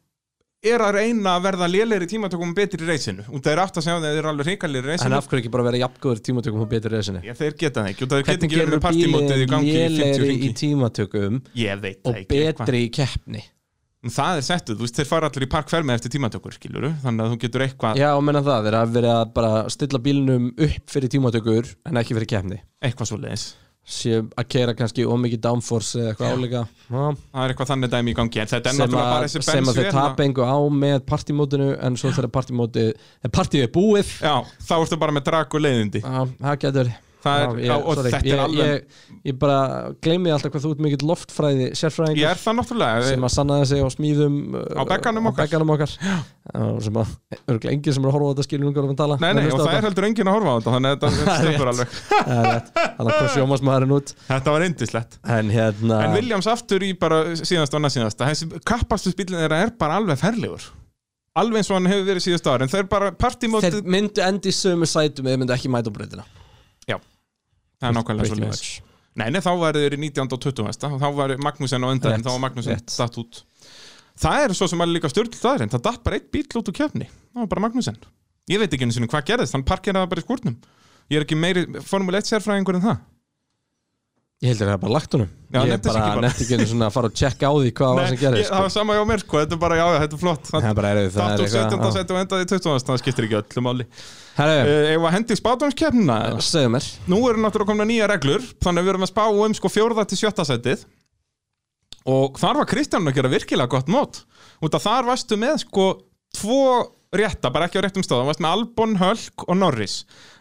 S2: er að reyna að verða lélegri í tímatökum og betri í reysinu og þeir átt að segja að þeir eru alveg hrikalegri í
S1: En
S2: reysinu
S1: af hverju ekki bara vera jafngóður tímatökum og betur í resinni?
S2: Já, þeir geta það ekki og þeir
S1: Hvernig
S2: geta ekki verið
S1: gerur
S2: með partímótið í gangi í 50
S1: lélegri í
S2: ringi
S1: tímatökum
S2: Ég veit það
S1: og
S2: ekki eitthvað.
S1: betri í keppni?
S2: En Það er settuð, þú veist, þeir fara allir í parkfermi eftir tímatökur, skilur þannig að þú getur eitthvað
S1: Já, og menna það, þeir hafa verið að bara stilla bílnum upp fyrir tímatökur en ekki fyrir keppni
S2: eitthvað svo leiðis
S1: sé að keira kannski ómikið downforce eða eitthvað álíka Já,
S2: Það er eitthvað þannig dæmi í gangi en þetta er
S1: sem,
S2: náttúrulega
S1: að,
S2: bara þessi
S1: sem að þeir
S2: bensvél
S1: tapa engu á með partímótinu en svo þegar partímótið en partíið er búið
S2: Já, þá ertu bara með drak og leiðindi
S1: Já, það getur
S2: Það er,
S1: Já,
S2: já, og
S1: sorry,
S2: þetta
S1: ég,
S2: er alveg
S1: ég, ég bara gleymi alltaf hvað þú ert mikill loftfræði
S2: Ég
S1: sérfræðingur
S2: er það náttúrulega
S1: sem að sannaði sig á smíðum uh,
S2: Á bekkanum okkar.
S1: bekkanum okkar. og sem að örgulega enginn sem er að horfa á þetta skilur um hvað við erum að tala
S2: Nei, nei, og það er heldur enginn að horfa á þetta Þannig að þetta- þetta
S1: er
S2: stöpur
S1: rétt.
S2: alveg
S1: þannig að hvað sjómasmaðurinn út
S2: Þetta var indislegt
S1: en hérna
S2: En Williams aftur í bara síðast og annað síðast Þessi kappastu spillin þeirra er bara alveg ferlegur Alveg eins og hann hefur verið síðast ára En þeir bara partímótið
S1: þeir myndu endi í sömu sætum eða myndu ekki mæta á breytina
S2: Það er nákvæmlega svo leiðis Nei, nei, þá væri þeir í 19. og 20. veist það, og þá væri Magnúsen á undan en
S1: Rétt,
S2: þá var Magnúsen
S1: rétt.
S2: datt út Það er svo sem alveg líka styrl það er en það datt bara eitt bíl út úr kefni það var bara Magnúsen Ég veit ekki einu sinni hvað gerðist, hann parkeraði það bara í skúrnum Ég er ekki meiri Formule 1 sérfræðingur en það
S1: Ég heldur að það er bara lagt honum
S2: Já,
S1: Ég er
S2: nefndi sig
S1: bara
S2: ekki bara.
S1: nefndi ekki einu svona að fara og tjekka á því hvað var
S2: Nei,
S1: sem gerði
S2: ég-
S1: sko.
S2: það var sama hjá mér sko, þetta er bara, já, já, þetta er flott
S1: Það er bara erfið, það er
S2: Þáttum
S1: eitthvað,
S2: 17.
S1: já.
S2: seti og endaði í 20. það skiptir ekki öllu máli
S1: Herru,
S2: Eh, Ef að hendi í spátumskeppnina
S1: segðu mér
S2: Nú eru náttúrulega komna nýja reglur Þannig að við erum að spá um sko fjórða til sjötta setið Og þar var Kristján að gera virkilega gott mót Út að þar varstu með sko Tvo rétta, bara ekki á réttum stöðum Varstu með Albon, Hölk og Norris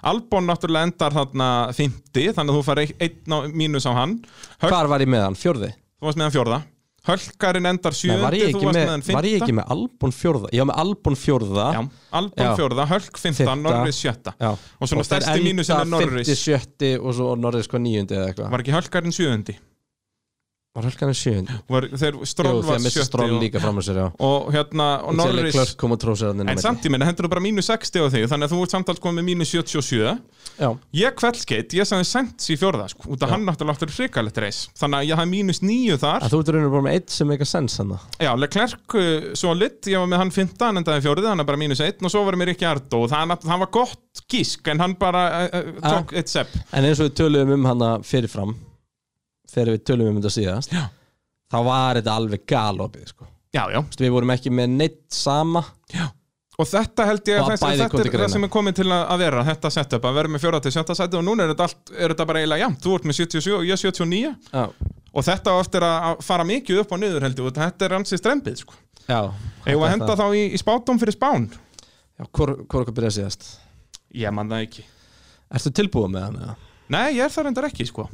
S2: Albon náttúrulega endar þarna 50 Þannig að þú fari einn á- mínus á hann Hölk,
S1: Hvar var ég með hann? Fjórði?
S2: þú varst með hann fjórða Hölkarinn endar
S1: Nei,
S2: 7
S1: var ég
S2: Þú
S1: ekki
S2: varst
S1: með,
S2: með hann
S1: var ég
S2: 5
S1: ekki með Albon fjórða? Ég var með Albon fjórða
S2: Já, Albon
S1: Já.
S2: fjórða, Hölk 15,
S1: Fimmta.
S2: Norris 7
S1: Já.
S2: Og svona stærsti mínusin er Norris
S1: 50, 70 og svo Norris hvað nýjundi eða eitthvað
S2: Var ekki Hölkarinn 7
S1: Var hölkan er sjöundi?
S2: var, þeir
S1: Jú,
S2: Stroll
S1: því
S2: var
S1: að missa
S2: 70
S1: Stroll
S2: og,
S1: líka fram að sér, já
S2: og hérna og Norris
S1: Klörk kom og trósir hann inn á
S2: en
S1: milli.
S2: samt í minna hendur þú bara mínus 60 á þig þannig að þú ert samtals komið með mínus 77
S1: Já,
S2: ég kveldskeitt, ég sagði sents í fjórða sko, út af hann náttúrulega áttur hrikalegt reis þannig að ég hafði mínus 9 þar
S1: að þú ert raunir bara með eitt sem eitthvað sens hann
S2: já, Leclerc uh, solid, ég var með hann 15 hann endaði fjórði, hann er bara mínus 1 og svo var mér ekki Ardo og það, það var gott gísk en hann bara uh, uh,
S1: Ah.
S2: tók eitt sepp
S1: En eins og við töluðum um hana fyrirfram Þegar við töluðum um þetta síðast
S2: Já.
S1: Þá var þetta alveg galopið sko. Þú
S2: já, já,
S1: veist, Við vorum ekki með neitt sama
S2: Og þetta held ég
S1: Og
S2: að
S1: að
S2: þessi-
S1: bæði kom
S2: þetta
S1: til
S2: er það
S1: greina.
S2: sem er komið til að að vera, þetta setup, að vera með fjóra til sjötta seti og núna er þetta, allt, er þetta bara eiginlega jæmt, þú ert með 77 og ég 79
S1: Já,
S2: og þetta á eftir að að fara mikið upp og niður held ég, og þetta er ansið strempið sko.
S1: já
S2: Eða að henda þá í, í spátum fyrir spán?
S1: Já, hvor, hvor okkur byrjaði síðast
S2: Ég man það ekki.
S1: Ertu tilbúið með hann? eða?
S2: Nei, ég er það reyndar ekki sko.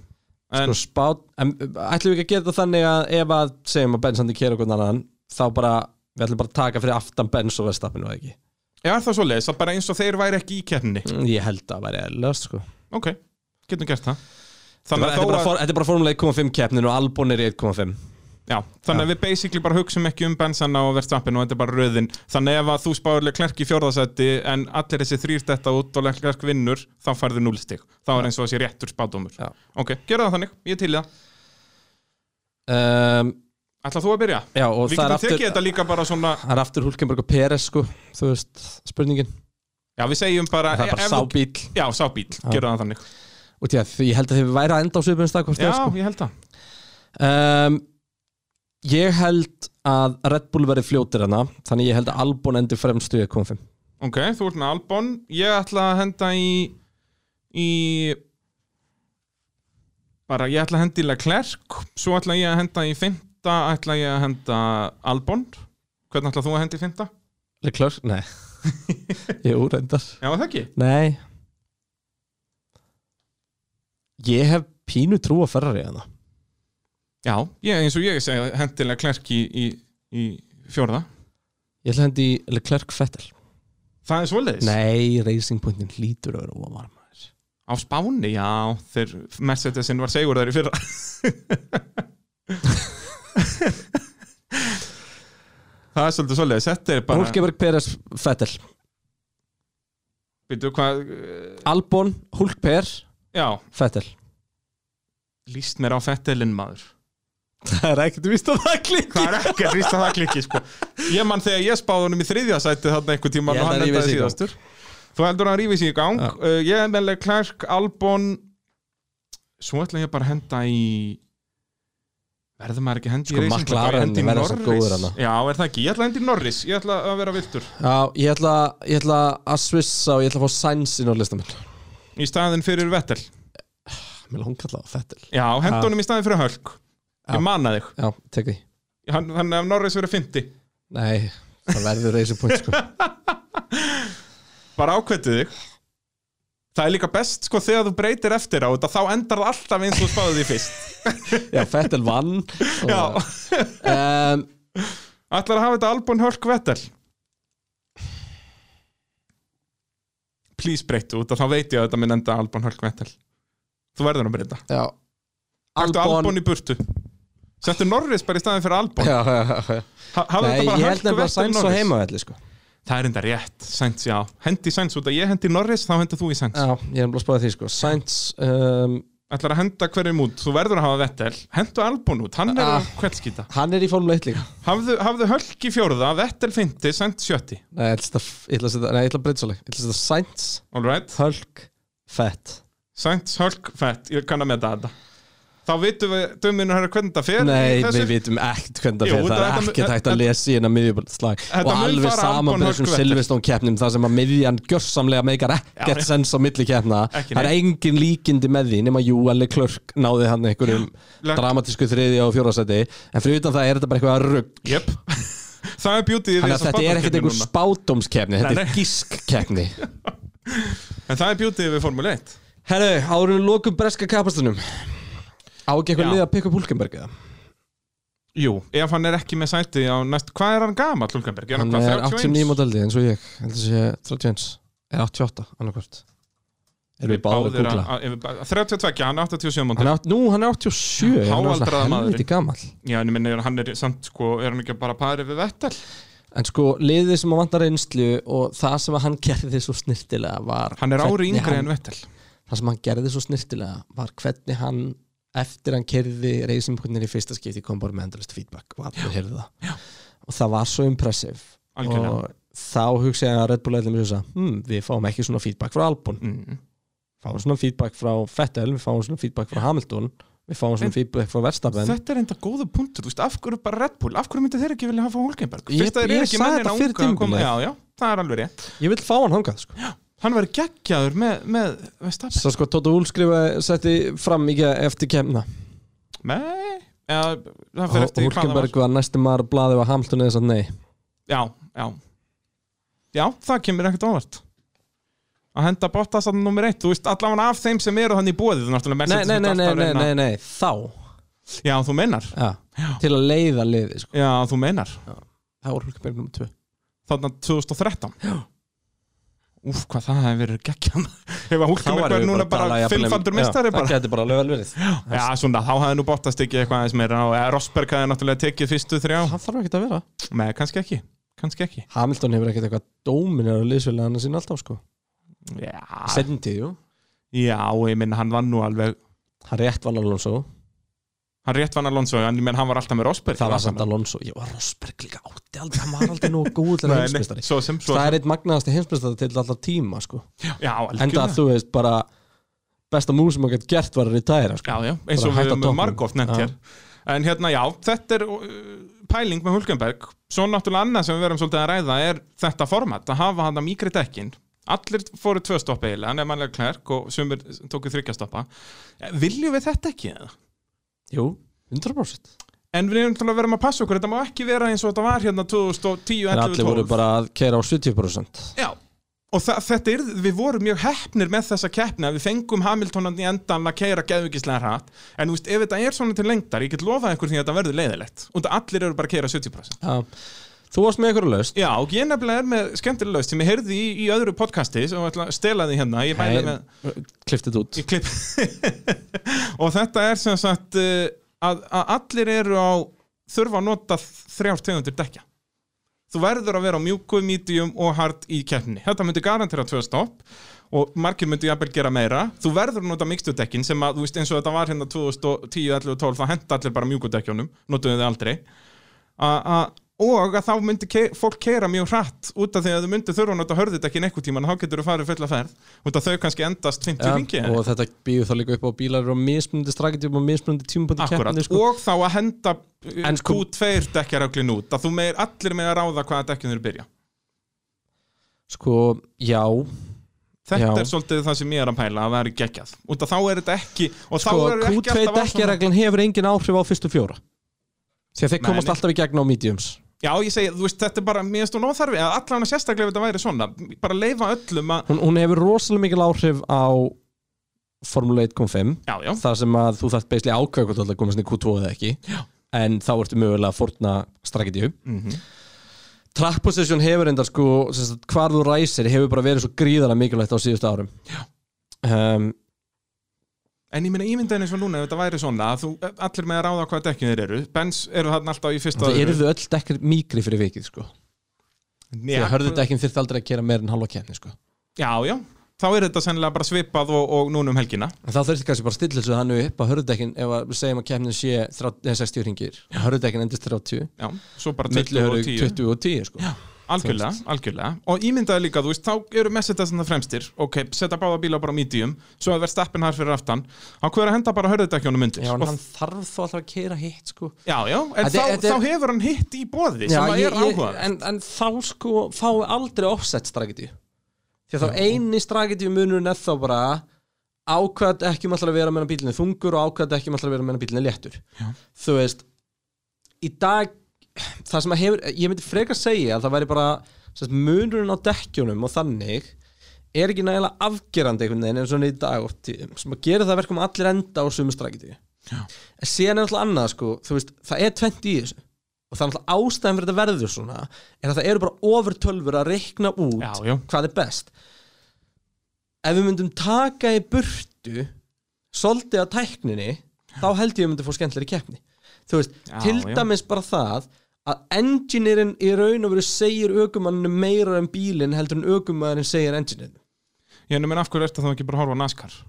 S2: En,
S1: Sko spát en, Ætlum við ekki að gera þetta þannig að ef að segjum að Benz hann til kera okkur annan þá bara, við ætlum bara að taka fyrir aftan Benz og Verstappinu eða ekki
S2: ég er það svo leiðis að bara eins og þeir væri ekki í keppni.
S1: Mm, Ég held að það væri eðlust sko
S2: Ok, getum gert það.
S1: Þetta
S2: Þannig
S1: er bara,
S2: að, þó að,
S1: for, þetta er bara formulega 1.5 keppnin og Albon er í 1.5
S2: já, þannig að við basically bara hugsum ekki um bensana og verðstappin og þetta er bara röðin þannig ef að þú spáðurlega klerk í fjórðasætti en allir þessi þrýr detta út og klerk vinnur þá færðu núlstig, þá er eins og þessi réttur spádómur
S1: Já.
S2: ok, gera það þannig, ég er til í það
S1: um,
S2: ætla þú að byrja?
S1: Já, og
S2: Við
S1: það er
S2: getum
S1: aftur
S2: tekið þetta líka bara svona
S1: Það er aftur Hulkenberg og Peres sko Þú veist, spurningin
S2: já, við segjum bara, e-
S1: Það er bara
S2: ef þú-
S1: sábíl
S2: já, sábíl, gera það þannig
S1: Og því að ég held að þið væri að enda á svipum stað hvort
S2: já,
S1: eð, sko.
S2: ég held það
S1: um, Ég held að Red Bull verði fljótir hana Þannig ég held að Albon endi fremst í 1.5
S2: ok, þú ert með Albon, ég ætla að henda í í bara, ég ætla að henda í Leclerc svo ætla ég að henda í fymta ætla ég að henda Albon hvernig ætla þú að henda í fymta?
S1: Leclerc? Nei Ég úrendar
S2: Já, það ekki
S1: Nei Ég hef pínu trú hérna. að ferra í hana
S2: Já, ég, eins og ég segi hendi Leclerc í, í, í fjórða
S1: Ég ætla að hendi í Leclerc Fettel
S2: Það er svoleiðis
S1: Nei, Racing Pointin hlýtur að vera óvarm
S2: Á Spáni, já, þeir Mercedesin var segur þær í fyrra Það er svolítið svoleiðis Þetta er bara
S1: Hulkeberg Peres Fettel
S2: Býtu, hvað,
S1: Albon, Hulkper,
S2: Já,
S1: Fettel
S2: líst mér á fettilinn maður
S1: Það er ekkert víst að það klikki
S2: Það er ekki að hrista það klikki sko. Ég mann þegar ég spáði honum í þriðja sæti þarna einhver tíma
S1: Ég
S2: og
S1: held
S2: hann
S1: að rífi
S2: endaði
S1: sig í gang.
S2: síðastur Þú heldur að hann rífi sér í gang
S1: Já.
S2: uh, Ég er meðlega Clark, Albon Svo ætla ég bara að henda í Verður maður ekki að henda í
S1: Sko,
S2: Racing Point? Á, ég
S1: McLaren
S2: hendi í
S1: verður svo góður
S2: Norris
S1: þarna.
S2: Já, er það ekki? Ég ætla að henda í Norris Ég ætla að vera viltur
S1: Já, ég ætla, ég ætla að svissa og ég ætla að fá Sainz inn á listaminn
S2: Í staðin fyrir Vettel
S1: Mér langar alltaf að Fettel
S2: Já, henda
S1: Já.
S2: honum í staðin fyrir Hulk
S1: Já.
S2: Ég manna þig
S1: Já, tek því
S2: Hann- Þannig að Norris verið 50
S1: Nei, það verður Racing Point sko
S2: bara ákveðtu þig Það er líka best sko þegar þú breytir eftir á þetta þá endar það alltaf eins og þú spáði því fyrst
S1: Já, Fettel vann og,
S2: Já,
S1: um,
S2: ætlar að hafa þetta Albon Hölk Vettel Please breyttu út og þá veit ég að þetta minn enda Albon Hölk Vettel Þú verður að breyta
S1: Já
S2: Taktu Albon í burtu Settu Norris bara í staðin fyrir Albon
S1: Já, já, já, já
S2: Ha- Hafðu
S1: Nei,
S2: þetta
S1: ég
S2: bara
S1: held
S2: Hölk
S1: nefnilega
S2: Vettel
S1: Sainz á
S2: Norris
S1: heimavelli sko
S2: Það er enda rétt, Sainz já Hendi Sainz út að ég hendi Norris þá hendur þú í Sainz
S1: Já, ég er nefnilega að spáði því sko Sainz um,
S2: Ætlar að henda hverjum út, þú verður að hafa Vettel Hendu Albon út, hann er
S1: Ah.
S2: að kveldskýta
S1: Hann er í Formule 1 líka
S2: Hafðu, hafðu hölk í fjórða, Vettel 50, Sainz 70
S1: Nei, ég ætla að setja- ég ætla að setja- Nei, ég ætla að breyta svolítið Ég ætla að setja Sainz,
S2: All right,
S1: Hulk, Fett
S2: Sainz, hölk, fett, ég kann að meta þetta þá vitum við döminu hérna hvernig þetta fer
S1: Nei,
S2: í þessu.
S1: við vitum ekkert hvernig það
S2: Jú,
S1: fyrir, það
S2: þetta-
S1: er ekkert
S2: þetta-
S1: hægt að lesa í hennar miðjubalslag og
S2: Þetta mun
S1: alveg
S2: fara
S1: saman
S2: Anton
S1: með þessum
S2: Hörkvettur.
S1: Silvestón keppnum þar sem að miðjan gjörsamlega meikar ekkert sens á milli keppna
S2: Ekki
S1: það er engin líkindi með því nema jú alveg klörk náði hann einhverjum
S2: Leclerc.
S1: dramatísku þriðja og fjórasæti en fyrir utan það er þetta bara eitthvað rugg
S2: Jep. það er beauty í
S1: þannig að
S2: þessa
S1: þetta er ekkert
S2: spákakeppni
S1: einhver
S2: núna.
S1: spátumskeppni
S2: Nei,
S1: þetta
S2: nei.
S1: er gískkeppni
S2: en það er beauty við Formule 1
S1: Herru, árunum lokum breska kapastunum á ekki eitthvað
S2: Já.
S1: liða að pikka púlkenberg eða?
S2: Jú, ef hann er ekki með sæti á næst hvað er hann gamall, Lulkenberg?
S1: Hann
S2: hvað,
S1: er 89
S2: 31?
S1: modeldi eins og ég Heldur sé 31 Eða 88 annarkvort Erum við báðir að googla
S2: að- að- ef- að- 32, hann er 87
S1: Hann
S2: móndil
S1: er átt, Nú, hann er 87 hann er
S2: Háaldraða
S1: svona
S2: maðurinn.
S1: Helviti gamall
S2: Já, en ég minna, hann er samt sko, er hann ekki bara parið við Vettel?
S1: En sko, liðið sem að vantar einslu Og það sem að hann gerði svo snirtilega var
S2: Hann er ári
S1: hvernig
S2: yngri
S1: hann-
S2: en Vettel
S1: Það sem hann gerði svo snirtilega var hvernig hann Eftir hann kerði reysimkundin í fyrsta skipti Kom bara með endalist feedback Og allir heyrðu það já. Og það var svo impressive
S2: Algjörlega.
S1: Og þá hugsa ég að Red Bull eða mér þess að hm, Við fáum ekki svona feedback frá Albon
S2: mm.
S1: fáum svona feedback frá Fettel, við fáum svona feedback frá Hamilton við fáum svona
S2: En-
S1: feedback frá Verstappen
S2: Þetta er enda góða punktur, þú veist, af hverju bara Red Bull Af hverju myndi þeir ekki vilja hafa Hulkenberg?
S1: Ég-
S2: þeir eru
S1: ég sagði
S2: mennina
S1: þetta fyrir
S2: unga að koma-
S1: tímabilið.
S2: Já, já, það er alveg rétt
S1: ég vil fá hann hangað sko.
S2: Hann verður geggjaður með, með, með Stappen
S1: svo sko Tóta Úl skrifa setti fram ekki eftir kemna
S2: Nei, já, það fyrir eftir hvað það var
S1: Hulkenberg var næstum maður blaðið var Hamilton eða þess að nei
S2: Já, já Já, það kemur ekkert óvart að henda Bottas að nummer eitt, þú veist allavega af þeim sem eru þannig í bóðið nei,
S1: nei, nei, nei, nei, nei, nei, nei, þá
S2: Já, þú meinar
S1: ja. til að leiða liði sko.
S2: Já, þú meinar
S1: það var Hulkenberg nr. 2
S2: Þarna 2013 Já Úf, hvað það hefur verið geggjað Ef að um- Hulkenberg er núna bara fimmfaldur mestari bara
S1: um- það geti bara alveg vel verið
S2: Já, svona, þá hefði nú Bottas tekið eitthvað aðeins meira og eða Rosberg hefði náttúrulega tekið fyrstu þrjá
S1: það þarf ekki að vera
S2: Nei, kannski ekki, kannski ekki
S1: Hamilton hefur ekkert eitthvað dóminir á liðsfélagana sín alltaf sko
S2: Já,
S1: setjandi, jú
S2: já ég minn, hann vann nú alveg
S1: hann rétt vann Alonso
S2: Hann rétt vann Alonso, en ég menn hann var alltaf með Rosberg
S1: Það var samt Alonso, ég var Rosberg líka átti aldrei, hann var aldrei nú góð til
S2: Nei,
S1: að
S2: nei,
S1: heimsbyrstari
S2: Svo sem, svo
S1: Það
S2: sem
S1: er eitt magnaðasti heimsbyrstari til alltaf tíma sko.
S2: Já,
S1: Enda að
S2: algjörlega
S1: þú veist bara besta múl sem hann gett gert var að retæra sko.
S2: Já, já, eins
S1: Bara
S2: og við
S1: hætta
S2: höfum
S1: toppnum.
S2: margótt nefnt
S1: Já.
S2: hér En hérna, já, þetta er uh, pæling með Hulkenberg Svo náttúrulega annað sem við verum svolítið að ræða er þetta format að hafa hann að mýkri dekkin Allir fóru tvö stoppa eiginlega, hann er mannlega klærk og sumir tóku þryggja stoppa Eh, Viljum við þetta ekki? eða?
S1: Jú, 100%
S2: En við erum náttúrulega að verum að passa okkur, þetta má ekki vera eins og þetta var hérna 2010,
S1: En
S2: 11,
S1: allir voru bara að kera á 70%
S2: Já Og þa- þetta er, við vorum mjög heppnir með þessa keppni að við fengum Hamiltonan í endan að keira geðvigislega hratt en þú veist, ef þetta er svona til lengdar, ég get lofað ykkur því að þetta verður leiðilegt og þetta allir eru bara að keira 70%
S1: Já. Þú varst með einhverju laust
S2: Já, og ég nefnilega er með skemmtilega laust sem ég heyrði í, í öðru podcasti sem ég ætla að stela því hérna ég mæli með,
S1: Kliftið út
S2: ég klipp og þetta er sem sagt uh, að, að allir eru á þurfa að nota þrjár tegundir dekja þú verður að vera á mjúku, medium og hard í keppni þetta myndi garantera tvö stopp og margir myndi jafnvel gera meira þú verður að nota mikstudekkin sem að þú veist eins og þetta var hérna 2010, 11 og 12 þá henda allir bara mjúkudekkjónum, notuðu þið aldrei a, a, og að þá myndi ke fólk keira mjög hratt út af því að þau myndi þurfa að nota hörðudekkin einhvern tíman þá getur þú farið fulla ferð út af þau kannski endast 50 ja, ringi
S1: Og þetta býður þá líka upp á bílar og mismunandi strakitjum og mismunandi tímabundi
S2: Akkurat,
S1: keppni sko.
S2: og þá að henda eh,
S1: En sko-
S2: Q2 dekkjaröglin út að þú meir, allir með að ráða hvaða dekkjum þeir byrja
S1: sko, já
S2: Þetta
S1: Já.
S2: er svolítið það sem ég er að pæla að vera geggjað Út að þá er þetta ekki og þá
S1: sko,
S2: er þetta
S1: Q2
S2: ekki alltaf á svona-
S1: dekkjareglan hefur engin áhrif á fyrstu fjóra því að þeir
S2: Nei,
S1: komast
S2: nei.
S1: alltaf í gegn á mediums
S2: Já, ég segi, þú veist, þetta er bara, mér finnst hún óþarfi að allan að sérstaklega ef þetta væri svona bara leifa öllum að,
S1: hún, hún hefur rosalega mikil áhrif á Formule 1.5
S2: já, já,
S1: þar sem að þú þarft beislega ákveð hvort þú ætlar að komast inn í Q2 eða ekki Já. en þá ertu mögulega að forna strategiðu Mhm. track position hefur enda sko sem sagt, hvar þú ræsir hefur bara verið svo gríðarlega mikilvægt á síðustu árum um,
S2: en ég minna ímyndaðin eins og núna ef þetta væri svona, að þú, eh, allir með að ráða hvaða dekkjum þeir eru, Benz eru þarna alltaf í fyrsta
S1: það eru þau öll dekkir mikri fyrir vikið sko því að hörðu dekkin þyrft aldrei að kera meira en halva kefni sko
S2: Já, já, þá er þetta sennilega bara svipað og, og núna um helgina
S1: En þá þurfti kannski bara að stilla þessu þannig upp að hörðudekkin, ef að við segjum að keppnin sé 30, eh, 60 ringir, hörðudekkin endist 30
S2: Já, svo bara 20
S1: milli
S2: og
S1: hörðu
S2: 10
S1: 20 og 10 sko.
S2: algjörlega, algjörlega og ímyndaði líka, þú veist, þá eru Mercedes þannig fremstir, ok, setja báða bíla bara á medium svo að verð stappin hær fyrir aftan hann hver að henda bara hörðutekjónum undir
S1: Já, en
S2: Og-
S1: hann þarf þó alltaf að keira hitt sko
S2: já, já, en
S1: Þetta-
S2: þá,
S1: þetta er-
S2: þá hefur hann hitt í bóði sem að er áhugað
S1: en, en þá sko fái aldrei offset strategy því að þá eini strategy munurinn er þá bara ákvæðat ekki um alltaf að vera meðan bílinni er þungur og ákvæðat ekki um alltaf að vera meðan bílinni er léttur Já. þú veist í dag, það sem að hefur ég myndi frekar segja að það væri bara sem sagt, munurinn á dekkjunum og þannig er ekki nægilega afgerandi einhvern veginn eins og hann er í dag oft tíðum sem að gera það að verkum að allir enda á sumu strategy en síðan er alltaf annað sko þú veist, það er 20 í þessu og það er alltaf ástæðan fyrir þetta verður svona er að það eru bara ofur tölfur að reikna út
S2: Já, já.
S1: hvað er best ef við myndum taka í burtu svolítið að tækninni þá held ég að myndum fór skemmtilegri keppni þú veist,
S2: Já,
S1: til
S2: já.
S1: dæmis bara það að engineerin í raun og veru segir ökumanninu meira um bílinn heldur en ökumannin segir engineerin
S2: ég nefnir af hverju ertu þá ekki bara að horfa á NASCAR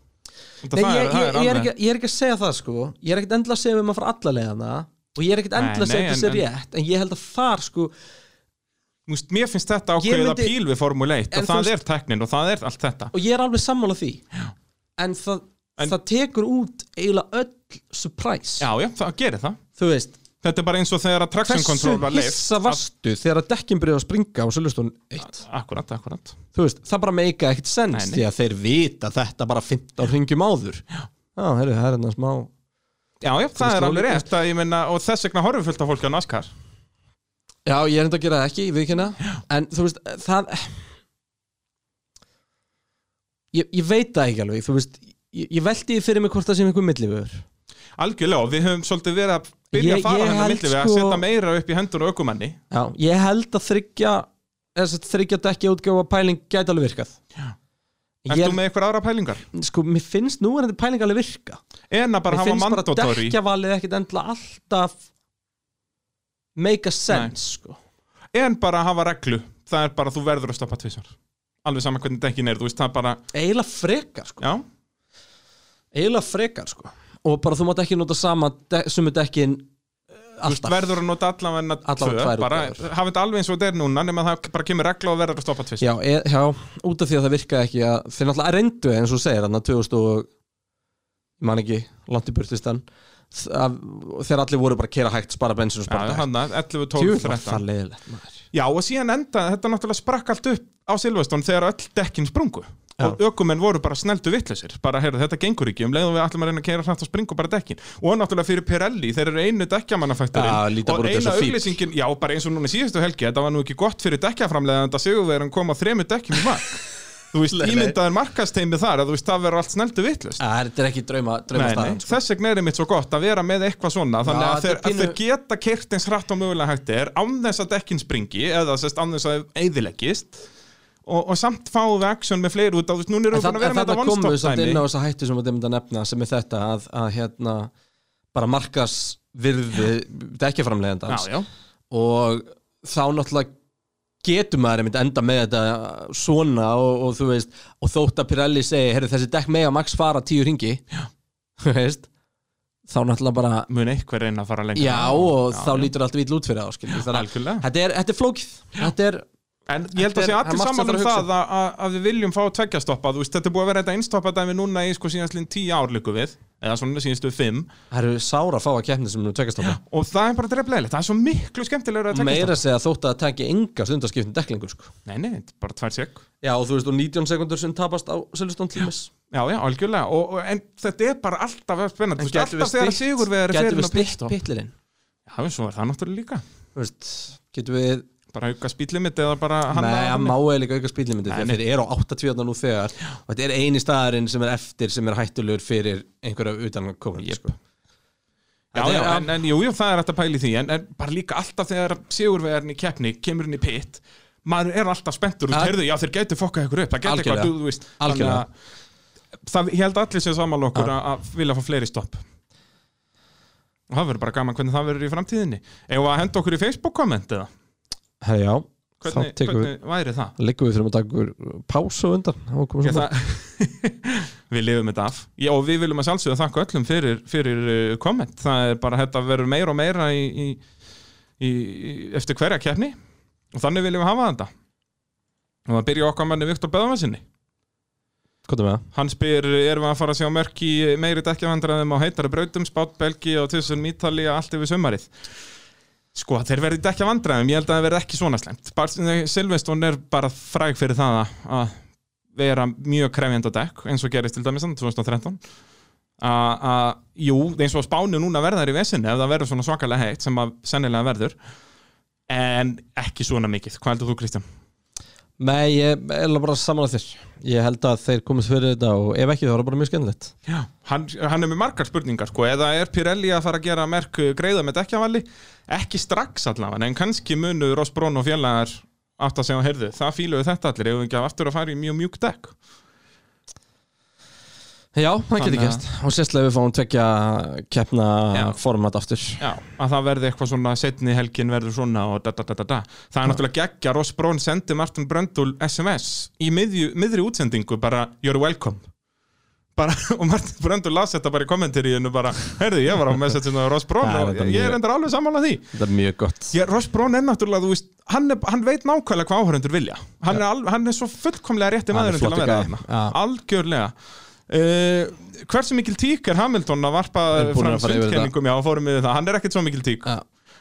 S2: Þetta
S1: Nei,
S2: það
S1: ég,
S2: það
S1: ég, ég, er
S2: alveg-
S1: ekki, ég er ekki að segja það sko Ég er ekkert endilega að segja við maður fara alla leiðana Og ég er ekkert
S2: Nei,
S1: endilega að segja
S2: nei,
S1: þetta sé
S2: en- en-
S1: rétt En ég held að þar sko
S2: Þú veist, mér finnst þetta ákveðið
S1: myndi-
S2: að píl við Formule
S1: En
S2: 1 og
S1: þú
S2: það er
S1: veist-
S2: teknin og það er allt þetta
S1: Og ég er alveg sammála því Já. En, það, það tekur út eiginlega öll surprise
S2: já, já, það gerir það
S1: Þú veist,
S2: þetta er bara eins og þegar að traction
S1: hversu
S2: control var
S1: hissa
S2: leift
S1: varstu Þegar að dekkin byrjaði að springa á Sölustón 1
S2: akkurat, akkurat
S1: Þú veist, það bara meika ekkert
S2: Nei,
S1: sens
S2: nei.
S1: Því að þeir vita þetta bara 15 ringjum áður Já, heyrðu, það er hérna smá
S2: Já, já, það er
S1: veist,
S2: alveg
S1: og-
S2: rétt að, ég meina, og þess vegna horfum fullt af fólki á NASCAR
S1: Já, ég er enda að gera það ekki, viðkynna En þú veist, það Ég, ég veit það ekki alveg Þú veist, ég, ég velti því fyrir mig hvort það sem einhver millifur
S2: Algjörlega, og við höfum svolítið verið að byrja
S1: Ég-
S2: að fara
S1: ég
S2: hennar
S1: held
S2: milli við að
S1: sko-
S2: setja meira upp í hendur og ökumanni
S1: Já, ég held að þryggja þess að þryggja dekki útgáfa pæling gæti alveg virkað
S2: Ert
S1: Ég,
S2: þú með eitthvað aðra pælingar?
S1: sko, mér finnst nú er þetta pæling alveg virka
S2: En að bara
S1: Mér
S2: hafa
S1: finnst bara
S2: mandatóri
S1: dekkjavalið ekkit endla alltaf make a sense, sko
S2: En bara að hafa reglu Það er bara að þú verður að stoppa tvisvar Alveg saman hvernig dekkin er, þú veist, það er bara
S1: Eila frekar, sko
S2: Já,
S1: Eila frekar, sko Og bara þú mátt ekki nota sama de sumu dekkin eh,
S2: þú veist,
S1: alltaf
S2: verður að nota allavegna
S1: Allavega
S2: tvö,
S1: tvær
S2: bara,
S1: útgáfur.
S2: hafa þetta alveg eins og þetta er núna nema það bara kemur regla og verður að stoppa tvisvar
S1: Já, e, já, út af því að það virkaði ekki að þeir náttúrulega reyndu eins og þú segir hann að 2000 og ég man ekki, langt í burtistan þegar allir voru bara að kera hægt spara bensin og
S2: Já,
S1: spara
S2: hann að 11,
S1: Jú, það
S2: 12,
S1: var
S2: 13
S1: það leiðilegt maður.
S2: Já, og síðan enda, þetta náttúrulega sprakk allt upp á Silveston þegar öll dekkin sprungu
S1: Já.
S2: og ökumenn voru bara sneldu vittlausir bara, heyrðu, þetta gengur ekki, um leiðum við ætlum að reyna að keira hrætt og springu bara dekkin og náttúrulega fyrir Pirelli, þeir eru einu
S1: Já,
S2: dekkjamannafækturinn
S1: líta
S2: og
S1: bara út eins
S2: eina
S1: og fíll.
S2: auglýsingin, já, bara eins og núna í síðustu helgi þetta var nú ekki gott fyrir dekkjaframlega en það segjum við erum koma þremu dekkjum í mark þú veist, ímyndaður markasteimi þar að þú veist, það verður allt sneldu vittlust
S1: Æ, Þetta er ekki drauma, drauma
S2: Nei, nei,
S1: staðan sko.
S2: þess vegna er einmitt svo gott að vera með eitthvað svona þannig að,
S1: þetta
S2: þeir,
S1: er pínu-
S2: að þeir geta kert eins hratt og mögulega hægt er án þess að dekkin springi eða sest, án þess að þau eðilegist og, og samt fáum við action með fleiri út á þú veist,
S1: En
S2: núna erum við búin
S1: þarna
S2: að vera
S1: en
S2: með
S1: þarna
S2: þetta
S1: komu við samt inn á
S2: vonstoppdæmi
S1: þessa hættu sem við erum að nefna sem er þetta að, að hérna bara markas virði dekkjaframleiðandans
S2: Já, já,
S1: og þá náttúrulega getur maður einmitt enda með þetta svona og, og þú veist og þótt að Pirelli segi, heyrðu þessi dekk mega max fara tíu ringi þú veist, þá náttúrulega bara
S2: mun eitthvað reyna að fara lengra
S1: já og þá
S2: já.
S1: lítur allt vill út fyrir þá skilur, þannig að
S2: Algjörlega.
S1: þetta er, þetta er flókið þetta er,
S2: En ég held
S1: Þetta
S2: að
S1: er-
S2: sé
S1: það er
S2: allir
S1: margt sem
S2: saman um
S1: þarf að
S2: það að, að, að við viljum fá tveggja stoppa þú veist, þetta er búið að vera þetta einstoppa dæmi núna í sko síðastlinn tíu ár líku við eða svona síðastu fimm
S1: það eru sára að fá að keppni sem nú tvekast á
S2: og það er bara drefleilegt, það er svo miklu skemmtilegur að tveggja
S1: meira að segja þótt að það tekja enga stundaskiptin dekklingur sko.
S2: Nei, nei, þetta er bara tvær sekk
S1: já og þú veist og 19 sekundur sem tapast á Silvestón tímis
S2: Já, já, algjörlega, og, og, en þetta er bara alltaf spennandi,
S1: En
S2: þú veist,
S1: gætum við
S2: alltaf þegar
S1: stytt-
S2: sigur við erum
S1: getum
S2: fyrir
S1: við
S2: að
S1: stitt
S2: pitstop.
S1: pitlirinn
S2: Já, en svo er það náttúrulega líka,
S1: Þú veist, getum við
S2: bara auka spýtlimit eða bara hann
S1: Nei, hann má eða líka auka spýtlimyndi
S2: Nei,
S1: þegar þeir eru á 80 nú þegar og þetta er eini staðarinn sem er eftir sem er hættulegur fyrir einhverja utan að koma
S2: Jep.
S1: sko.
S2: Já,
S1: Þetta
S2: já,
S1: er að-
S2: en, en jú, jú, það er þetta pæli því, en, en bara líka alltaf þegar sigur við erum í keppni, kemur inn í pitt, maður er alltaf spenntur, þú
S1: Ja.
S2: heyrðu, já, þeir gætu fokkað ykkur upp, það gæti eitthvað,
S1: Algjörlega.
S2: þú, þú veist,
S1: Algjörlega.
S2: að, það, ég held að allir séu saman okkur að, að vilja fá fleiri stopp. Og það verður bara gaman hvernig það verður í framtíðinni. Eða að henda okkur í Facebook-komment eða?
S1: Herra, já,
S2: Hvernig,
S1: þá tekum við
S2: hvernig væri það?
S1: liggum við fyrir að taka ykkur pásu á undan þá komum
S2: Ég,
S1: við svona-
S2: það, við lifum þetta af Já, og við viljum að sjálfsögðu þakka öllum fyrir, fyrir uh, komment, það er bara þetta verður meira og meira í, í, í, eftir hverja keppni og þannig viljum við hafa þetta og það byrja okkar manni Viktor Beðamansinni
S1: Hvað er með það?
S2: Hann spyr, erum við að fara að sjá mörk í meiri dekkjavandræðum á heitara brautum, Spát, Belgi og Tilsun, Ítalía, allt yfir sumarið? Sko, þeir verði dekkjavandræðum, ég held að það verði ekki svona slemt. Silveston er bara fræg fyrir það að- að vera mjög krefjandi á dekk, eins og gerist til dæmis hann 2013. Að, að, jú, eins og á spánu núna verðar í vesinni ef það verður svona svakalega heitt sem að sennilega verður, en ekki svona mikið. Hvað heldur þú, Kristján?
S1: Nei, ég er eiginlega bara saman að þér Ég held að þeir komist fyrir þetta og ef ekki þá er það bara mjög skemmtilegt
S2: Já, hann, hann er með margar spurningar sko, eða er Pirelli að fara að gera merk eh, greiða með dekkjavalli? Ekki strax allavega, en kannski munu Ross Brón og félagar átt að segja á heyrðu, það fíluðu þetta allir, ef við ekki að aftur að fara í mjög mjúk dekk.
S1: Já, það getur
S2: Þannig að-
S1: gæst og sérslega við fáum tvekja keppna
S2: Já.
S1: format aftur
S2: Já, að það verði eitthvað svona setni helgin verður svona og da da da da da. Það er náttúrulega geggja, Ross Brón sendi Martin Bröndul SMS í miðju, miðri útsendingu bara, you're welcome. Bara, og Martin Bröndul las þetta bara í kommentaríinu bara, heyrðu, ég var á messaginu á Ross Brón
S1: Það er
S2: og
S1: þetta
S2: ég
S1: mjög-
S2: er endur alveg sammála því.
S1: Þetta er mjög gott
S2: Já, Ross Brown er náttúrulega, þú veist, hann, er, hann veit nákvæmlega hvað áhörundur vilja. Hann, er, alveg, hann er svo fullkomlega rétti
S1: Hann er
S2: maðurinn til að
S1: flottur
S2: vera
S1: gæi.
S2: þarna.
S1: Já.
S2: Algjörlega. Uh, hversu mikil tík er Hamilton að varpa
S1: Við erum búin
S2: fram
S1: að fara yfir
S2: sundkenningum? Já, fórum við það. Hann er ekkert svo mikil tík.
S1: Já.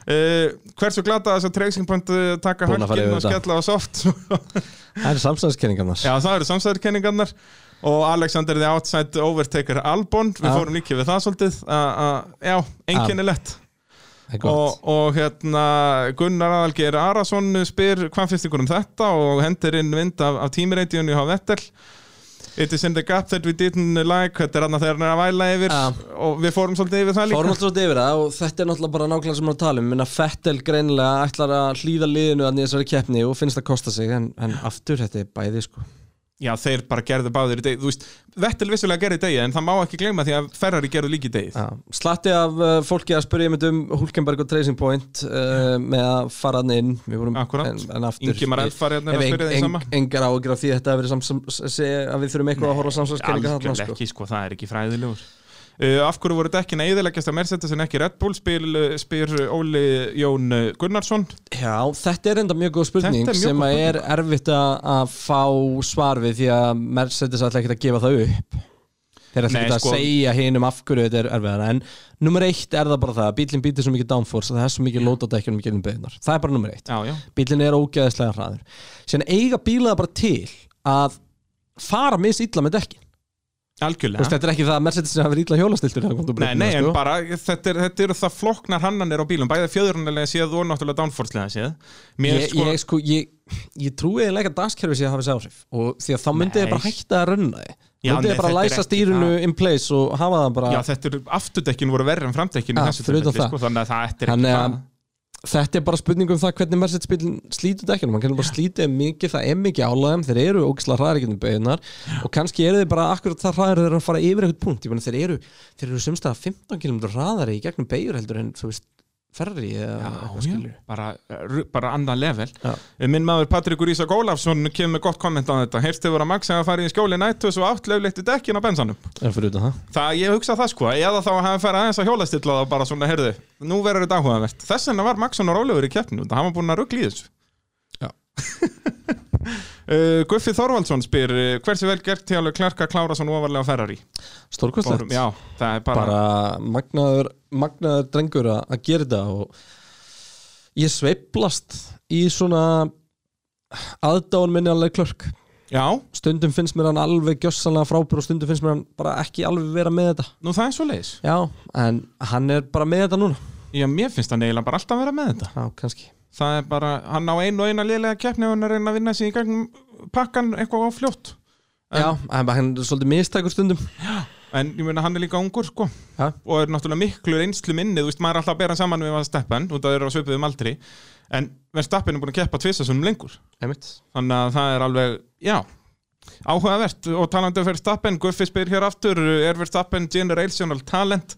S2: Uh, hversu glata þess að Tracing.point eh, taka
S1: Búin að fara
S2: höndin
S1: yfir
S2: og
S1: þetta.
S2: skella á soft?
S1: Það er samstæðiskenningarnar
S2: Já, það eru samsæðurkenningarnar. Og Alexander the Outside Overtaker Albon. Við
S1: Já.
S2: fórum líka við það svolítið. Uh, uh, já, einkennilegt.
S1: Það er
S2: Og,
S1: gott
S2: og hérna Gunnar Aðalgeir Arason spyr hvað finnst ykkur um þetta og hendir inn vind af, af tímireitjónu á Vettel It is in the gap that we didn't like þetta er annað þegar hann er að væla yfir
S1: Ja.
S2: og við fórum svolítið yfir það líka
S1: Fárum alltaf út yfir það og þetta er náttúrulega bara nákvæmlega sem við erum að tala um Minna Fettel greinilega ætlar að hlýða liðinu að þessari keppni og finnst það kosta sig en, en aftur þetta er bæði sko
S2: Já, þeir bara gerðu báðir í degi Þú veist, Vettel vissulega gerði í degi en það má ekki gleyma því að Ferrari gerðu líka í degi
S1: Já, slatti af uh, fólki að spurja mynd um Hulkenberg og Tracing Point uh, með að fara hann inn Við vorum
S2: Akkúrat.
S1: en, en aftur
S2: Ingimar Elfar hérna er
S1: Ef
S2: að
S1: eng-
S2: spyrja því
S1: eng-
S2: sama
S1: Engar ágjur af því að þetta hafi verið sams, sams, sé, að við þurfum eitthvað að horfa samsvarskenninga þarna
S2: Algjörlega
S1: sko.
S2: ekki, sko, það er ekki fræðilegur uh, Af hverju voru dekkin að yðurleggjast að Mercedes en ekki Red Bull spyr, spyr Óli Jón Gunnarsson
S1: Já, þetta er enda mjög góð spurning
S2: Þetta er mjög
S1: sem
S2: góð
S1: að er
S2: spurning.
S1: erfitt að, að fá svar við því að Mercedes ætla ekkert að gefa það upp Þeir ætla
S2: Nei,
S1: ekkert
S2: sko.
S1: að segja hinum af hverju þetta er erfiðara en nummer eitt er það bara það að bílinn býtir svo mikið downforce að það er svo mikið lót á dekkjunum í gegnum beðunar Það er bara nummer eitt
S2: Já, já
S1: bílinn er ógeðislega hraður síðan eiga bílaða bara til að fara mis illa með dekkin
S2: Algjörlega
S1: Þú veist, þetta er ekki það að Mercedes hafi verið illa hjólastiltur þegar hann kom til
S2: Nei,
S1: brautina,
S2: nei, en
S1: sko.
S2: bara þetta eru er þetta eru það floknar hannanir á bílum bæði fjöðurnalega séð og náttúrulega downforce-lega séð Mér
S1: ég,
S2: sko,
S1: ég, sko, ég, ég trúi eiginlega ekki að dagskerfi sé að hafa þessi áhrif og því að þá myndi ég bara
S2: Nei.
S1: hætta að runna þið
S2: Já,
S1: Þá myndi ég
S2: nei,
S1: bara
S2: þetta er
S1: læsa
S2: ekki
S1: stýrinu in place og hafa það bara
S2: já, þetta eru afturdekkin voru verri en framdekkin
S1: Ja,
S2: í þessu
S1: Ah, fyrir utan
S2: tilfelli,
S1: það.
S2: sko, þannig að það eftir
S1: Þannig
S2: ekki
S1: að-
S2: það.
S1: þetta er bara spurning um það hvernig Mercedes bílinn slítur dekkinum hann kannur bara slítið mikið, það er mikið álæðum þeir eru ógislega hraðir ekki um beðunar og kannski eru þeir bara akkurat það hraðir þeir að fara yfir eitthvað punkt, ég meina þeir eru þeir eru semst að 15 km hraðari í gegnum beigur heldur en þú veist ferri eða eitthvað
S2: Já,
S1: skilur
S2: já, bara, ru- bara andan level Eh,
S1: Já.
S2: Minn maður Patrik Ísak Ólafsson kemur með gott komment á þetta Heyrst hefur að Max hefði farið í skjóli nættus og átlöflegt í dekkin á bensanum
S1: en fyrir utan það
S2: Það, ég hugsa það sko, eða þá hefði farið aðeins að hjólastilla það bara svona, heyrðu, nú verður þetta áhugavert Þess vegna var Maxson og Rólegur í keppnum, það hann var búin að ruggla í þessu
S1: Já.
S2: Uh, Guffi Þorvaldsson spyr uh, hversu vel gert til alveg klarka að klára svona ofarlega á Ferrari Fórum,
S1: stórkostlegt
S2: Já, það er bara,
S1: bara magnaður, magnaður drengur að- að gera þetta og ég sveiplast í svona aðdáun minni alveg klörk
S2: Já,
S1: stundum finnst mér hann alveg gjössanlega frábúr og stundum finnst mér hann bara ekki alveg vera með þetta
S2: nú það er svo leiðis
S1: já, en hann er bara með þetta núna
S2: Já, mér finnst það neila bara alltaf að vera með þetta
S1: já, kannski
S2: Það er bara, hann á einu og eina liðlega keppni og hann er að reyna að vinna sig í gegnum pakkan eitthvað á fljótt En-
S1: já, en bara hann er svolítið mistækur stundum
S2: En ég meina hann er líka ungur sko
S1: Ha?
S2: Og er náttúrulega miklu reynslu minni Þú veist maður er alltaf að bera hann saman við Verstappen Út að þeir eru á svipuðum aldri En Verstappen er búin að keppa tvisasunum lengur
S1: einmitt
S2: Þannig að það er alveg, já Áhugavert og talandi um Verstappen Guffi spyr hér aftur Er Verstappen generational talent?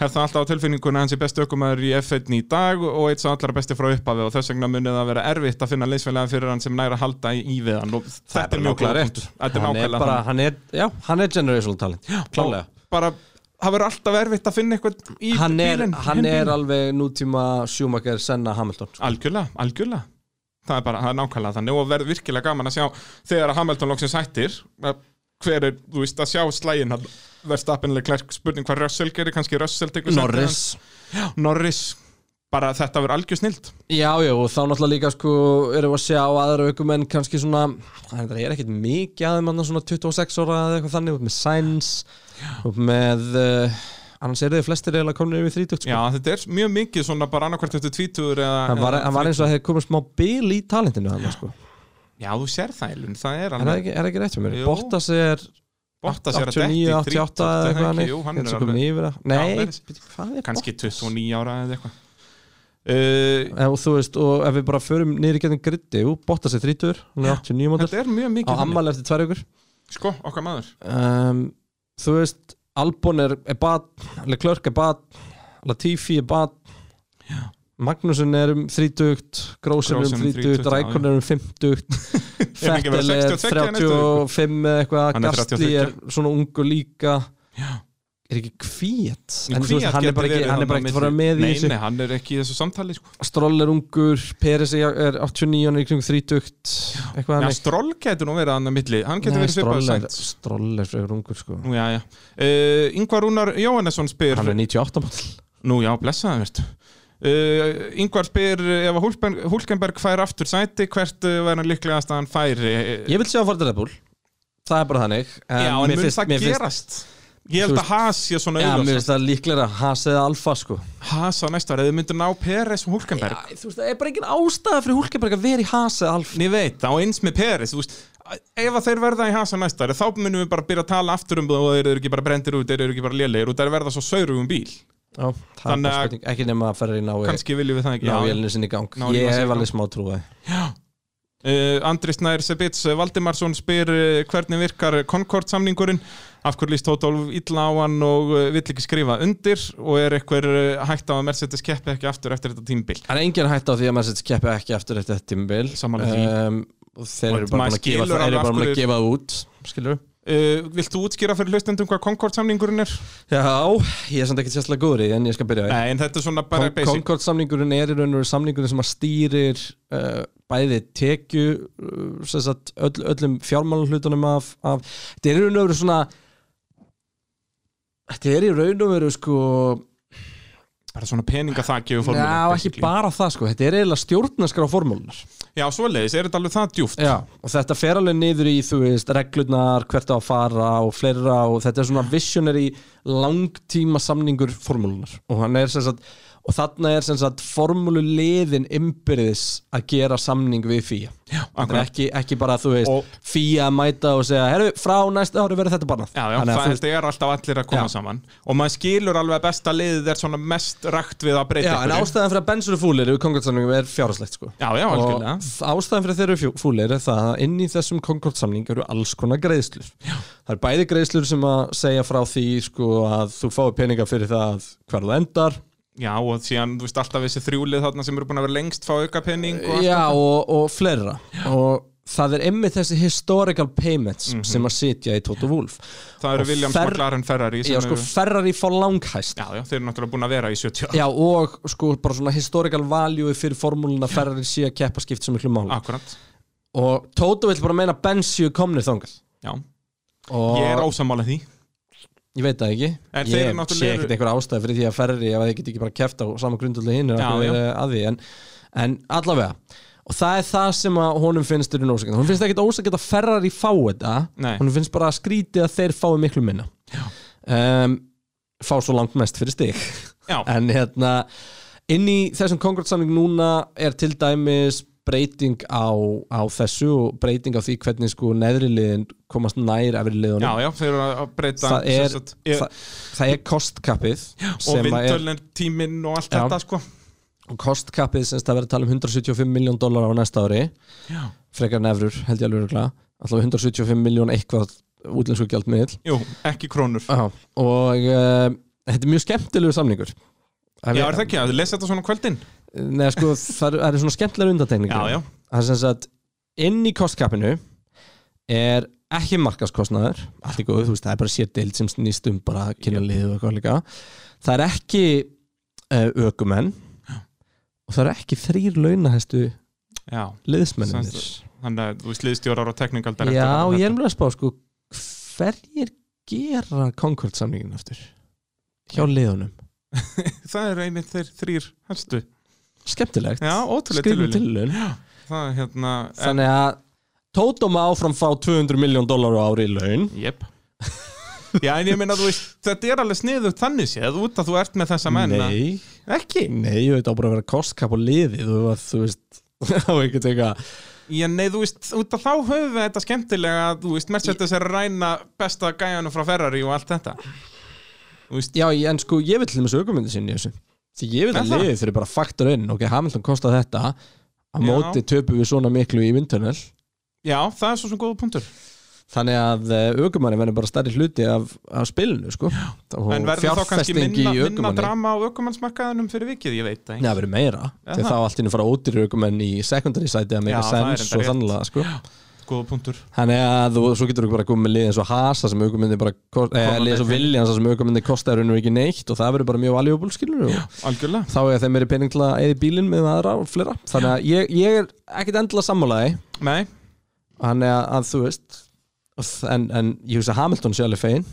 S2: Hef það alltaf á tilfinninguna hans í bestu ökumæður í F1 í dag og eitt sem allra besti frá upphafi og þess vegna munið að vera erfitt að finna leysfélaga fyrir hann sem næra halda í, í við hann og þetta er mjög
S1: nákvæmlega
S2: klárt.
S1: rétt.
S2: Þetta
S1: hann
S2: er
S1: er
S2: nákvæmlega
S1: bara,
S2: þannig.
S1: hann er, já, hann er generational talent já, klálega
S2: Og bara, það verður alltaf erfitt að finna eitthvað í
S1: hann er,
S2: bílinn
S1: hann
S2: hinn
S1: er
S2: bílinn.
S1: alveg nútíma sjúmakar senna Hamilton sko.
S2: algjörlega, algjörlega það er bara það er nákvæmlega þannig og verður virkilega gaman að sjá þegar að Hamilton loksins hættir að hver er, þú veist, að sjá slægin að verðst appinlega klærk spurning hvað Russell gerir, kannski Russell tekur sætið
S1: Norris
S2: hans. Norris, bara þetta verður algjör snilt
S1: Já, já, og þá náttúrulega líka sko erum við að sjá aðra aukumenn kannski svona, það er ekkert mikið aðeim annar svona 26 ára eða eitthvað þannig út með Sainz, út með uh, annars eru þið flestir eiginlega komin yfir 30 sko.
S2: Já, þetta er mjög mikið svona bara annarkvært eftir tvítur eða,
S1: hann, var,
S2: eða
S1: hann var eins og að hefði komið smá bil í talentinu hann, sko.
S2: Já, þú sér það, Elun, það er
S1: er það ekki, er það ekki rétt hjá mér?
S2: Jú.
S1: Bottas er
S2: Bottas er að detti
S1: 89,
S2: 38,
S1: 88 eða eitthvað
S2: ekki? Jú, hann
S1: hann
S2: er
S1: er
S2: alveg-
S1: komið yfir það
S2: Já,
S1: Nei,
S2: það er-
S1: bíddu, hvað er
S2: kannski
S1: Bottas?
S2: 29 ára eða eitthvað uh,
S1: Eh, og þú veist, og ef við bara förum niður í getnum gritti, jú, Bottas er 30 hann er 89 mótil,
S2: Þetta er mjög
S1: á
S2: mikið þannig.
S1: ammali eftir tvær ykkur
S2: Sko, okkar maður
S1: um, þú veist Albon er, er bat, Leclerc er bat Latifi er bat Magnússon er um 30 Grósson er um
S2: Grossen um
S1: 30,
S2: 30,
S1: Rækon er um 50
S2: Er hann ekki bara
S1: Fettel er
S2: 62 eða næstu viku?
S1: 35 eða eitthvað,
S2: Hann er
S1: Gastli er svona ungur líka
S2: Já.
S1: er ekki kvít en þú
S2: Kvíat
S1: veist, hann er
S2: getur
S1: bara ekki,
S2: verið
S1: hann er bara ekki
S2: þarna hérna milli-
S1: fara með í
S2: nei,
S1: þessu
S2: Nei, hann er ekki í þessu samtali sko.
S1: Stroll er ungur, Peres er 89 hann er í kring 30 eitthvað
S2: Já,
S1: þannig.
S2: Stroll getur nú verið hann að milli Hann getur
S1: Nei,
S2: verið svipað
S1: Stroll er-
S2: sænt
S1: Stroll er frekar ungur sko
S2: Nú, já, já uh, Ingvar Rúnar Jóhannesson spyr
S1: hann er 98 mótil
S2: Nú, já, blessaðan verð Uh, Ingvar spyr uh, ef að Hulkenberg, Hulkenberg fær aftur sæti hvert uh, verður líklegast að hann færi uh,
S1: Ég vil sjá að fara til Red Bull Það er bara þannig
S2: Já, en
S1: mér
S2: mun
S1: finnst-
S2: það
S1: mér finnst-
S2: gerast? Ég held
S1: Þú
S2: að Haas sé svona
S1: Já, mér
S2: auðvitað
S1: finnst það líklega að Haas eða Alfa sko
S2: Haas á næsta ára, ef þið myndir ná Peres og Hulkenberg
S1: þú veist, það er bara engin ástæða fyrir Hulkenberg að vera í Haas eða Alfa
S2: En ég veit, á eins með Peres þú veist, ef að þeir verða í hasa næsta ári þá munum við bara byrja að tala aftur um það og þeir eru ekki bara brendir út, þeir eru ekki bara lélegir og þeir verða svo saurugum bíl,
S1: Já, það er
S2: Þannig
S1: bara
S2: að-
S1: spurning, ekki nema að ferri í nái
S2: kannski viljum við það ekki
S1: Ná
S2: já.
S1: vélinu sinni í gang
S2: Ná
S1: Ég
S2: vélinni sinni í
S1: hef
S2: gang.
S1: alveg smá trúið
S2: uh, Andri Snær Sebits eh, Valdimarsson spyr uh, hvernig virkar Concord samningurinn af hverju líst Tótólf illa á hann og uh, vill ekki skrifa undir og er eitthvað uh, hægt á að Mercedes keppi ekki aftur eftir þetta tímbil
S1: Það er engin hætt á því að Mercedes keppi ekki aftur eftir þetta tímabil
S2: Sammála því.
S1: um, og Þeir
S2: Og
S1: eru bara
S2: maður
S1: búin að gefa
S2: skilur
S1: það,
S2: alveg
S1: eru bara
S2: af
S1: búin að
S2: hverju-
S1: gefa það út Skilur
S2: uh, Vilt þú útskýra fyrir hlustendum hvað Concord samningurinn er?
S1: Já, ég er samt ekki sérslega góður í því, en ég skal byrja á því.
S2: Nei, en þetta er svona bara
S1: Kon
S2: basic
S1: Concord samningurinn er í raun og veru samningurinn sem að stýrir uh, bæði tekju uh, sem sagt, öll, öllum fjármálhlutunum af, af þetta er í raun og veru svona þetta er í raun og veru sko
S2: bara svona peningathaki og formúlu
S1: já ekki
S2: basically.
S1: bara það sko þetta er eiginlega stjórnaskra á formúlunar
S2: Já, svoleiðis, er þetta alveg það djúft?
S1: já og þetta fer alveg niður í þú veist reglurnar hvert á að fara og fleira og þetta er svona visionary langtíma samningur formúlunar og hann er sem sagt og þarna er sem sagt formúluliðin ymbirðis að gera samning við FIA Þetta
S2: Já,
S1: er
S2: akkurat
S1: ekki, ekki bara þú veist
S2: Og-
S1: fía að mæta og segja herru, frá næsta ári verður þetta bannað
S2: Já, já,
S1: Þannig að
S2: það
S1: þú
S2: þetta er alltaf allir að koma
S1: Já.
S2: saman og maður skilur alveg að besta liðið er svona mest rakt við að breyta
S1: Já, en
S2: einhverju.
S1: ástæðan fyrir að Benson og Fúlir eru konkurtsamningum er fjárhastlegt sko
S2: Já, já,
S1: og
S2: algjörlega
S1: ástæðan fyrir að þeir eru fjú- fúlir er það að inn í þessum konkurtsamning eru alls konar greiðslur já. það er bæði greiðslur sem að segja frá því sko að þú fáir peninga fyrir það hvar það endar
S2: Já, og síðan, þú veist, alltaf þessi þrjúlið þarna sem eru búin að vera lengst fá auka penning og
S1: já, og, og fleira og það er einmitt þessi historical payments sem að sitja í Toto Wolf
S2: það eru
S1: og
S2: Williams
S1: fer-
S2: McLaren Ferrari sem
S1: já, sko,
S2: eru,
S1: Ferrari fór langhæst
S2: já, já, þeir eru náttúrulega búin að vera í 70
S1: Já og sko bara svona historical value fyrir formúluna Ferrari sé að keppa skipt sem miklu máli
S2: Akkurat,
S1: og Tóta vill bara meina að Benz séu komnir þangað
S2: já,
S1: og
S2: ég
S1: ég,
S2: er ósamála því
S1: veit það ekki
S2: En þeir
S1: ég
S2: eru náttúrulega-
S1: sé ekkert einhver ástæð fyrir því að Ferrari ef þeir get ekki bara keppt á sama grundullu hinn
S2: Já, já.
S1: eh, að því en, en allavega og það er það sem að honum finnst er ósakend hún finnst ekkert ósakend að Ferrari fá þetta
S2: Nei.
S1: hún finnst bara skrítið að þeir fái miklu minna um, fá svo langt mest fyrir stig
S2: Já,
S1: en hérna inn í þessum konkurtsamling núna er til dæmis breyting á, á þessu og breyting á því hvernig sko neðri liðin komast nær efri
S2: já,
S1: liðunum
S2: já, þeir eru að breyta
S1: það,
S2: sem
S1: er,
S2: sagt, ég,
S1: það, það er kostkappið
S2: og
S1: að er,
S2: vindölin tíminn og allt
S1: Já.
S2: þetta, sko
S1: og kostkappið sem það verður að tala um 175 miljón dólar á næsta ári
S2: Já.
S1: frekar nefrur held ég alveg örugglega. allavega 175 miljón eitthvað útlensku gjaldmiðl
S2: Jú, ekki krónur
S1: Já, og uh, þetta er mjög skemmtilegu samningur
S2: Já, er það ekki, að lesa þetta svona á kvöldin
S1: Nei, sko, það eru- það eru svona skemmtilega undatekningar
S2: Já, já.
S1: Það er sem sagt, inn í kostkappinu er ekki markaskostnaður Allt í góð, þú veist, það er bara sér deild sem snýst um bara að kynna liðið og eitthvað líka Það er eh, ekki uh, ökumenn Og það eru ekki þrýr launahestu
S2: já
S1: liðsmennir
S2: Sem- Þannig að þú veist liðstjórar og teknikaldar
S1: Já, ég er mjög að spá sko hverjir gera Concord samningin aftur hjá liðunum
S2: Það er einnig þeir þrýr helstu
S1: Skemmtilegt,
S2: Já, ótrúlega
S1: skrifum
S2: tilviljun.
S1: tilun
S2: Það er hérna en-
S1: Þannig að Tóto má áfram fá 200 miljón dólar á ári í laun
S2: Jep Já, en ég meina, þú veist, þetta er alveg sniðugt þannig séð út að þú ert með þessa menn að-
S1: Nei,
S2: Ekki
S1: nei, ég veit á bara að vera kostkap og liðið þú, veist, þú veist, á ekkert eitthvað
S2: Já, nei, þú veist, út af þá höfum við þetta skemmtilega að, Þú veist, Mercedes er að ræna besta gæjanum frá Ferrari og allt þetta
S1: Já, ég- en sko, ég vil til þessu aukumyndi sinni þessu Því ég vil
S2: Er
S1: að
S2: það?
S1: liðið þurfi bara að faktur inn Ok, Hamilton kostað þetta á
S2: Já.
S1: móti töpu við svona miklu í vindtunnel
S2: Já, það er svo sem góða punktur
S1: Þannig að aukumanni verður bara stærri hluti af, af spilinu, sko Og
S2: En verður þá kannski
S1: fjárfesting
S2: minna,
S1: í
S2: minna
S1: ökumanni.
S2: drama á ökumannsmarkaðunum fyrir vikið, ég veit það
S1: Nei, það verður meira
S2: Já.
S1: Þegar þá allt inni fara ódýri aukumenn í secondary sæti að meika
S2: Já, það er
S1: sens
S2: enda
S1: og
S2: rétt.
S1: þannlega, sko
S2: ekki Góða punktur
S1: Þannig að þú, svo getur þú bara komið með lið eins og Hasa sem aukumyndi bara kost, eh,
S2: Koma
S1: lið eins og
S2: með þeim.
S1: Williams sem aukumyndi kostar raunum ekki neitt og það verður bara mjög valuable skilur og
S2: Algjörlega
S1: þá er þeim meiri pening til að eða bílinn með aðra og fleira þannig að ég, ég er ekkit endilega sammálaði
S2: Nei,
S1: þannig að, að þú veist en, en ég hugsa að Hamilton sé alveg fein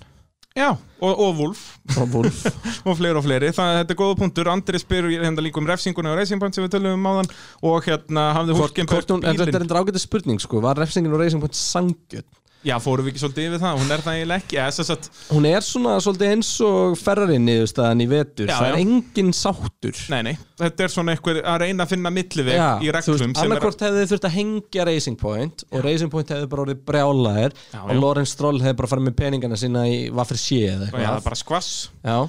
S2: já, og, og Wolf
S1: og Wolf
S2: og fleiri og fleiri, þannig að þetta er góða punktur Andri spyr hérna líka um refsinguna og racing point sem við tölum um áðan og hérna hafði
S1: Hvort-
S2: Hulkenberg
S1: hvort hún- en þetta er
S2: bílinn
S1: endur ágætið spurning sko var refsingin og racing point sangjörn
S2: Já, fórum við ekki svolítið yfir það, hún er það eiginlega ekki Já, þess að,
S1: hún er svona svolítið eins og ferrari niðurstaðan í vetur
S2: Já,
S1: það er
S2: já.
S1: engin sáttur
S2: nei, nei, þetta er svona einhver að reyna að finna milliveg
S1: Já,
S2: í
S1: þú
S2: reglum
S1: veist,
S2: sem er-
S1: annarkvort hefði þið þurft að hengja Racing Point og Racing Point hefði bara orðið brjálæðir
S2: Já,
S1: og
S2: já.
S1: Lorenz Stroll hefði bara farið með peningana sína í Vaffer Sjö eða
S2: Já, það er
S1: eitthvað
S2: bara skvass,
S1: Já,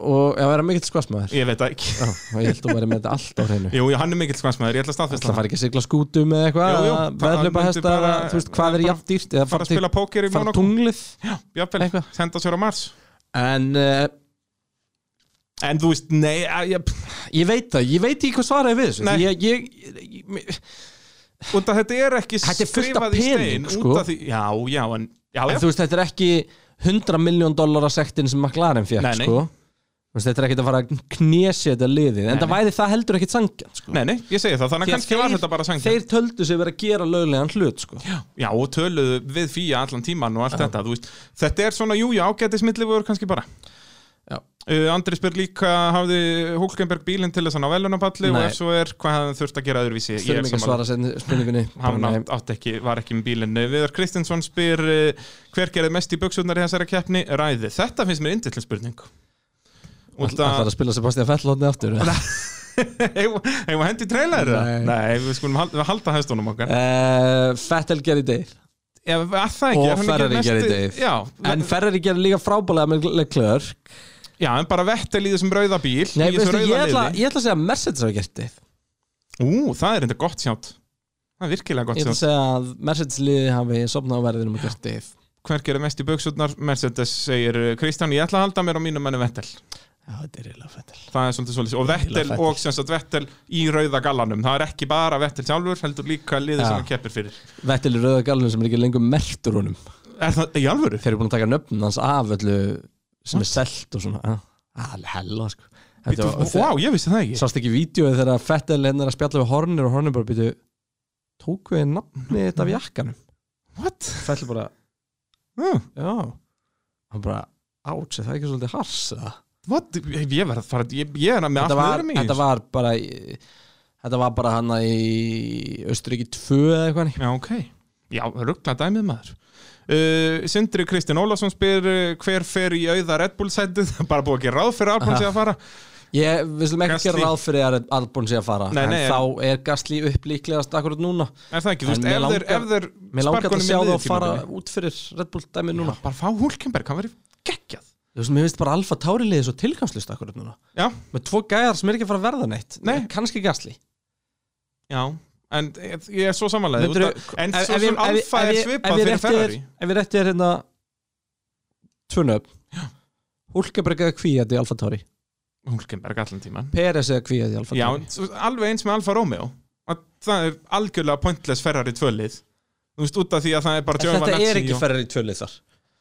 S1: og já, er hann mikill skvassmaður?
S2: ég veit það ekki
S1: Já, og ég held að vera með þetta allt á hreinu
S2: Jú, já, hann er mikill skvassmaður, ég ætla að staðfesta
S1: Það fari ekki að sigla skútum eða
S2: Jú,
S1: eitthvað
S2: jú, það-
S1: veðlöpa
S2: hann myndi
S1: hestar,
S2: bara-
S1: þú veist, hvað er
S2: bara-
S1: jafn dýrt eða
S2: fara
S1: fara
S2: að spila póker í
S1: til- fara
S2: Monaco
S1: tunglið
S2: Jafnvel,
S1: Eitthvað.
S2: senda sér á Mars
S1: En uh,
S2: En þú veist, nei, að, ég,
S1: ég veit það, ég veit ekki hvað svaraði við þessu
S2: Nei.
S1: Því ég, ég, ég,
S2: út af þetta er ekki
S1: Þetta er fullt af
S2: skrifað í stein
S1: pening,
S2: út
S1: sko.
S2: af því, Já, já, en já,
S1: En
S2: já,
S1: þú veist, þetta er ekki 100 miljón dollara sektin sem McLaren fekk,
S2: Nei, nei.
S1: sko Þú veist, Þetta er ekkert að fara að knésja þetta liðið En
S2: Nei,
S1: það væri það heldur ekkert sangjan sko.
S2: Nei, nei, ég segi það, þannig að kannski var þetta bara sangjant
S1: Þeir töldu sig verið að gera löglegan hlut sko.
S2: Já, og töluðu við fýja allan tíman og allt þetta, þú veist Þetta er svona, jú, já, ágætis millivögur kannski bara
S1: Já.
S2: uh, Andri spyr líka, hafði Hulkenberg bílinn til þess að ná velunapalli og
S1: Nei.
S2: ef svo er, hvað hafði hann þurft að gera öðruvísi Ég er
S1: Þurfum ekki að
S2: sammála.
S1: svara seinni spurningunni
S2: hann
S1: Bara,
S2: átt, átt ekki, var ekki með bílinn Uh, Viðar Kristinsson spyr uh, hver gerði mest í buksutnar í þessari keppni ræði, þetta finnst mér indill spurning
S1: nei,
S2: og
S1: all- Allar að spila Sebastian Fettlóni aftur uh,
S2: hefur hendi trailer
S1: Nei.
S2: nei. nei, við skulum hal- við halda hæstunum okkar
S1: Fettel Eh, gerir degir
S2: Ef, að það ekki,
S1: Og
S2: er hann ekki
S1: Ferrari
S2: mesti-
S1: gerði Dave.
S2: já,
S1: En Ferrari gerir líka frábælega með Leclerc
S2: já, en bara Vettel í þessum rauða bíl
S1: Nei,
S2: í
S1: veistu,
S2: þessum
S1: ég
S2: rauða
S1: ætla,
S2: liði
S1: ég ætla að segja að Mercedes hafa gert þið
S2: ú, það er enda gott sjátt það er virkilega
S1: Ég
S2: gott
S1: ætla að
S2: sjátt
S1: segja að Mercedes liði hafi sopnað á verðinum og gert þið
S2: hver gerði mest í buksutnar, Mercedes segir uh, Kristján, ég ætla að halda mér á mínum menni Vettel
S1: Já, þetta er reyla Fettel
S2: það er svolítið svolítið og
S1: Eiginlega
S2: Vettel
S1: Vettel.
S2: og sem sagt Vettel í rauða gallanum það er ekki bara Vettel sjálfur heldur líka liðið
S1: Já.
S2: sem hann keppir fyrir
S1: Vettel er rauða galunum sem er ekki lengur mertur honum
S2: er það í alvöru?
S1: Þeir eru búin að taka nöfnum hans af öllu sem er selt og svona Alveg hella sko Þetta
S2: Býtu,
S1: var-
S2: vá, ég vissi það ekki
S1: Sást ekki vídeo þegar að Fettel hennar að spjalla við hornir og hornir bara býtu Tók við nafni þetta af jakkanum
S2: what?
S1: Fettel bara,
S2: Uh,
S1: já Hann bara, áts, er það ekki svolítið hars eða?"
S2: what? Ég, ég, verð að fara, ég, ég er með
S1: þetta
S2: allt
S1: var,
S2: öðrum í
S1: þetta
S2: þessu.
S1: var bara í- Þetta var bara hann í Östuríki 2 eða eitthvað hannig
S2: já ok já ruggla dæmið maður Uh, Sindri Kristinn Ólafsson spyr uh, hver fer í auða Red Bull sætið Það er bara búið að gera ráð fyrir Albon
S1: Aha.
S2: sér að fara
S1: Ég, við slum ekki
S2: Gasly.
S1: gera ráð fyrir að Albon sé að fara
S2: Nei, nei,
S1: En þá er Gasly upplíklegast akkurat núna
S2: Er það ekki, þú
S1: En
S2: veist,
S1: mér
S2: ef þeir-
S1: langar-
S2: ef þeir
S1: Mér langar
S2: sparka
S1: að
S2: honum í
S1: sjá það
S2: liðið
S1: að fara
S2: tímabilið.
S1: út fyrir Red Bull dæmi núna
S2: Já, Bara fá Hulkenberg, hann verið geggjað
S1: Þú veist, mér finnst bara Alfa Tauri liðið svo tilgangslust akkurat núna
S2: Já,
S1: Með tvo gæjar sem er ekki að fara að verða neitt
S2: Nei.
S1: Kannski Gasly
S2: Já, en ég ég er svo samanlega
S1: Myndirðu-
S2: En
S1: Ef-
S2: svo
S1: ef ég- ef
S2: sem
S1: ég-
S2: alfa
S1: ef
S2: er
S1: ég- ef ég
S2: svipað fyrir
S1: rétti er-
S2: Ferrari
S1: Ef við rétti er hérna Tvunöf Hulkeberg eða kvíðið í Alfa Tauri
S2: Hulkenberg allan tíman
S1: Peres eða kvíðið í Alfa
S2: Já,
S1: Tauri
S2: svo- alveg eins með Alfa Romeo að Það er algjörlega pointless Ferrari tvölið Þú veist, út af því að það er bara
S1: En Þetta
S2: Giovinazzi
S1: er ekki
S2: og-
S1: ferrið í tvölið þar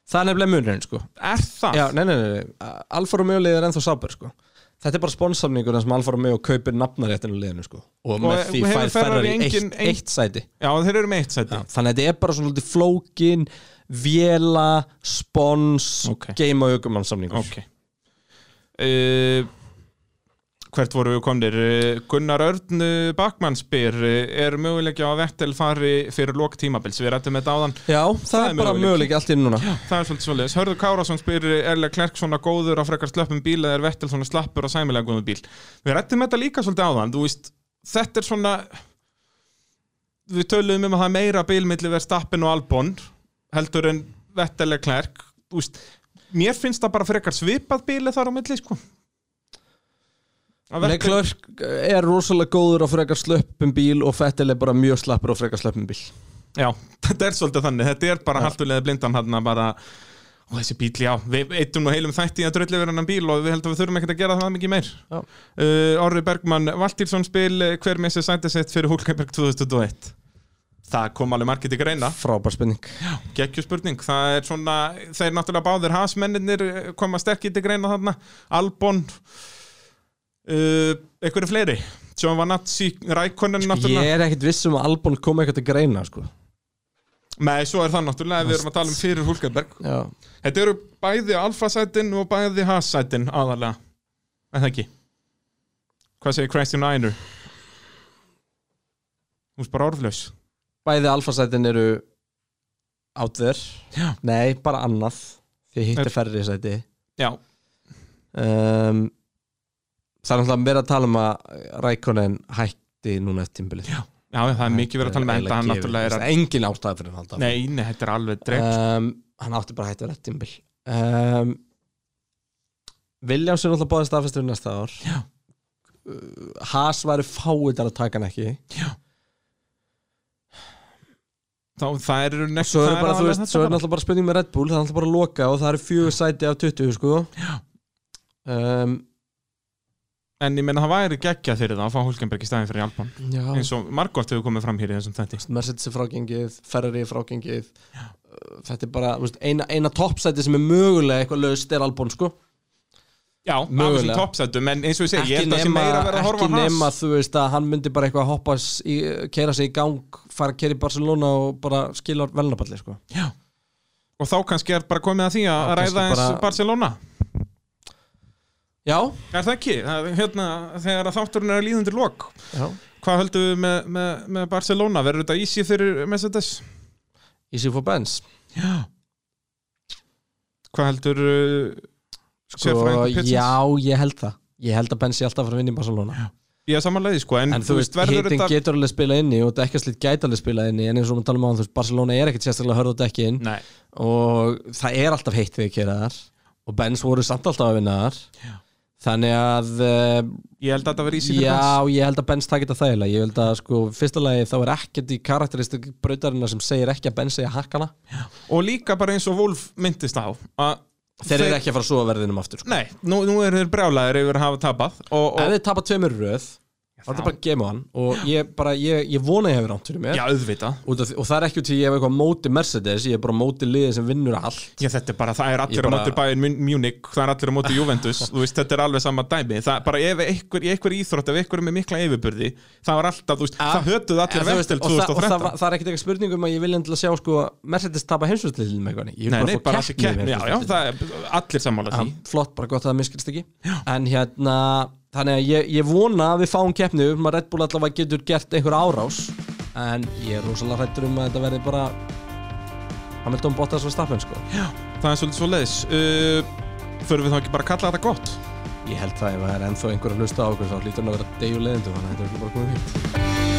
S1: Það er nefnilega munurinn sko
S2: Er það?
S1: Já, nei, nei, nei, nei. Alfa Romeo liðið er ennþá sábær sko Þetta er bara sponsamningur sem Alfa Romeo kaupir nafnaréttinu liðinu sko. og, með því
S2: hefur
S1: fær
S2: Ferrari
S1: Ferrari eitt,
S2: engin- engin-
S1: eitt sæti
S2: Já, þeir eru með eitt sæti
S1: Þannig að þetta er bara svolítið flókin Vela, spons
S2: Ok.
S1: Game og aukumannsamningur
S2: Ok uh, Hvert voru við komnir? Eh, Gunnar Örn eh, Bakmann spyr eh, Er möguleiki á að Vettel fari fyrir lok tímabils? Við rættum þetta áðan
S1: Já, það,
S2: er
S1: er bara
S2: möguleiki.
S1: möguleik allt inn núna
S2: Það er svolítið svolítið Hörður Kárásson spyr Erlega Klerk svona góður á frekar slöppum bíl eða er Vettel svona slappur á sæmilega góðum bíl Við rættum þetta líka svolítið áðan Þú veist, þetta er svona Við töluðum um að það er meira bíl milli Verstappen og Albon heldur en Vettel eða Klerk Þú veist, mér finnst það bara frekar svipað bíli þar á milli sko Að Vettel-
S1: Leclerc er rosalega góður á frekar slöppum bíl og Fettel er bara mjög slappur á frekar slöppum bíl
S2: Já, þetta er svolítið þannig, þetta er bara haldulega blindan hann að bara og þessi bíl, já, við eittum nú heilum þætti í að dröllu vera hann bíl og við heldum að við þurfum ekkert að gera það mikið meir
S1: Já.
S2: uh, Orri Bergmann, Valtírsson spil eh, hver missi sættisett fyrir Hulkenberg 2021 Það kom alveg margir til greina
S1: Frábær spenning
S2: Gekkju spurning, það er svona þeir náttúrulega báðir hasmennir koma sterkir til greina þarna Albon uh, einhverju fleiri John Vanazzi, Rækonen náttúrulega
S1: Ég er ekkit viss um að Albon kom eitthvað til greina sko.
S2: Nei, svo er það náttúrulega, við erum að tala um fyrir Hulkenberg
S1: Já,
S2: Þetta eru bæði alfasætin og bæði hassætin aðalega En það ekki Hvað segir Christian Einer? Hún er bara orðlaus
S1: bæði alfasætin eru out there
S2: Já.
S1: nei, bara annað því hitt
S2: Er-
S1: er færri sæti
S2: Já,
S1: um, það er náttúrulega verið að tala um að Rækonen hætti núna eftir tímbilið já,
S2: já það er mikið verið að tala með þetta Hann náttúrulega er að
S1: engin ástæð fyrir hann halda
S2: Nei, nei, þetta er alveg dreif
S1: um, hann átti bara að hætti eftir tímbil um, Viljáms er náttúrulega bóðið staðfestur næsta ár já Haas væri fáið að taka hann ekki
S2: Þá það eru næst
S1: Svo er bara, þú veist, svo er náttúrulega bara spurning með Red Bull það er náttúrulega bara að loka og það eru fjögur sæti af 20, sko Já um,
S2: En ég meina það væri geggja fyrir það að fá Hulkenberg í staðin fyrir Alban
S1: Já
S2: Eins og Margot hefur komið fram hér í þessum þetta
S1: Mercedes er frágengið, Ferrari er frágengið Uh, Þetta er bara, þú veist, eina, eina toppsæti sem er mögulega eitthvað löst er Albon, sko
S2: Já, af þessum
S1: Mögulega.
S2: toppsætum En eins og ég segi, ég held að það sé meira að vera að horfa
S1: ekki
S2: á Haas.
S1: nema þú veist að hann myndi bara eitthvað hoppa s- í, keira sig í gang, fara að keira í Barcelona og bara skila velnaballi, sko
S2: Og þá kannski er bara komið að því að
S1: Já, kannski
S2: ræða eins
S1: bara-
S2: Barcelona
S1: Já,
S2: Er það ekki? Það, er hérna, þegar að þátturinn er að líða undir lok
S1: já
S2: Hvað höldum við með, með, með Barcelona? Verður þetta ísi fyrir Mercedes?
S1: Easy for Benz
S2: Já Hvað heldur uh,
S1: Sko,
S2: Sérfræðingur Pitsons?
S1: já, ég held það Ég held að Benz sé alltaf að fara að vinna í Barcelona Já
S2: ég samanlega sko en,
S1: En þú veist,
S2: verður
S1: hitin
S2: þetta
S1: getur alveg spilað inni og dekkjarslit gæti alveg spilað inni en eins og við talum á hann, þú veist, Barcelona er ekkert sérstaklega hörð á dekkin
S2: Nei,
S1: og það er alltaf heitt þegar kera þar og Benz voru samt alltaf að vinna þar
S2: Já.
S1: þannig að uh,
S2: ég held að þetta verður ísi fyrir
S1: já, ég held að Benz takit það þægilega ég held að sko, fyrsta lagi þá er ekkert í karakteristik brautarinnar sem segir ekki að Benz segja hakkana
S2: Benz Og líka bara eins og Wolf myndist á að
S1: þeir eru ekki að fara að sofa verðinum aftur sko.
S2: Nei, nú, nú eru þeir brjálæðir yfir að hafa tapað og,
S1: ef
S2: og,
S1: þið tapa tveimur röð þá er þetta bara game on og ég, bara, ég, ég vona ég hefur rámt fyrir mér
S2: Já, auðvitað
S1: Út af, því- og það er ekki út til ég hef eitthvað á móti Mercedes ég er bara á móti liðið sem vinnur allt
S2: Já, þetta er bara, það er allir
S1: Ég bara-
S2: á móti Bayern Mun- Munich, það er allir á móti Juventus þú veist, þetta er alveg sama dæmi það, bara ef einhver, í einhver íþrótt, ef einhver er með mikla yfirbyrði það var alltaf, þú veist, það hötuð
S1: Ja, Ah,
S2: allir
S1: þú veist,
S2: vestil
S1: og, það, og það,
S2: 2013
S1: var- það er ekkert eitthvað spurning um að ég vilja til að sjá sko, Mercedes tapa heimsvöldliðum eitthvað ég vil
S2: Nei,
S1: bara
S2: nei,
S1: fá
S2: bara þessi
S1: keppni Ah. í
S2: keppni, já, já,
S1: heimsmeistaratitlinum.
S2: það er allir sammála því
S1: Já, flott, bara gott að það miskilst ekki en hérna, þannig að ég, ég vona að við fáum keppni um að Red Bull allavega getur gert einhver árás en ég er rosalega hrættur um að þetta verði bara Hamilton Bottas og Stappen sko.
S2: Það er svolítið svo leiðis uh, Förum við þá ekki bara að kalla þetta gott?
S1: ég held það ef það er ennþá einhver að hlusta á okkur þá hlýtur hann að vera degjulegðindu þannig að þetta er bara komið fínt